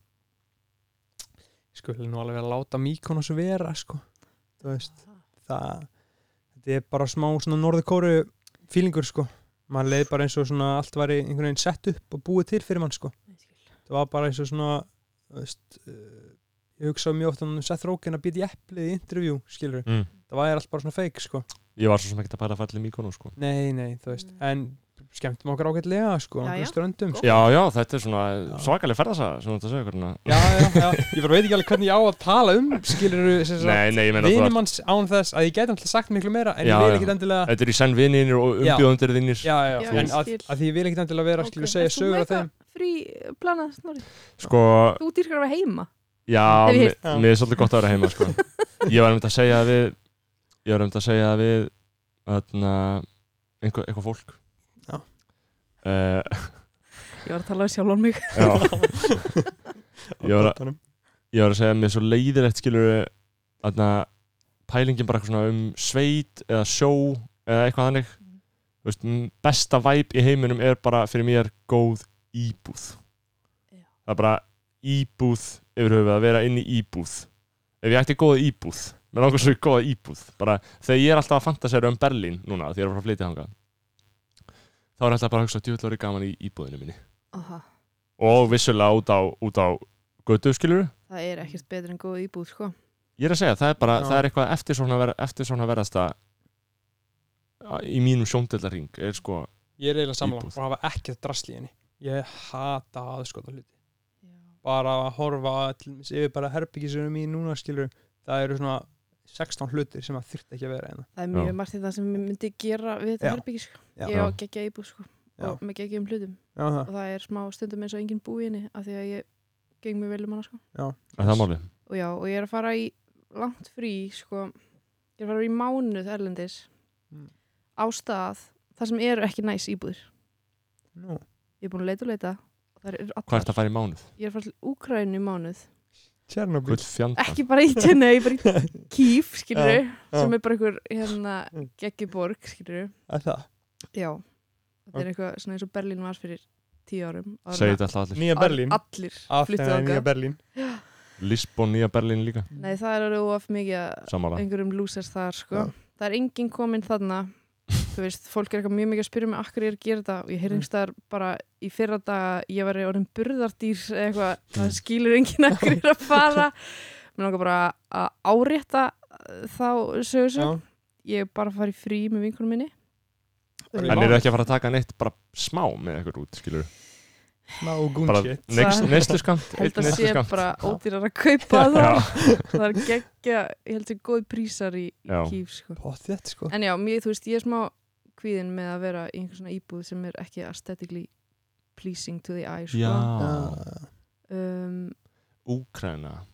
C: ég skulle nú alveg vera að láta Mykonos vera sko þú veist það þetta er bara smá svona norðkóru fílingur sko maður leið bara eins og svona allt væri einhvern veginn sett upp og búið til fyrir mann sko
D: ég skil
C: það var bara eins og svona þú veist, uh, ég hugsa mjög oft um Seth Rogen að býta í eplið í intervjú skilur,
A: Mm.
C: það var allt bara svona fake sko
A: ég var svo sem ekkert að pæla að falla í mikonu sko.
C: nei, nei, þú veist,
D: Mm.
C: en skemmtum okkar ágætlega sko,
D: Já, já.
C: okkur ströndum sko.
A: já, já, þetta er svona
C: Já.
A: svakaleg ferðasaga sem þú ert að segja okkur hérna.
C: já, já, já, ég bara veit ekki alveg hvernig ég á að tala um skilur
A: nei, nei, ég meina þú ert-
C: vinimanns án þess að ég gæti alltaf sagt miklu meira en
A: Já,
C: ég vil
A: já.
C: ekki endilega
A: Þetta er í senn vinninir og
C: Já.
A: umbjóðundir þinnir
C: já, já,
D: Já,
A: ég
C: en að,
D: skil.
C: að því ég vil ekki endilega vera skilur
D: Ok,
C: segja
D: ert þú
C: sögur
D: með
C: af þeim
D: eitthvað Frí eh, planað snorri
A: Sko,
D: Þú dýrkar að vera heima
A: já,
D: Hef ég
A: mér
D: heyrt.
A: mér er svolítið gott að vera heima sko. Ég var um að segja að við Ég var um að segja að við Þarna, einhver, eitthvað fólk
C: Já.
A: Eh,
D: Ég var að tala um sjálfan mig
A: já. Ég var að- Ég var að segja að mér er svo leiðilegt skilur Þarna, pælingin bara eitthvað svona um sveit eða sjó eða eitthvað þannig Þú veist, m- besta væp í heiminum er bara fyrir mér góð íbúð
D: Já.
A: það er bara íbúð yfir höfuð að vera inn í íbúð ef ég ætti góða íbúð mér langar svo í góða íbúð bara þegar ég er alltaf að fantasera um Berlín núna því ég er að fara að flytja þangað þá er alltaf bara að hugsa djúvillari gaman í íbúðinu minni
D: Aha,
A: og vissulega út á, út á götu skilur
D: Það er ekkert betur en góð íbúð, sko
A: ég er að segja, það er bara,
C: Já.
A: það er eitthvað eftirsóknarverð, eftirsóknarverðasta a- í mínum sjóndeldarring er sko,
C: Ég er eiginlega samla
A: Íbúð.
C: og hafa ekkert drasl í henni Ég hata aðskota hluti
D: Já.
C: bara að horfa til dæmis yfir bara herbyggisunum í núna skilur það eru svona 16 hlutir sem að þyrfti ekki að vera hérna. einna
D: það er mjög
A: Já.
D: margt í það sem ég myndi gera við þetta
C: Já.
D: herbyggi sko.
C: Já.
D: ég á geggja íbúð sko,
C: Já.
D: og með geggjum hlutum
C: Já,
D: og
C: það,
D: það er smá stundum eins og enginn búi inni af því að ég geng mjög vel um hana sko.
A: að það er málið
D: og já, og ég er að fara í langt frí sko, ég er að fara í mánuð erlendis
C: Mm.
D: á stað þar sem eru ekki næs íbúðir
C: nú,
D: ég er búin að leita og leita og þær eru
A: hvað er
D: allar,
A: það að fara í mánuð?
D: ég er að fara til Úkrænu í mánuð
C: Tjernobyl
A: Gull fjandan
D: ekki bara í tenni, ég er bara í kýf skilur
C: já.
D: sem er bara einhver hérna,
C: Mm.
D: geggjuborg skilur
C: er það?
D: já, þetta er eitthvað svona eins og Berlín var fyrir tíu árum Áður en
A: segið
D: að
A: þetta alltaf allir,
C: Nýja Berlín
D: allir fluttu
C: Aftena Nýja
D: þangað
C: Berlín
A: Lisbon, Nýja Berlín líka
D: nei, það er alveg of mikið að
A: samála,
D: einhverjum losers þar sko.
C: Já.
D: það er enginn kominn þarna þú veist, fólk er eitthvað mjög mikið að spyrja mig akkur ég er að gera þetta og ég heyrði
C: Mm.
D: einhverstaðar bara í fyrra dag ég var orðin burðardýr eða eitthvað,
C: Mm.
D: það skilur enginn akkur ég er að fara mér langar bara að árétta eh, þá
C: Já,
D: sögur sem ég er bara að fara í frí með vinkunum minni
C: Bara í
A: en
D: Eh,
A: eru ekki að fara að taka neitt bara smá með eitthvað út, skilur
C: ná
A: bara
C: gúnsi
D: Það-
A: neyslu skamt,
D: held
A: eitt
D: að
A: neyslu
D: sé Sko.
A: skamt
D: bara ódýrar að kaupa það það er geggja, ég held að góð prísar í, í
A: Já.
D: kýf sko.
C: Pottet sko
D: En já, mér, þú veist, ég er smá kvíðin með að vera í einhver svona íbúð sem er ekki aesthetically pleasing to the eye,
A: já,
D: sko. Um,
A: Úkræna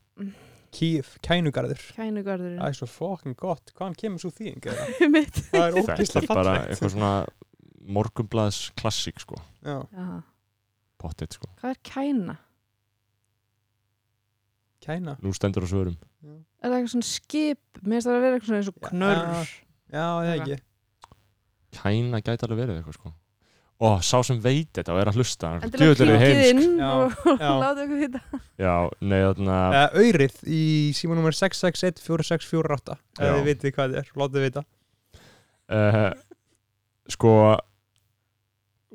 C: Kýf, Kænugarður Það
D: Kænugarðurinn,
C: er svo fucking gott, hvaðan kemur svo þýðing eða?
D: mitt.
C: Það er
A: þetta
C: ógeðslega
A: er bara
C: fallegt
A: eitthvað svona morgumblaðs klassík sko,
C: Já,
D: Aha.
A: pottet sko
D: Hvað er kæna?
C: Kæna
A: nú stendur á svörum,
D: Er það eitthvað svona skip? Mér finnst það að vera eitthvað svona eins og
C: Já.
D: knörr.
C: Já, það er ekki
A: kæna gæti alveg verið eitthvað sko og sá sem veit þetta og er að hlusta hann er sko.
D: En til að
A: djöfull eru þið
D: klíkið
A: heimsk.
D: inn
C: Já,
D: og
C: já.
D: láta okkur vita.
A: já, nei, þarna
C: Eh, Aurið í símanúmer 6614648
A: Já.
C: Ef þið vitið hvað þetta er, látið vita Eh.
A: uh, sko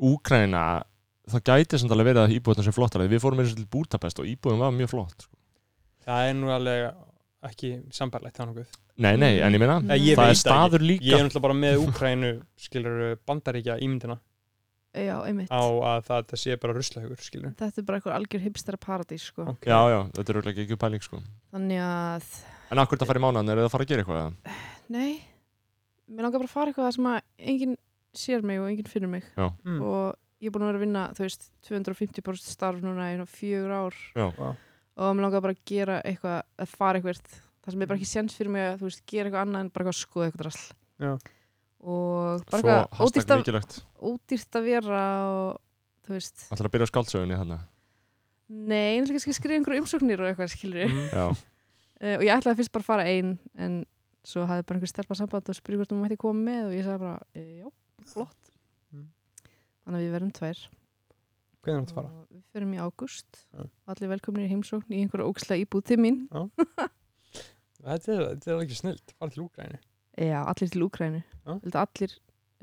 A: Úkræna það gæti samt alveg verið að íbúðna sem flottar við fórum eins og til Budapest og íbúðum var mjög flott sko.
C: Það er nú alveg ekki sambarlegt það nokkuð.
A: nei, nei, en ég minna
D: Nei, ég
A: það
C: Mm. Eh, veit
A: er staður
C: Ég er
A: líka
C: náttúrulega bara með Úkrænu, skilur bandaríkja ímyndina
D: Já, einmitt.
C: á að það, það sé bara ruslahugur, skilur.
D: Þetta er bara eitthvað algjör hipstera paradís, sko.
C: Ok.
A: já, já, þetta er auðvitað ekki pæling sko.
D: Þannig að,
A: en akkur það fara í mánan, er það að fara að gera eitthvað eða?
D: nei, mér langar bara að fara eitthvað sem að enginn sér mig og enginn finnur mig.
C: Mm.
D: og ég er búin að vera að vinna þú veist, 250% starf núna í svona fjögur ár
A: Já.
C: Vá.
D: og mér langar bara að gera eitthvað, að fara eitthvað það sem er bara ekki sens fyrir mig að þú veist, gera eitthvað annað en bara eitthvað skoða eitthvað drasl
C: Já.
D: og bara
A: svo
D: eitthvað ódýrt
A: hashtag
D: að-
A: mikilvægt
D: ódýrt að vera og þú veist,
A: Það er að byrja á skáldsögunni hérna? þarna
D: nei, einhvern veginn skrifa einhverju umsóknir og eitthvað skilur mm.
C: Mhm.
A: Já,
D: og ég ætlaði fyrst bara að fara ein en svo hafði bara einhver stelpa samband og spurði hvort hún mætti koma með og ég sagði bara, e, já, flott
C: Mm.
D: þannig að við verðum tvær
C: Hvernig er þetta að fara?
D: Og Við förum í ágúst
C: Já.
D: og allir velkomnir í heimsókn í einhverja óksla íbúð til mín
C: Þetta er, þetta er ekki snilt, fara til Úkrænu.
D: Já, allir til Úkrænu
C: Já.
D: Allir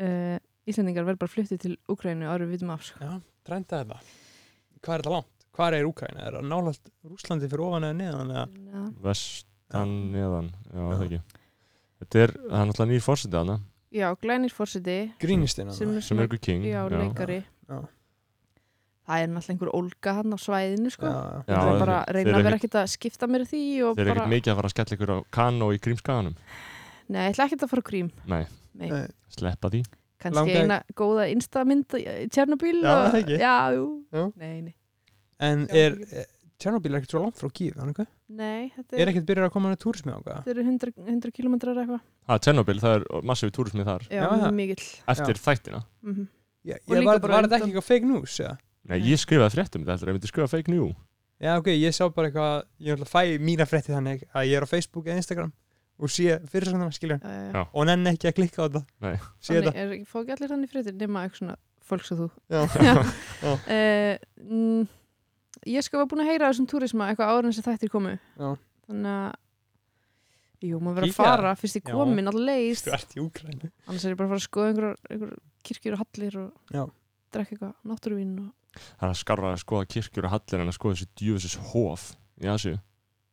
D: uh, Íslendingar verður bara fluttið til Úkrænu árið vitum af sko.
C: Trenda þetta. Hvað er þetta langt? Hvað er Úkræna? Er það nálægt Rúslandi fyrir ofan eða neðan? Eða?
D: ja.
A: vestan neðan Já,
C: Já.
A: það ekki Þetta er, það er náttúrulega nýr fórsetið hana
D: Já, glænir forseti
C: Grínistina.
D: sem er,
A: sem er ykkur king
D: já, leikari
C: Já.
D: Það er náttúrulega einhver ólga hann á svæðinu sko.
C: Já,
A: Já,
D: Það er bara
A: þeir- þeir
D: að reyna
A: eru
D: að vera ekkert að skipta mér í því og
A: Þeir eru
D: bara,
A: ekkert mikið að fara að skella ykkur á kanó í grímskaganum
D: Nei, ég ætla ekkert að fara á grím
A: Nei,
D: Nei.
C: Nei.
A: sleppa því
D: Kannski
C: Langar-
D: eina góða instamynd í Tjernobyl
C: Já,
D: og,
C: það ekki.
D: Já, jú
C: Já.
D: Nei, nei.
C: En
D: Já,
C: er,
D: ekki.
C: er Tjernobyl er ekkert svo langt frá Kýf, hann eitthvað?
D: nei, þetta
C: Er
D: er,
C: ekkert byrjar að koma með túrismi á
D: þetta eru 100, 100 kilometrar eitthvað
A: Það er Ah, Tjernobyl, það er massífi túrismi þar
D: Já,
C: Já,
D: já.
C: það.
D: mikill
A: Eftir þættina
D: mm
C: Ég,
D: Og
C: ég
D: líka
C: var,
D: bara
C: var þetta
D: undan-
C: ekki eitthvað fake news, eða?
A: Nei, ég skrifaði fréttum þetta heldur, ég myndi skrifa fake news
C: Já, ok, ég sá bara eitthvað, ég ætla að fæ mína frétti þannig að ég er á Facebook eða Instagram og sé fyrirsögnum, skilja,
A: Já.
C: og nenni ekki að klikka á þetta.
A: Nei.
C: Sé þetta.
D: er, fá ekki allir þannig fréttir nema eitthvað svona fólk svo þú
C: Já. Já.
D: Eh, mm, ég sko var búin að heyra á þessum túrisma eitthvað áður en sem þættir komu
C: Já.
D: þannig að jú, maður verður að
C: Kíkja.
D: fara fyrst ég
C: Já.
D: komin alltaf leið
C: Þú ert í Úkrænu.
D: annars er ég bara að fara að skoða einhverjar einhver kirkjur og hallir og
C: Já.
D: drekka eitthvað náttúruvín og
A: Það er að skarra að skoða kirkjur og hallir en að skoða þessi djöfisins hof Já, séu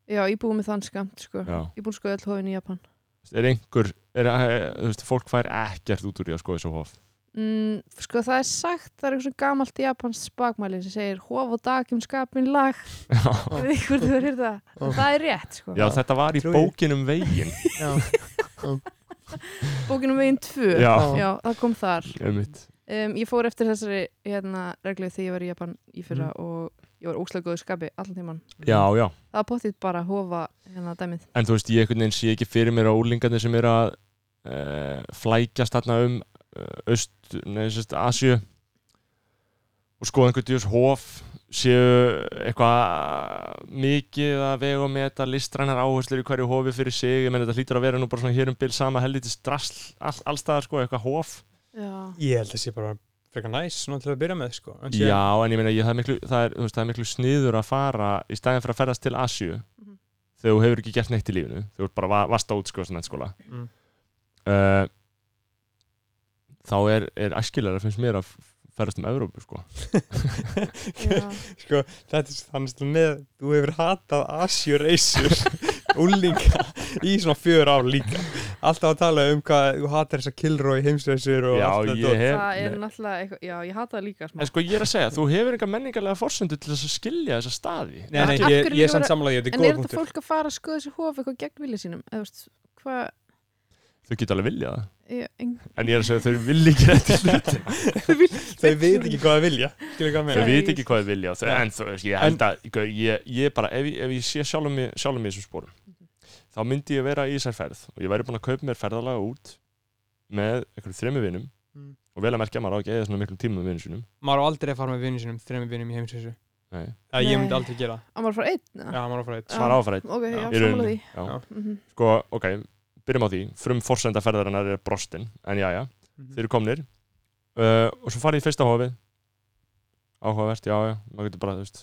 D: já, ég búið með þann skamt sko.
A: Já.
D: ég búið sko öll hófin í Japan
A: er einhver er, eh, þú veist, fólk fær ekkert út úr í að skoða svo hóf
D: mm, sko það er sagt, það er eitthvað gamalt japans bakmæli sem segir hóf og dag um skapin lag
A: já.
D: Ég veit ekki hvort þú verður það
C: Ó.
D: það er rétt sko.
A: já, þetta var í
C: Trúi.
A: bókinum veginn
C: já,
D: bókinum um veginn 2
A: já,
D: Já, það kom þar
A: einmitt
D: um, Ég fór eftir þessari hérna, reglu þegar ég var í Japan í fyrra
A: Mhm.
D: og ég var óslega góðu skapi allan tíman
A: já, já,
D: Það var pottitt bara að hofa hérna dæmið
A: en þú veist, ég einhvern veginn sé ekki fyrir mér á úlingarnir sem er að uh, flækjast þarna um uh, öst, neða, sérst, Asju og skoða einhvern djús hóf séu eitthvað mikið að vega með þetta listrænar áherslur í hverju hófi fyrir sig ég menn þetta hlýtur að vera nú bara svona hér um bil sama helvítið strassl all, allstaðar sko, eitthvað hóf
D: Já,
C: ég held að sé bara frekar næs svona til að byrja með sko en síðan-
A: Já, en ég meina, ég, það, er miklu, það, er, þú veist, það er miklu sniður að fara í staðin fyrir að ferðast til Asju
D: Mhm.
A: þegar þú hefur ekki gert neitt í lífinu þegar þú ert bara va- vast át sko sem skóla
C: Mm.
A: uh, þá er, er æskilega finnst mér að f- ferðast um Evrópu sko.
D: já,
C: sko, þetta er þannig að með þú hefur hatað Asjureysur úlinga í svona fjör ár líka alltaf að tala um hvað þú hatar þessa Kilroy heimsreysur og
A: Já,
C: allt þetta
A: ég hef
D: það er
A: nei.
D: náttúrulega eitthvað Já, ég hata það líka smá
A: En sko ég er að segja, þú hefur enga menningarlega forsendu til þess að skilja þessa staði
C: Nei, nei,
D: Af
C: ég, ég er
D: hverju lífur-
C: samt samlega, þetta er
D: En
C: góða
D: er þetta
C: punktur
D: fólk að fara að skoða þessi hofa eitthvað gegn vilja sínum? Eða, þú veist, hvað
A: Þau geta alveg vilja það
D: ég- eng-
A: En ég er að segja, þau vilja ekki rétti hluti
C: Þau veit ekki hvað það vilja Skilur hvað
A: Þau
C: með
D: Nei.
A: veit ekki hvað þau vilja þau,
C: Nei.
A: En þú veist, ég held að ég, ég, ég bara, ef, ég- ef ég sé sjálfum mig, sjálfum mig í þessum spórum þá myndi ég vera í þessar ferð og ég væri búin að kaupa mér ferðalaga út með einhverjum þremi vinum
C: Mm.
A: og vel að merkja að maður á ekki eða svona miklum tíma með vinum sínum
C: Maður á aldrei að fara með vinnum sínum, þremur vinnum í heimsreysu
A: Nei.
C: Það ég myndi
D: Nei. Ah.
C: aldrei gera
D: Á maður að fara einn?
C: Já, maður á að fara eitt
D: Já.
A: svara áfærætt
D: Ok, já,
A: Í
C: Já.
D: samanlega því
A: rauninni, já.
C: Já.
D: Mhm.
A: Sko, ok, byrjum á því frum forsenda ferðarinnar er brostin en já, já,
C: Mhm.
A: þeir eru komnir uh, og svo farið í fyrsta hofið áhugavert, já, já, maður getur bara, þú veist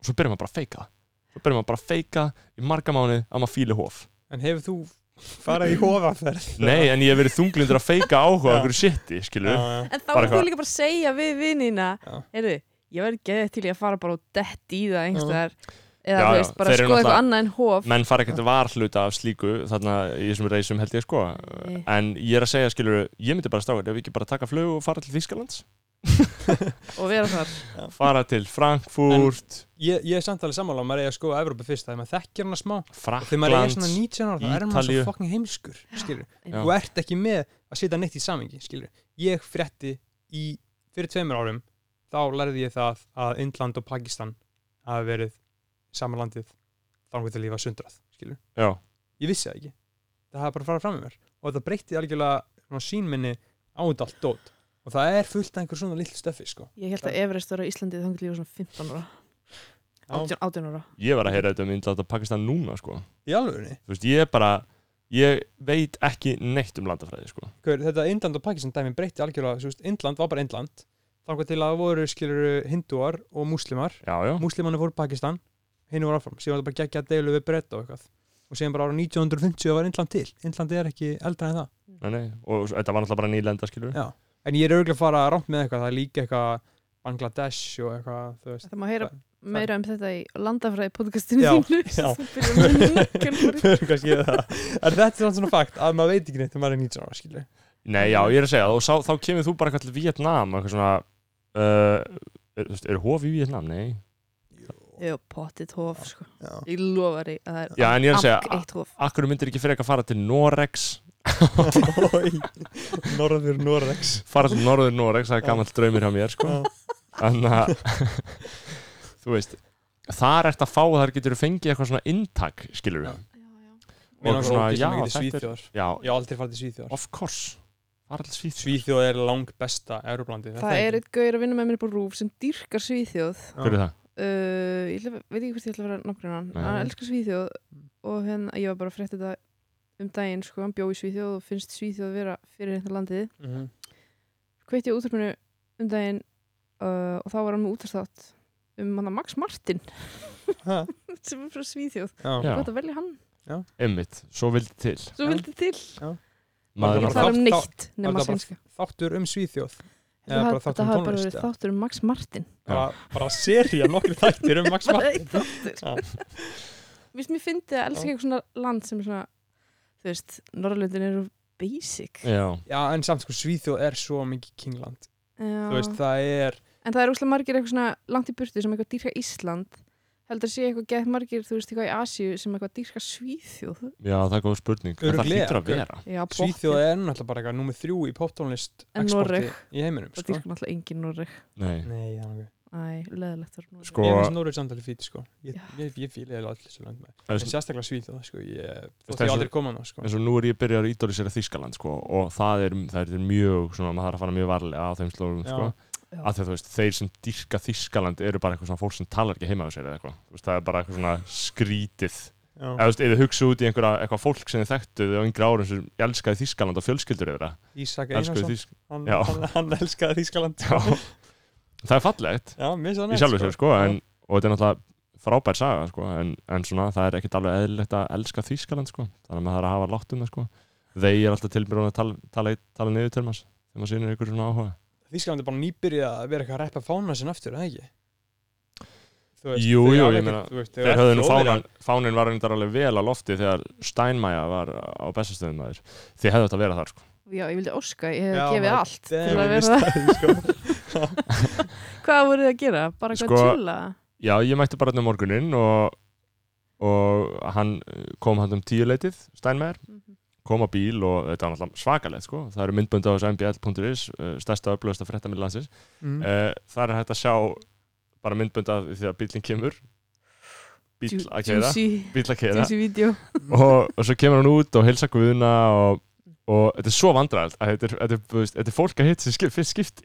A: og svo byrjum maður bara að feika það. svo byrjum maður bara að feika í marga mánu að maður fíli hof
C: En hefur þú farað í hofaferð?
A: Nei, en ég hef verið þunglindur að feika áhuga
C: Já.
A: okkur shiti, skilur
C: Já, já.
D: En þá
A: Bara
D: er þú
A: eitthvað-
D: líka bara að segja við vinnina
C: Já.
D: Heyrðu, ég verði geðið til í að fara bara og dett í það
C: Já.
D: einhverstaðar Eða
A: Já,
D: þú
A: já,
D: veist, bara
A: þeir eru
D: skoða eitthvað
A: náttúrulega-
D: annað en hof
A: menn fara ekkert varhluta af slíku þarna í þessum reisum held ég sko
D: Nei.
A: en ég er að segja, skilur, ég myndi bara strákar ef við ekki bara taka flug og fara til Þýskalands
D: og vera þar
A: fara til Frankfurt,
C: Ég, ég er samt alveg sammála, maður eigi að skoða Evrópu fyrst Þegar maður þekkir hana smá Og þegar maður er
A: Fraklands
C: svona 19 ára, það er maður
A: Ítalíu.
C: svo fucking heimskur skilur.
A: Já.
C: Þú ert ekki með að setja neitt í samingi skilur. Ég frétti í fyrir tveimur árum, þá lærði ég það að Indland og Pakistan hafa verið samanlandið þangur til lífa sundrað skilur.
A: já,
C: Ég vissi það ekki, það hafa bara farað fram með mér og það breytti algjörlega svona sýnminni á þetta allt dót og það er fullt af einhver svona lill stöfi sko.
D: Ég held að Everest var á Íslandi þangur líka svona 15 ára 18, 18 ára
A: ég var að heyra þetta um Indland og Pakistan núna sko
C: Í alvegurinni,
A: þú veist, ég er bara ég veit ekki neitt um landafræði sko
C: Hver, þetta Indland og Pakistan dæmi breytti algjörlega, þú veist, Indland var bara Indland þangar til að voru skilur hindúar og múslimar,
A: já, já,
C: múslimarnir fóru Pakistan hinn voru áfram, síðan var þetta bara geggja að deilu við breytta og eitthvað, og síðan bara ára 1950 var Indland til, Indland er ekki eldra en það
A: nei, nei. og s- þetta var náttúrulega bara nýlenda skilur
C: Já. en ég er örgulega að fara rámt með eitthvað, það er líka eitthvað Bangladesh og eitthvað, þú veist
D: Það má heyra
C: Það-
D: meira um þetta í landafræði podcastinu
C: Já,
D: þínu
C: já.
D: Þú byrjar með nökkelfari.
C: kannski er það en þetta er samt svona fakt að maður veit ekki neitt þegar maður er 19 ára, skilur
A: Nei, já, ég er að segja það og sá, þá kemur þú bara eitthvað til Vietnam eitthvað svona uh, er, þú veist, er hof í Vietnam? Nei
D: Jú, pottit hof sko.
C: Já.
D: Ég lofa því að það er
A: Já, en ég er að segja,
D: afk eitt hof
A: akkur myndir ekki frekar fara til Norex
C: Oj, Norður Norex
A: fara til Norður Norex, það er
C: Já.
A: gammal draumir hjá mér sko.
C: Já.
A: Þannig að þú veist þar ert að fá, þar getur þú fengið eitthvað svona inntak, skilur
C: Já.
A: við
D: Já, já.
C: Mér
A: Og
C: langar
A: svona,
C: ógeðslega
A: já,
C: mikið til
A: þetta er-
C: Svíþjóðar.
A: Já,
C: Ég hef aldrei farið til Svíþjóðar
A: of course fara til Svíþjóð
C: Svíþjóð er lang besta Európlandi
D: Það er eitt gauður að vinna með mér upp á rúf sem dýrkar Svíþjóð
A: Hver er það?
D: uh, ég ætla, veit ekki hvort ég ætla að vera nágrunnan
A: Nei.
D: hann elskar Svíþjóð
C: Mm.
D: og hérna ég var bara að frétta þetta um daginn sko, hann bjó í Svíþjóð og finnst Svíþjóð vera fyrir hérna landið
C: Mhm.
D: hveit ég útvarpinu um daginn uh, og þá var hann með útastátt um hann Max Martin
C: það
D: sem er frá Svíþjóð,
A: Já.
D: gott að velja hann
A: Einmitt, svo vildi til
D: svo
C: Já.
D: vildi til,
A: Maður
C: Var
D: ekki
A: er
C: bara
A: bara
D: tala um
C: þátt-
D: neitt nema
C: var það bara-
D: sænska
C: Þáttur um Svíþjóð
D: Þetta
C: eða bara
D: hafði-
C: þáttur
D: þetta
C: um
D: hafði bara
C: tónlist,
D: verið
C: eða?
D: þáttur um Max Martin
A: Já.
C: bara, bara serja nokkru þættir um Max Martin
D: Einn þáttur.
C: Já.
D: víst mér fyndi að elska
E: Já.
D: eitthvað svona land sem er svona, þú veist, Norrlöndin eru basic.
A: já,
C: já, en samt sko Svíþjóð er svo mikið kingland
D: Já.
C: þú veist, það er
D: En það er úslega margir eitthvað svona langt í burtu sem eitthvað dýrka Ísland. Heldur að sé eitthvað gett margir, þú veist, eitthvað í Asíu sem eitthvað dýrka Svíþjóð.
A: já, það er góð spurning En það
C: Örugglega,
A: hlýtur að vera
D: Já, pottþétt.
C: Svíþjóð er náttúrulega bara eitthvað nummið þrjú í poptónlist
D: En
C: exporti
D: Noreg.
C: í heiminum
D: Það
C: sko.
D: dýrka náttúrulega engin Noreg.
A: Nei,
C: Nei, já, ok.
D: Æ, leðilegt þar Noreg.
A: sko,
C: ég finnst Noreg samtalið fítið sko. ég,
D: Já.
C: ég, ég fíla eða allir þessu land með
A: Það er
C: en
A: svo-
C: sérstaklega Svíþjóð sko. ég, þótt
A: Það er
C: ég
A: svo-
C: aldrei koma ná sko.
A: eins og nú er ég byrjar að ídólisera Þískaland sko, og það er, það er mjög svona, maður þarf að fara mjög varlega á þeim slóðum
C: Já.
A: sko.
D: Já.
A: að því að þú veist, þeir sem dýrka Þískaland eru bara eitthvað svona fólk sem talar ekki heima á sér eða eitthvað, Þú veist, það er bara eitthvað svona skrítið
C: Já.
A: eða þú veist, ef þið hugsa út í einhverja eitthvað fólk sem þið þekktu á yngri árum sem elskaði Þískaland og fjölskyldur þeirra elskuðu
C: Ísak Einarsson
A: Þísk...
C: hann,
A: já.
C: hann, hann elskaði Þískaland
A: Já. það er fallegt
C: já, mér svo
A: í
C: næst
A: sjálfu sér sko, en, og þetta er náttúrulega frábær saga sko, en, en svona, það er ekkit alveg eðlilegt að elska Þískaland sko. þannig að maður þarf að hafa látt um það sko. þeir er alltaf tilbyrjun að tala, tala, tala niður til maður þegar maður sýnir ykkur svona áhuga
C: Þískaland er bara nýbyrjað að vera eitthvað að reppa fána sinna aftur, eða ekki? Þú
A: Jú,
C: þeir
A: jú, ég
C: hafa ekkert-
A: meina,
C: þú veist,
A: Þeir höfðu nú fánan,
C: Þjóðverjar-
A: fánin var reyndar alveg vel á lofti þegar Steinmeier var á bestastöðum aður. Þið hefðu þetta að vera þar sko.
D: Já, ég vildi óska, ég hef
C: Já,
D: gefið
C: maður-
D: allt til
C: Damn,
D: að
C: ég
D: vera
C: staðinn, sko.
D: Hvað voruð þið að gera? Bara hvað
A: Sko-
D: sko, chilla?
A: Já, ég mætti bara hérna um morguninn og, og hann eh, kom hann um tíuleitið, Steinmeier,
D: Mhm.
A: kom á bíl og þetta var náttúrulega svakalegt sko. Það eru myndböndi á þessu mbl.is, eh, stærsta og upplöðasta fréttamil landsins.
C: Mm.
A: Mm. Þar er hægt að sjá bara myndböndi af því að bílinn kemur, bíl
D: Djú-
A: að keira,
D: Juicy,
A: bíl að keira.
D: juicy vídeo.
A: og, og svo kemur hann út og heilsa Guðuna og, og þetta er svo vandræðalt að þetta er, þetta er, þú veist, þetta er fólk að hitt sem skip, fyrst skipti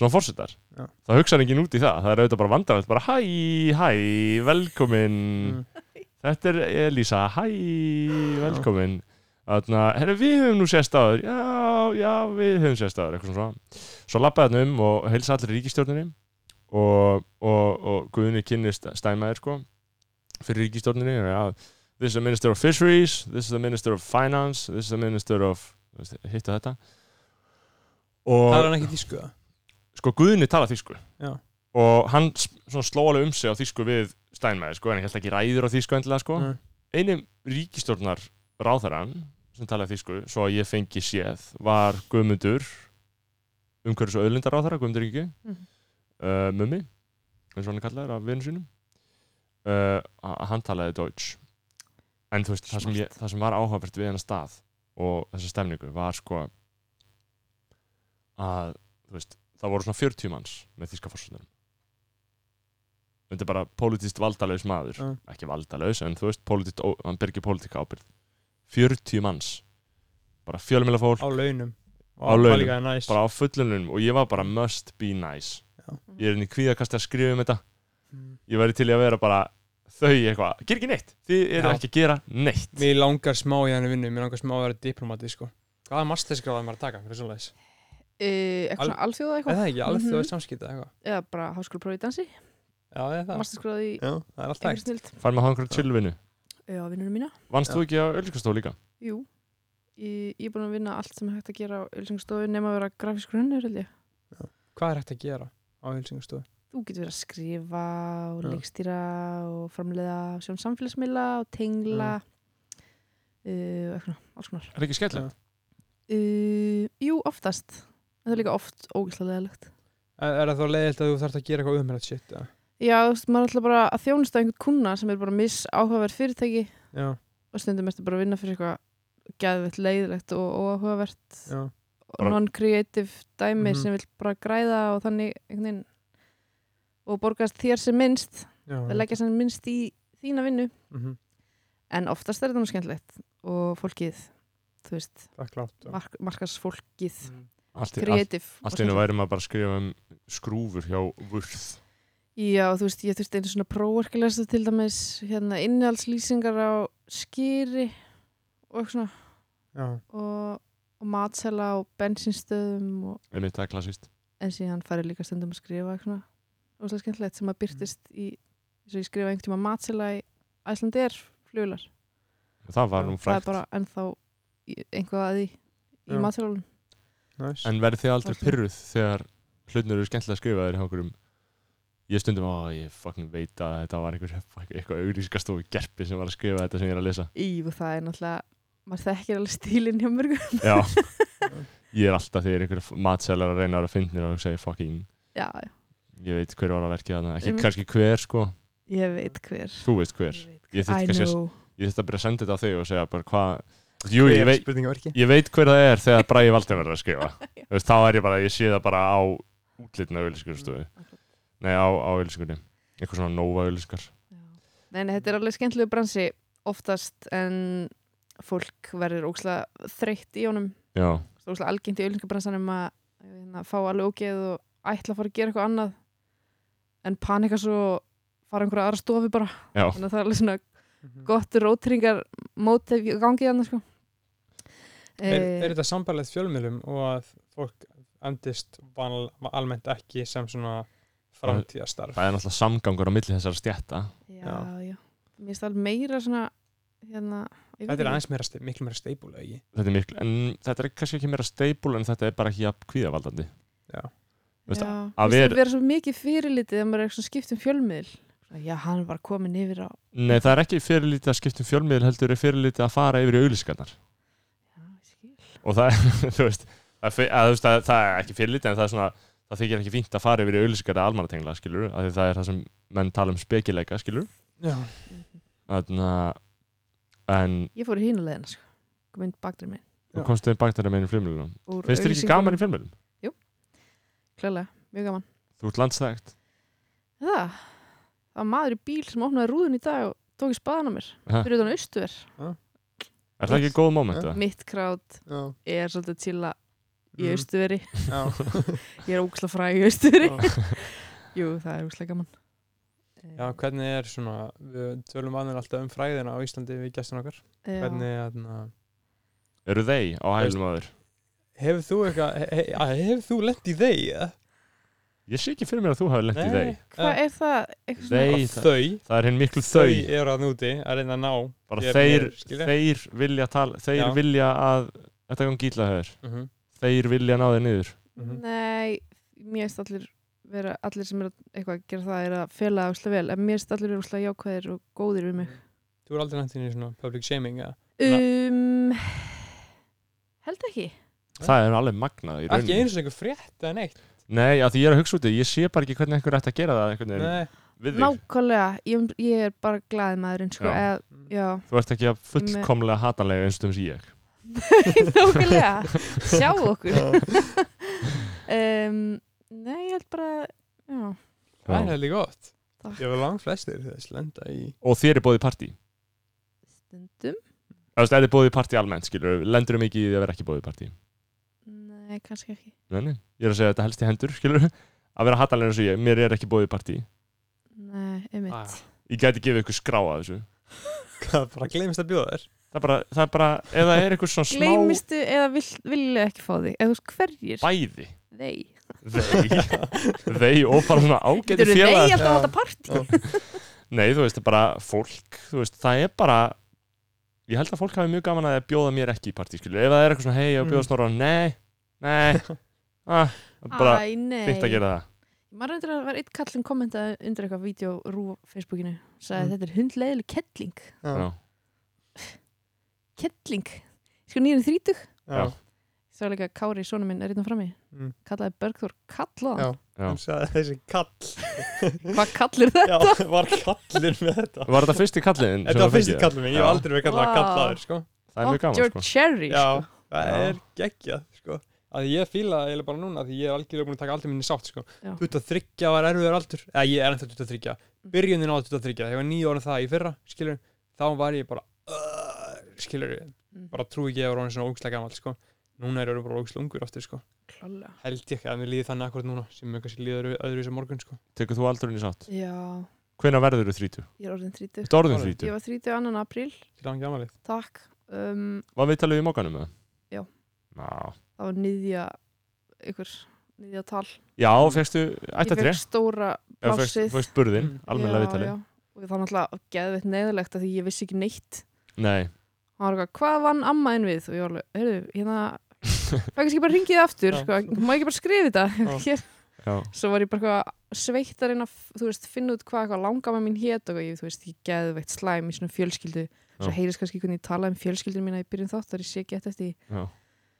A: svona fórsetar
C: Já.
A: það hugsaði enginn út í það, það er auðvitað bara vandræðalt bara hæ, hæ, velkomin
C: Mm.
A: þetta er Elísa hæ, velkomin þarna, herri við höfum nú sést áður já, já, við höfum sést áður eitthvað svona, svo lappaði hann um og heilsa allir ríkistjórninni og, og, og Guðunni kynnist stæmaðir sko fyrir ríkistjórninni og já, this is the minister of fisheries, this is the minister of finance, this is the minister of þú veist, hitt og þetta og
C: Það er hann ekki þýskuða
A: sko Guðni tala þýsku
C: Já.
A: og hann s- svona, sló alveg um sig á þýsku við Steinmeier sko, en ég held ekki ræður á þýsku endilega sko
C: Nei.
A: einum ríkistjórnar ráðarann sem talaði þýsku, svo að ég fengi séð var Guðmundur umhverjus og auðlindar ráðara, Guðmundur Ríki
C: Mm.
D: Mhm.
A: uh, Mummi eins og hann er kallaður af vinnu sínum uh, a- hann talaði Deutsch en þú veist, það sem, ég, það sem var áhugavert við hennar stað og þessa stemningu var sko að þú veist, það voru svona 40 manns með þíska fórsvöndunum þetta er bara pólitíst valdalaus maður
C: Mm.
A: ekki valdalaus, en þú veist pólitíst, ó- hann bergir pólitíka ábyrð 40 manns bara fjölmjöla fólk
C: á launum
A: Á launum.
C: Það líka er næs
A: bara á fullunum og ég var bara must be nice
C: Já.
A: ég er inn í kvíðakasti að skrifa um þetta
C: Mm.
A: ég væri til í að vera bara þau eitthvað, ger ekki neitt, þið eru
C: Já.
A: ekki að gera neitt
C: Mér langar smá í henni vinnu Mér langar smá að vera diplomati sko Hvaða mastersgráð er maður að taka fyrir svoleiðis?
D: Uh, eitthvað svona alþjóða
C: Er
D: eitthvað?
C: það ekki? Alveg
D: Mhm.
C: þjóðið samskipta eitthvað
D: Eða bara háskólapróf í dansi?
C: Eh? Já, það er það
D: Masterskráði í
C: Já, það er allt
D: einhver
C: hægt
D: snild?
A: fær maður að hafa einhverja chillvinnu
D: Já, vinnunum mína.
A: vannst
C: Já.
A: þú ekki á öllkastó líka?
D: Jú. Ég, ég er búin að vinna allt sem er hægt að gera á ölsingstofu nema að vera grafískur hönnur, held ég.
C: Hvað er hægt að gera á hilsingastofu?
D: Þú getur verið að skrifa og
C: Já.
D: leikstýra og framleiða og sjá um samfélagsmiðla og tengla uh, og eitthvað, alls konar.
A: er ekki skellilegt?
D: Uh, jú, oftast. En það er líka oft ógæslega leðilegt.
C: Er, er það þá leiðilt að þú þarft að gera eitthvað umhverfið shit? eða?
D: Já, þú veist, maður er alltaf bara að þjónusta einhvern kuna sem er bara miss áhugaverð fyrirtæki
C: Já,
D: og stundum ertu bara að vinna fyrir eitthvað geðveitt leiðilegt og óhugavert
C: já
D: og
A: Bara-
D: non-creative dæmi
C: Mhm.
D: sem vil bara græða og þannig einhvern veginn og borgast þér sem minnst
C: Já,
A: Mhm.
D: það leggja sem minnst í þína vinnu
C: mhm,
D: en oftast er þetta nú skemmtilegt og fólkið, þú veist
C: það er klárt já.
D: mark markast fólkið,
C: Mhm.
A: Mm. allt í- allt-
D: creative og
A: allt í hennu
D: skemmtilegt.
A: væri maður bara að skrifa um skrúfur hjá vörð
D: Já, þú veist, ég þurfti einu svona próverkilesta til dæmis hérna innhaldslýsingar á skýri og eitthvað svona
C: Já,
D: og, og matsela á bensinstöðum og,
A: er mitt það klassist
D: en síðan farið líka stundum að skrifa eitthvað svona óslega skemmtilegt sem að
A: Mm.
D: byrtist í eins og ég skrifa einhvern tíma matsela í Æslandir fluglar
A: það var nú
D: það er
A: frægt
D: bara ennþá í- eitthvað að því
C: Já.
D: í matselalun
C: næs
A: en verði þið aldrei
D: Allt í-
A: pyrruð þegar hlutnir eru skemmtilega að skrifa þér hjá okkurum ég stundum að ég fucking veit að þetta var einhver fucking- eitthvað auglýsingastofu gerpi sem var að skrifa þetta sem ég er að lesa
D: Íf og það er náttúrulega maður þekkir alveg stílinn hjá mörgum
A: já ég er alltaf þegar einhver matselar að reyna að vera fyndnir og segja fucking
D: Já,
A: ég veit hver var að verkið þarna ekki
D: Einmitt.
A: kannski hver sko
D: ég veit hver
A: þú veist hver Mm. ég
D: I
A: þurfti kannski að
D: know
A: ég þurfti að byrja að senda þetta á þig og segja bara hvað jú ég veit
E: Spurningaverki
A: ég veit hver það er þegar Bræði Valdur verður að skrifa Þú veist, þá er ég bara, ég sé það bara á útlitna auðlýsingarstofu nei, á, á auðlýsingunni, eitthvað svona nóva auðlýsingar
D: Já. Nei, nei, þetta er alveg skemmtilegu bransi oftast en fólk verður ókslega þreytt í honum
A: já,
D: ókslega algengt í auðlingabransanum að hérna, fá alveg ógeð og ætla að fara að gera eitthvað annað en panika svo og fara einhverja aðra stofi bara
A: já,
D: þannig að það er alveg svona
C: Mhm.
D: gott rótringar mótið gangið hann sko.
C: Er,
D: Eh,
C: er þetta sambarlegt fjölmiðlum og að fólk endist vanal, almennt ekki sem svona framtíðastarf
A: það er náttúrulega samgangur á milli þessara stjætta
D: já, já. Mér finnst það meira svona hérna, ég veit
C: Þetta er
D: ekki.
C: aðeins meira, ste- miklu meira steipulega ekki
A: þetta er miklu, en þetta er kannski ekki meira steipul en þetta er bara ekki að kvíðavaldandi
D: Já,
A: veist,
D: mér
A: að
D: finnst
A: vera-
D: það vera svo mikið fyrirlitið þegar maður er svona skipt um fjölmiðl Svona, já, hann var komin yfir á
A: nei, það er ekki fyrirlítið að skipta um fjölmiðil heldur er fyrirlítið að fara yfir í auðlýsingarnar
D: já, ég skil.
A: og það er, þú veist að, fe- að, þú veist, að, það er ekki fyrirlítið en það er svona það þykir ekki fínt að fara yfir í auðlýsingar að almannatengla, skilur, af því það er það sem menn tala um spekileika, skilur
C: Já,
A: Þarna, en
D: ég fór í hínulegina sko. kom inn bakdur minn
A: þú
C: Já.
A: komst þau baktæri meginn í fjölmjölunum finnst þér ekki gaman í fjölmjölum?
D: klálega, mjög gaman
A: þú ert landslægt
D: það, það var maður í bíl sem opnaði rúðun í dag og tók í spaðan á mér
A: Ha?
D: fyrir utan austuver,
A: er það ekki góð moment? eða?
D: mitt krát
E: Já
D: er svolítið til að í
A: Mm.
E: Mhm.
D: austuveri
E: Já
D: ég er óksla fræg í austuveri jú, það er óksla gaman
C: já hvernig er svona við tölum vanlega alltaf um fræðina á Íslandi við gestin okkar
D: Eh, já.
C: hvernig, hérna, atna,
A: eru þeir á hælum á þér?
C: Hefur þú eitthvað he, he, Hefur þú lent í þeir? eða?
A: ég sé ekki fyrir mér að þú hafi lent í þeir
C: Nei,
D: hvað er það? eitthvað svona-
A: Nei, það-
C: bara þau
A: það er hinn miklu
C: Þau
A: þau
C: eru að núti að reyna að ná
A: bara
C: Ég-
A: þeir,
C: ég skil ég.
A: þeir vilja tala þeir
C: Já.
A: vilja að þetta gangi ítla höfur
C: uh -huh.
A: þeir vilja ná þeir niður
C: Mhm.
D: Nei, mér finnst allir vera, allir sem er eitthvað að gera það er að fela það úrslega vel, en mér finnst allir vera úrslega jákvæðir og góðir við mig
C: Þú er aldrei nætt inn í svona public shaming eða?
D: um, Held ekki
A: það er alveg magnað í
C: Ekki
A: rauninni
C: eins og einhver frétt eða neitt
A: nei, að því ég er að hugsa út í, ég sé bara ekki hvernig einhver ætti að gera það einhvern veginn
C: Nei,
A: við þig,
D: Nákvæmlega, ég, ég er bara glaðið maðurinn sko,
A: Já.
D: eða, já
A: þú ert ekki að fullkomlega hatalega eins og um síg
D: Nákvæmlega, sjá okkur um, Nei, ég held bara Já,
C: það er heldig gott
D: Takk.
C: Ég var langt flestir þess lenda í
A: og þér er bóðið partí
D: stundum
A: Þú veist, er þið bóðið partí almennt, skilur, lendur um ekki í því að vera ekki bóðið partí.
D: Nei, kannski ekki
A: Nei, nei, ég er að segja þetta helst í hendur, skilur, að vera hattalega eins og ég, mér er ekki bóðið partí.
D: Nei,
A: Ah,
D: einmitt
A: Ég gæti gefið ykkur skrá að þessu.
C: Hvað, bara gleymist að bjóða þér?
A: Það er bara, það er bara, eða er eitthvað svona smá
D: Gleimistu eða vil, vilja ekki fá þig eða þú veist hverjir,
A: bæði.
D: þeir
A: Þeir, þeir og bara svona ágæti
D: Getur þið
A: félag.
D: alltaf að þetta partí?
A: Nei, þú veist, það er bara fólk, þú veist, það er bara, ég held að fólk hafi mjög gaman að því að bjóða mér ekki í partí, skilur, ef það er eitthvað svona, hei, ég á að bjóða
C: Mm.
A: snorra, nei, nei, ah, það er bara
D: Æ, nei.
A: fyrst að gera það.
D: Maður reyndir að það var eitt kallinn kommentaði undir eitthvað vídeo rú á Facebookinu sagði
E: Mm.
D: þetta er hundleiðileg kettling
A: Já.
D: kettling, sko nýjum þrítug
A: Já.
D: svo er líka Kári, sonu minn, er einnig frammi
C: Mm.
D: kallaði Bergþór kallaðan,
E: Já.
A: Já.
E: Hún sagði þessi kall
D: hvað kallir það?
E: Já, var kallin með þetta
A: Var þetta fyrsti kalliðin? sem
C: Þetta var
A: þú
E: Fyrst
A: fengið?
E: kallin minn, ég hef
A: Já.
E: aldrei verið kallað
D: Vá.
E: kallaður sko
A: Það er mjög gaman,
D: your
A: sko.
D: cherry
E: Já
C: Það
A: Já.
C: er geggjað, sko að ég fíla það eiginlega bara núna því ég er algjörlega búin að taka aldrei minni sátt sko.
D: Já. Mm.
C: 23 var erfiður aldur eða ég er ennþá 23 byrjunin á 23, ég var nýja orðin það í fyrra skilur, þá var ég bara uh, skilur,
D: Mm.
C: bara trú ekki að ég var orðin svona ógslag gammal sko. núna er ég orðinn bara ógslag ungur aftur sko.
D: Klálega.
C: held ég að mér líði þannig akkurat núna sem mér kannski líður öðru sem morgun sko.
A: Tekur þú aldurinn í sátt?
D: Já,
A: Hvenær verður þú þrítu?
D: ég er orðin þrítug
A: Þetta orðin
C: Orðin.
A: þrítu?
D: ég var þrítug annan apríl,
C: til hann gammalið
D: takk um,
A: Var við talið í mókanum með það?
D: Já.
A: Ná.
D: það var niðja ykkur, niðja tal
A: Já, fegstu ættatri?
D: ég fekk stóra
A: Eða fékkst-
D: plásið.
A: fékkst burðinn,
C: Mm.
A: almennilega
D: Já,
A: viðtalið.
D: já. og það var náttúrulega geðveitt neðilegt að því ég vissi ekki neitt
A: Nei,
D: hann var eitthvað, hvað vann amma einn við og ég var alveg, heyrðu, hérna það kannski bara ringið aftur,
C: Já.
D: sko, má ég ekki bara skrifa þetta
C: Já.
D: hér,
A: já,
D: svo var ég bara eitthvað sveitt að reyna að, þú veist, finna út hvað eitthvað langamma mín hét og ég, þú veist, ég geði veitt slæm í svona fjölskyldu, svo
A: Já.
D: heyrist kannski hvernig ég talaði um fjölskyldun mína í byrjun þátt þar ég sé ekki eftir því
A: já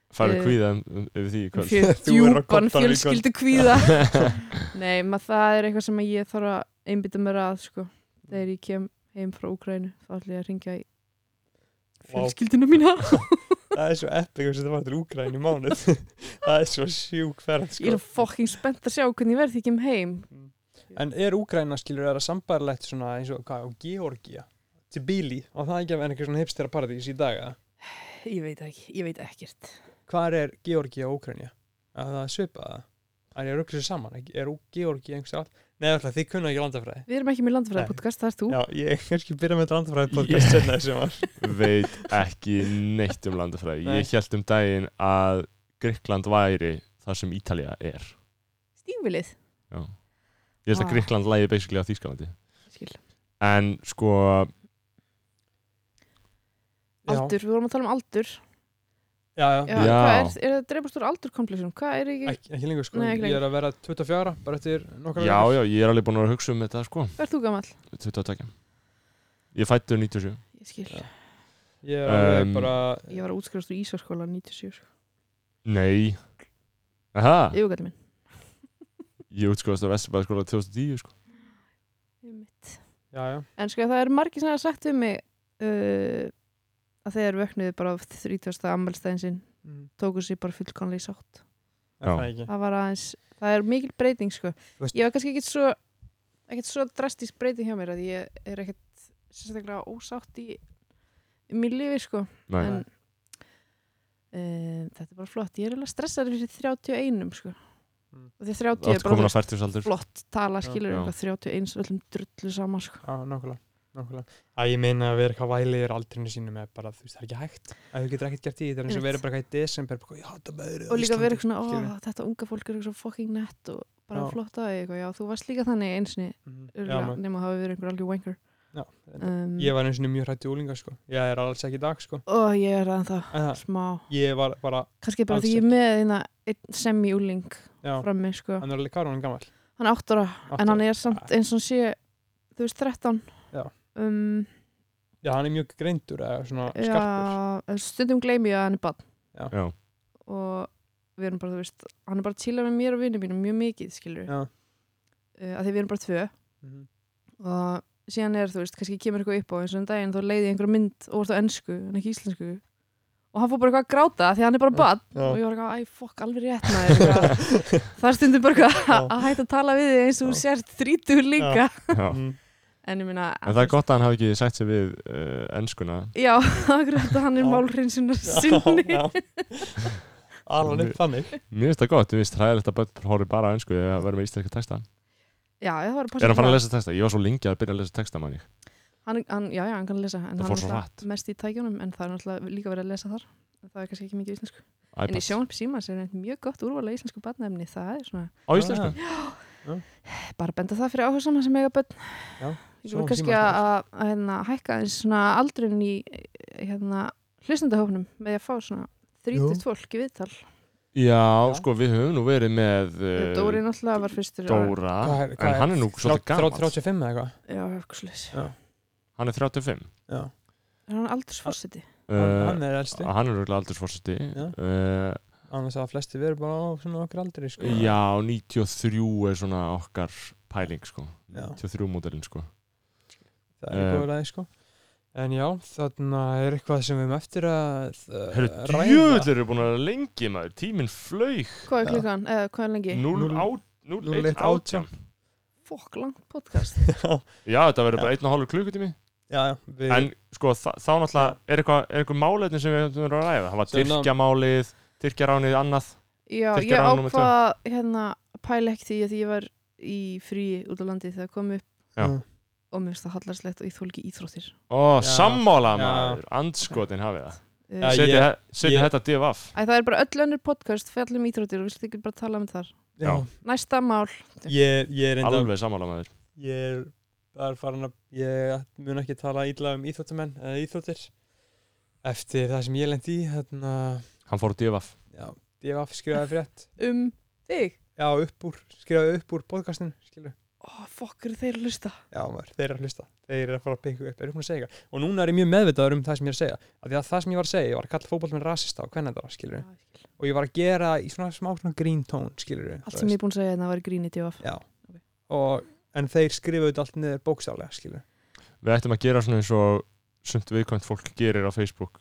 A: farið
D: Eh,
A: kvíða um- um- yfir því í kvöld
D: Fjö-
E: Þú er að
D: djúpan
E: kodda hann í kvöld.
D: fjölskyldu kvíða nei, maður það er eitthvað sem ég þarf að einbytta mér að, sko þegar ég kem heim frá Úgrænu þá ætlum ég að ringja í
E: Vá.
D: fjölskylduna mína
E: það er svo epic að þetta var til Úgræn í mánuð það er svo sjúk ferð
D: ég
E: sko.
D: er fokking spennt að sjá hvernig ég verð því ég kem heim
C: En er Úgræna skilur er það sambarlegt svona eins og hvað á Georgia til Bíli og það ekki að vera einhver svona hipstera paradís í dag eða?
D: ég veit ekki, ég veit ekkert
C: Hvar er Georgia og Úgræna? Að það svipa það? Það er rugglur sér saman, ekki? er Ú- Georgia einhvers all? Nei, alltaf þið kunna ekki landafræði
D: við erum ekki með landfræðapodcast, það er þú
E: já, ég kannski byrja með landfræði podcast yeah. sem var
A: veit ekki neitt um landafræði
C: Nei.
A: ég held um daginn að Gríkland væri það sem Ítalija er
D: stífilið
A: já. ég held
D: Ah.
A: að Gríkland lægi basically á Þýskalandi
D: Skil.
A: en sko
C: Já,
D: aldur, við vorum að tala um aldur
C: já, já.
D: Já,
A: Já.
D: hvað er, er það dreifast úr aldurkomplexum? Hvað er ekki,
C: Ekki, ekki lengur sko,
D: Nei, ekki
C: ég er að vera 24 ára, bara eftir nokkra
A: já
C: vikur.
A: já ég er alveg búin að vera að hugsa um þetta sko
D: hvað er þú gamall?
A: 22 ég fættur 97
D: Ég skil,
C: Já. Ég er alveg
A: Um,
C: bara,
D: ég var að útskrifast úr Ísarskóla 97 sko.
A: nei
C: Ah.
A: aha
D: Jú, gæti minn
A: ég útskóðast á Vesturbæðaskóla 2010 sko
D: Ég mitt.
C: já, já,
D: En sko, það er margir sem hafa sagt við mig uh, að þeir vöknuðu bara á 30. ammælstæðin sinn
C: Mm,
D: tóku sér bara fullkonlega í sátt
C: er
A: Já.
C: það ekki
D: Það var aðeins, það er mikil breyting sko
C: Þú veist-
D: Ég var kannski ekkit svo ekkit svo drastísk breyting hjá mér að ég er ekkit sérstaklega ósátt í, í mér lífi sko en
A: nei
D: um, þetta er bara flott, ég er alveg stressaður fyrir 31 sko
C: Mm.
D: og því 30 er
A: átt
D: bara
A: komin á
D: þú veist,
A: 40 aldur
D: flott tala skilur
A: Já.
D: eitthvað 31 er öllum drullu saman sko
C: Já, nákvæmlega, nákvæmlega. Að ég meina að vera eitthvað vælir aldrinu sínum er bara, þú veist, það er ekki hægt. Að þú getur ekkert gert í því, það er eins og
D: Einmitt.
C: verið bara eitthvað í desember, bara, eitthvað, já, það verður á
D: og líka
C: Íslandi,
D: vera eitthvað svona, ó
C: skilurðu.
D: þetta unga fólk er eitthvað svo fucking nett og bara
C: Já.
D: flott aðeins eitthvað, já þú varst líka þannig einsni
C: Mhm. Já,
D: örgulega,
C: maður-
D: nema að hafa verið einhver algjör wanker
C: já.
D: um,
C: Ég var eins og mjög hrætti úlinga, sko. Ég er alls ekki í dag, sko.
D: og ég er aðeins það,
C: En það,
D: smá
C: ég var bara,
D: kannski bara
C: Alls
D: því ég er með eina semi-úling
C: já,
D: frammi sko,
C: hann er alveg karun gammal.
D: hann er 8 ára en hann er samt eins og hann sé þú veist 13
C: Já.
D: um,
C: Já, hann er mjög greindur, eða svona skarpur.
D: Já, en stundum gleymi ég að hann er bann
A: já
D: og við erum bara, þú veist, hann er bara chillað með mér og vinnum mínum mjög mikið, skilur við
C: Já.
D: uh, að því við erum bara tvö
C: Mhm.
D: og síðan er, þú veist, kannski kemur eitthvað upp á eins og um daginn, þá leiði ég einhverja mynd og orðið á ennsku, en ekki íslensku og hann fór bara eitthvað að gráta af því að hann er bara bann
E: Já.
D: og ég var eitthvað, æ, fokk, alveg rétt maður eitthvað. það stundum bara eitthvað
E: Já.
D: að hætta að tala við þig eins og þú sért þrítur líka
A: já
C: Mhm.
E: Mm.
D: en ég minna,
A: en það er gott að hann hafi ekki sætt sig við uh, enskuna
D: já, akkurat að hann
E: Já.
D: er málhrinsunar sinni
E: Já, já. Alveg upp þannig
A: Mér finnst það gott, mér finnst hræðilegt að börn horfi bara á ennsku eða verður með íslenska texta.
D: Já, ég var að passa
A: Er hann fann
D: það.
A: að lesa texta? Ég var svo lengi að byrja að lesa texta manni.
D: hann, hann, já, já, hann kann lesa
A: Það
D: en hann
A: fór svo
D: náttúrulega
A: hratt.
D: mest í tækjunum en það er náttúrulega líka verið að lesa þar en það er kannski ekki mikið íslensku en í
A: iPad.
D: sjónvarp síma er neitt mjög gott úrvala íslensku barnaefni það er svona,
A: Á íslensku?
D: bara benda það fyrir áhuga saman sem eiga börn
C: Já,
D: ég voru
C: sjónvarp
D: kannski
C: Símans
D: að,
C: maður.
D: að, að hérna, hækka eins svona aldrin í hérna, hlustendahófnum með að fá svona þrítust fólk í viðtal
A: Já,
C: Já.
A: sko við höfum nú verið með uh,
D: Dóri náttúrulega var fyrstur að-
A: Dóra
C: Hvað er- hvað
A: en hann er nú svolítið
C: Þrjá-
A: gammal.
C: 35 eða eitthvað.
D: já, hugslös
A: Hann er 35.
C: Já,
D: er hann aldursforsiti?
C: hann
A: Uh,
C: hann er elsti.
A: hann er röglega aldursforsiti.
C: Já.
A: Uh,
C: Annars að flesti verður bara á svona okkur aldrei, sko.
A: já, 93 er svona okkar pæling sko.
C: Já.
A: 93 módelin sko.
C: það er
A: Eh.
C: góður aðeins sko en já, þarna er eitthvað sem við erum eftir að eh,
A: Herru,
C: ræða.
A: djöðl eru búin að vera lengi maður. Tíminn flaug.
D: hvað er
C: Já.
D: klukkan? eða hvað er lengi?
A: 0 á... 0
C: 01 átján.
D: fokk langt podcast
A: Já, þetta verður bara einn og hálfur klukkutími.
C: já, já, við,
A: en sko þa þá náttúrulega er eitthvað, er eitthvað málefni sem við höfum verið að ræða það var
C: Sem ná-
A: Tyrkjamálið, Tyrkjaránið annað
D: Já,
A: Tyrkja
D: ég
A: rán númer tvö.
D: ákvað hérna að pæla ekki því að því ég var í frí út á landi þegar kom upp
A: Já.
C: Mm,
D: og mér finnst það hallarslegt og ég þólki íþróttir
A: ó,
C: Já.
A: sammála
C: Já.
A: maður, andskotin hafið
D: uh,
C: Já,
A: það
C: ég-
A: setja setja
C: ég-
A: þetta divaf
D: Æ, það er bara öll önnur podcast fjallum íþróttir og við slikum bara tala um það
C: já,
A: já.
D: Næsta mál,
C: ég, ég er enda
A: alveg sammála maður
C: ég er bara farin að ég mun ekki tala ítla um íþróttamenn eða íþróttir eftir það sem ég lendi í þarna,
A: hann fór á divaf
C: já, ég var afskrifaði frétt
D: um þig
C: já, já, upp úr, skrifaðu upp úr podcastinu skilur,
D: Ó, fokk eru þeir að hlusta
C: já maður, þeir eru að hlusta þeir eru að fara að pikka upp, eru búin að segja eitthvað og núna er ég mjög meðvitaður um það sem ég er að segja af því að það sem ég var að segja, ég var að kalla fótboll með rasista og hvernig það, skilur, og ég var að gera í svona smá svona grín tón, skilur
D: Allt sem ég er búin að segja þetta var grínið til af
C: já, og en þeir skrifaðu þetta allt niður bókstaflega, skilur
A: Við ættum að gera svona eins og sumt viðkvæmt fólk gerir á Facebook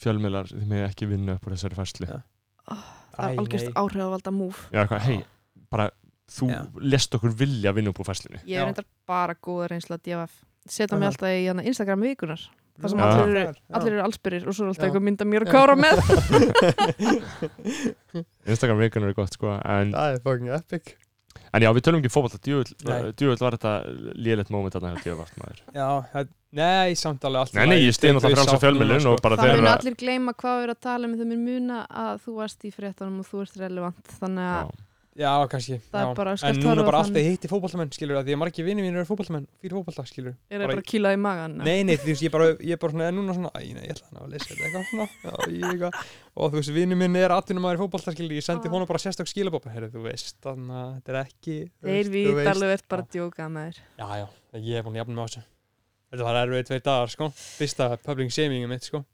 A: fjölmiðlar, þið með ekki vinna upp á þessari fæsli
C: Já.
A: Já,
D: Það
C: Æ,
D: er
C: nei.
D: algjörst áhrifavalda múf
A: eitthvað, hei, bara þú
C: Já.
A: lest okkur vilja vinna upp á fæslinni
D: Ég
C: Já.
D: er reyndar bara góða reynsla DFF Setja
C: Mhm.
D: mig alltaf í hana Instagram vikunar Það sem
A: Já.
D: allir eru,
C: Já.
D: allir eru allsbyrir og svo er alltaf
C: Já.
D: eitthvað mynda mér og kára með
A: Instagram vikunar er gott sko en,
E: Það er fucking epic
A: en já, við tölum ekki um fótball
C: Nei.
A: djúvöld djúvöld var þetta lélegt moment þarna hjá djúvöld maður
C: Já, það, nei, samt alveg allt í
A: Nei, nei,
C: lagi.
A: ég steina það
C: Þau- þau
A: frálsa
C: sáttum
A: fjölmiðlun
C: hana,
A: og bara
D: Það
A: þeir
D: mun
A: eru að
D: allir gleyma hvað við erum að tala um þau mun muna að þú varst í fréttanum og þú ert relevant þannig að
A: Já.
C: Já, kannski
D: Það er
C: já.
D: bara-
C: En
D: skalt
C: núna
D: horfa
C: bara
D: á
C: alltaf
D: þann-
C: hitti fótballtamenn, skilur að Því að margir vinni mínir eru fótballtamenn Fyrir fótballta, skilur
D: er það
C: Bara-
D: bara að kýla í magan
C: Nei, nei, því veist, ég bara, ég bara svona, en núna svona Æ, nei, ég ætla hann að lesa þetta eitthvað svona já, ég, eitthvað. Og þú veist, vinni minn er atvinnum að er fótballta, skilur Ég sendi
D: Ah.
C: honum bara sérstök skilabópa Herru, þú veist, þannig að þetta er ekki þú veist,
D: Þeir
C: þú
D: vita
C: veist.
D: alveg verðt bara að djóka með þér
C: Já, já, ég er búin að jafna með þessu Þetta var erfið tveir dagar, sko Fyrsta public shamingum mitt, sko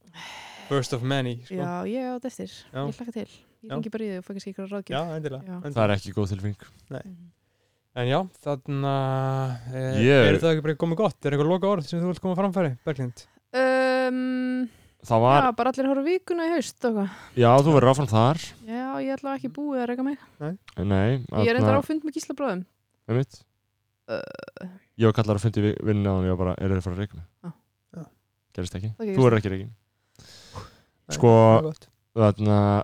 C: First of many, sko
D: Já, ég átt eftir,
C: Já.
D: ég hlakka til Ég
C: Já.
D: fengi bara í þau og fæ kannski ykkur
C: Já,
D: ráðgjöf
C: endilega,
D: Já.
A: það
C: endilega.
A: er ekki góð tilfinning
D: Mhm.
C: En já, þannig að e,
A: Ég-
C: er það ekki bara komið gott? Er eitthvað loka orð sem þú vilt koma á framfæri, Berglind?
D: um,
A: Það var,
D: Já, bara allir horfa á vikuna í haust og hvað
A: já, þú verður áfram þar
D: Já, ég ætla ekki
C: Mm.
D: búið að reyka mig
A: Nei,
D: Ég er
A: þarna-
D: reyndar á fund með gíslabróðum
A: einmitt.
D: Uh.
A: Ég var kallar að fundi vinnina og ég var bara, eru þeir að fara að reikna?
D: Já.
C: Já.
A: Gerist ekki,
D: Það gerist
A: þú verður ekki reikin
C: Nei,
A: Sko,
C: það er gott.
A: þarna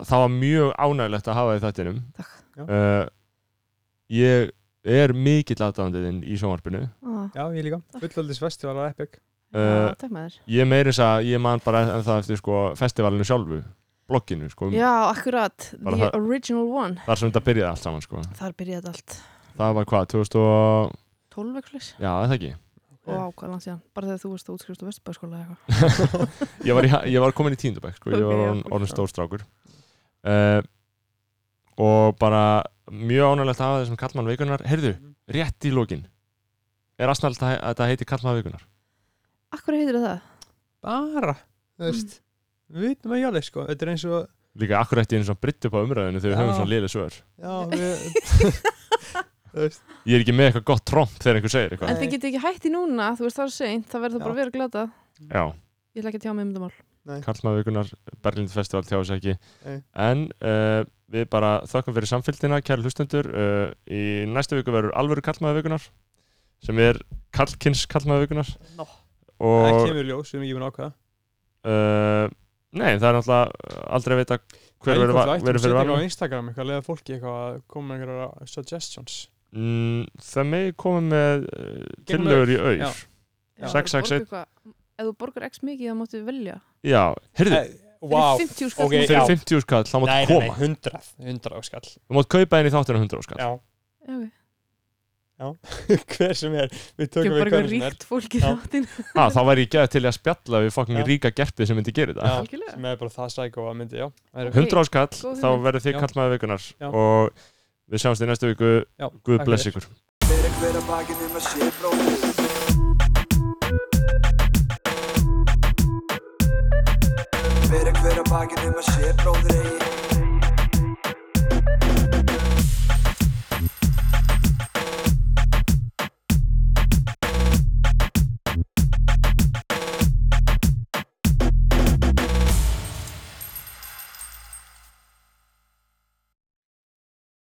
A: það var mjög ánægilegt að hafa þið þettinum
D: Takk.
C: Já.
A: uh, Ég er mikill aðdáðandiðinn í sjónvarpinu
D: ah,
C: Já, ég líka. Fullaldis festival var epic.
A: Uh,
D: já, Takk með þér
A: Ég meiri þess að ég man bara en það eftir sko festivalinu sjálfu blogginu sko, um-
D: Já, akkurat,
A: Bara
D: the
A: það-
D: original one
A: þar sem þetta byrjaði allt saman sko
D: Þar byrjaði þetta allt
A: Það var hvað, 2000 og
D: 12 vekslis
A: Já, er það ekki
D: og ákvæðan síðan, bara þegar þú varst að útskrifst á Vesturbæðskóla eða eitthvað
A: ég, var í, ég var komin í tíndabæk sko. ég var
D: Ok, já,
A: orðin,
D: ok.
A: orðin stór strákur uh, og bara mjög ánægilegt að hafa þessum kallmann vikunar heyrðu,
D: Mhm.
A: rétt í lokin er aðsnælt að, að það heiti kallmann vikunar
D: Akkur heitir það?
C: Bara, þú veist, við vitum ekki alveg, sko. Þetta er eins og,
A: líka akkur eftir einu svona britt upp á umræðinu þegar við
C: Já.
A: höfum svona liðlega svör
C: já, við, þú veist,
A: ég er ekki með eitthvað gott tromp þegar einhver segir eitthvað
D: En þið getur ekki hætti núna, þú veist það er seint það verður
C: Já.
D: bara að vera glata
A: já,
D: Ég ætla ekki að tjá mig um þetta mál
A: kallmann vikunar Berlind Festival tjá þess ekki
C: Nei.
A: en uh, við bara þökkum fyrir samfélgina kæri hlustendur uh, í næstu viku verður alvöru kallmann vikunar sem er kallkins kallmann vikunar
C: Nó. það
A: og
C: kemur í ljós, við erum ekki búin að ákvæða.
A: uh, Nei, það er náttúrulega aldrei að vita hver verður va- verður fyrir
C: varum?
A: varum
C: Á Instagram, eitthvað, leða fólki eitthvað að koma með einhverja suggestions.
A: mm, Það megi koma með uh,
C: Gegnum
A: tillögur í auð
C: já.
A: Já,
C: Já.
D: Ef þú
A: 661.
D: borgar eitthvað- Ef þú borgar x mikið þá máttu velja
A: heyrðu,
C: Eh, Vá,
D: Fyrir 50 skall
C: ok,
D: okay.
A: fyrir
C: já.
A: 50 skall, þá
C: nei,
A: máttu
C: nei, nei,
A: koma
C: 100, 100 skall.
A: Þú mátt kaupa henni þáttina 100 skall
C: Já,
D: okay.
C: hver sem er, við
D: Ég
C: tökum við
D: bara eitthvað
C: hverju sem er.
D: ríkt fólk í
C: Já.
D: þáttin
A: ha, Ah, Þá væri ég geða til að spjalla við fucking
C: Já.
A: ríka gerpið sem myndi gera þetta
C: Já,
D: Algjörlega.
C: sem er bara það sækó að myndi, já. Það eru-
D: Ok,
A: 100 skall,
D: góð
A: þá
D: hugmynd.
A: verður þið
C: Já.
A: kallmaður vikunar
C: Já.
A: og við sjáumst í næstu viku
C: Já,
A: Guð
C: takk
A: bless
C: fyrir.
A: ykkur
B: Þeir er hver að baki nema sé bróðir eigin Þeir er hver að baki nema sé bróðir eigin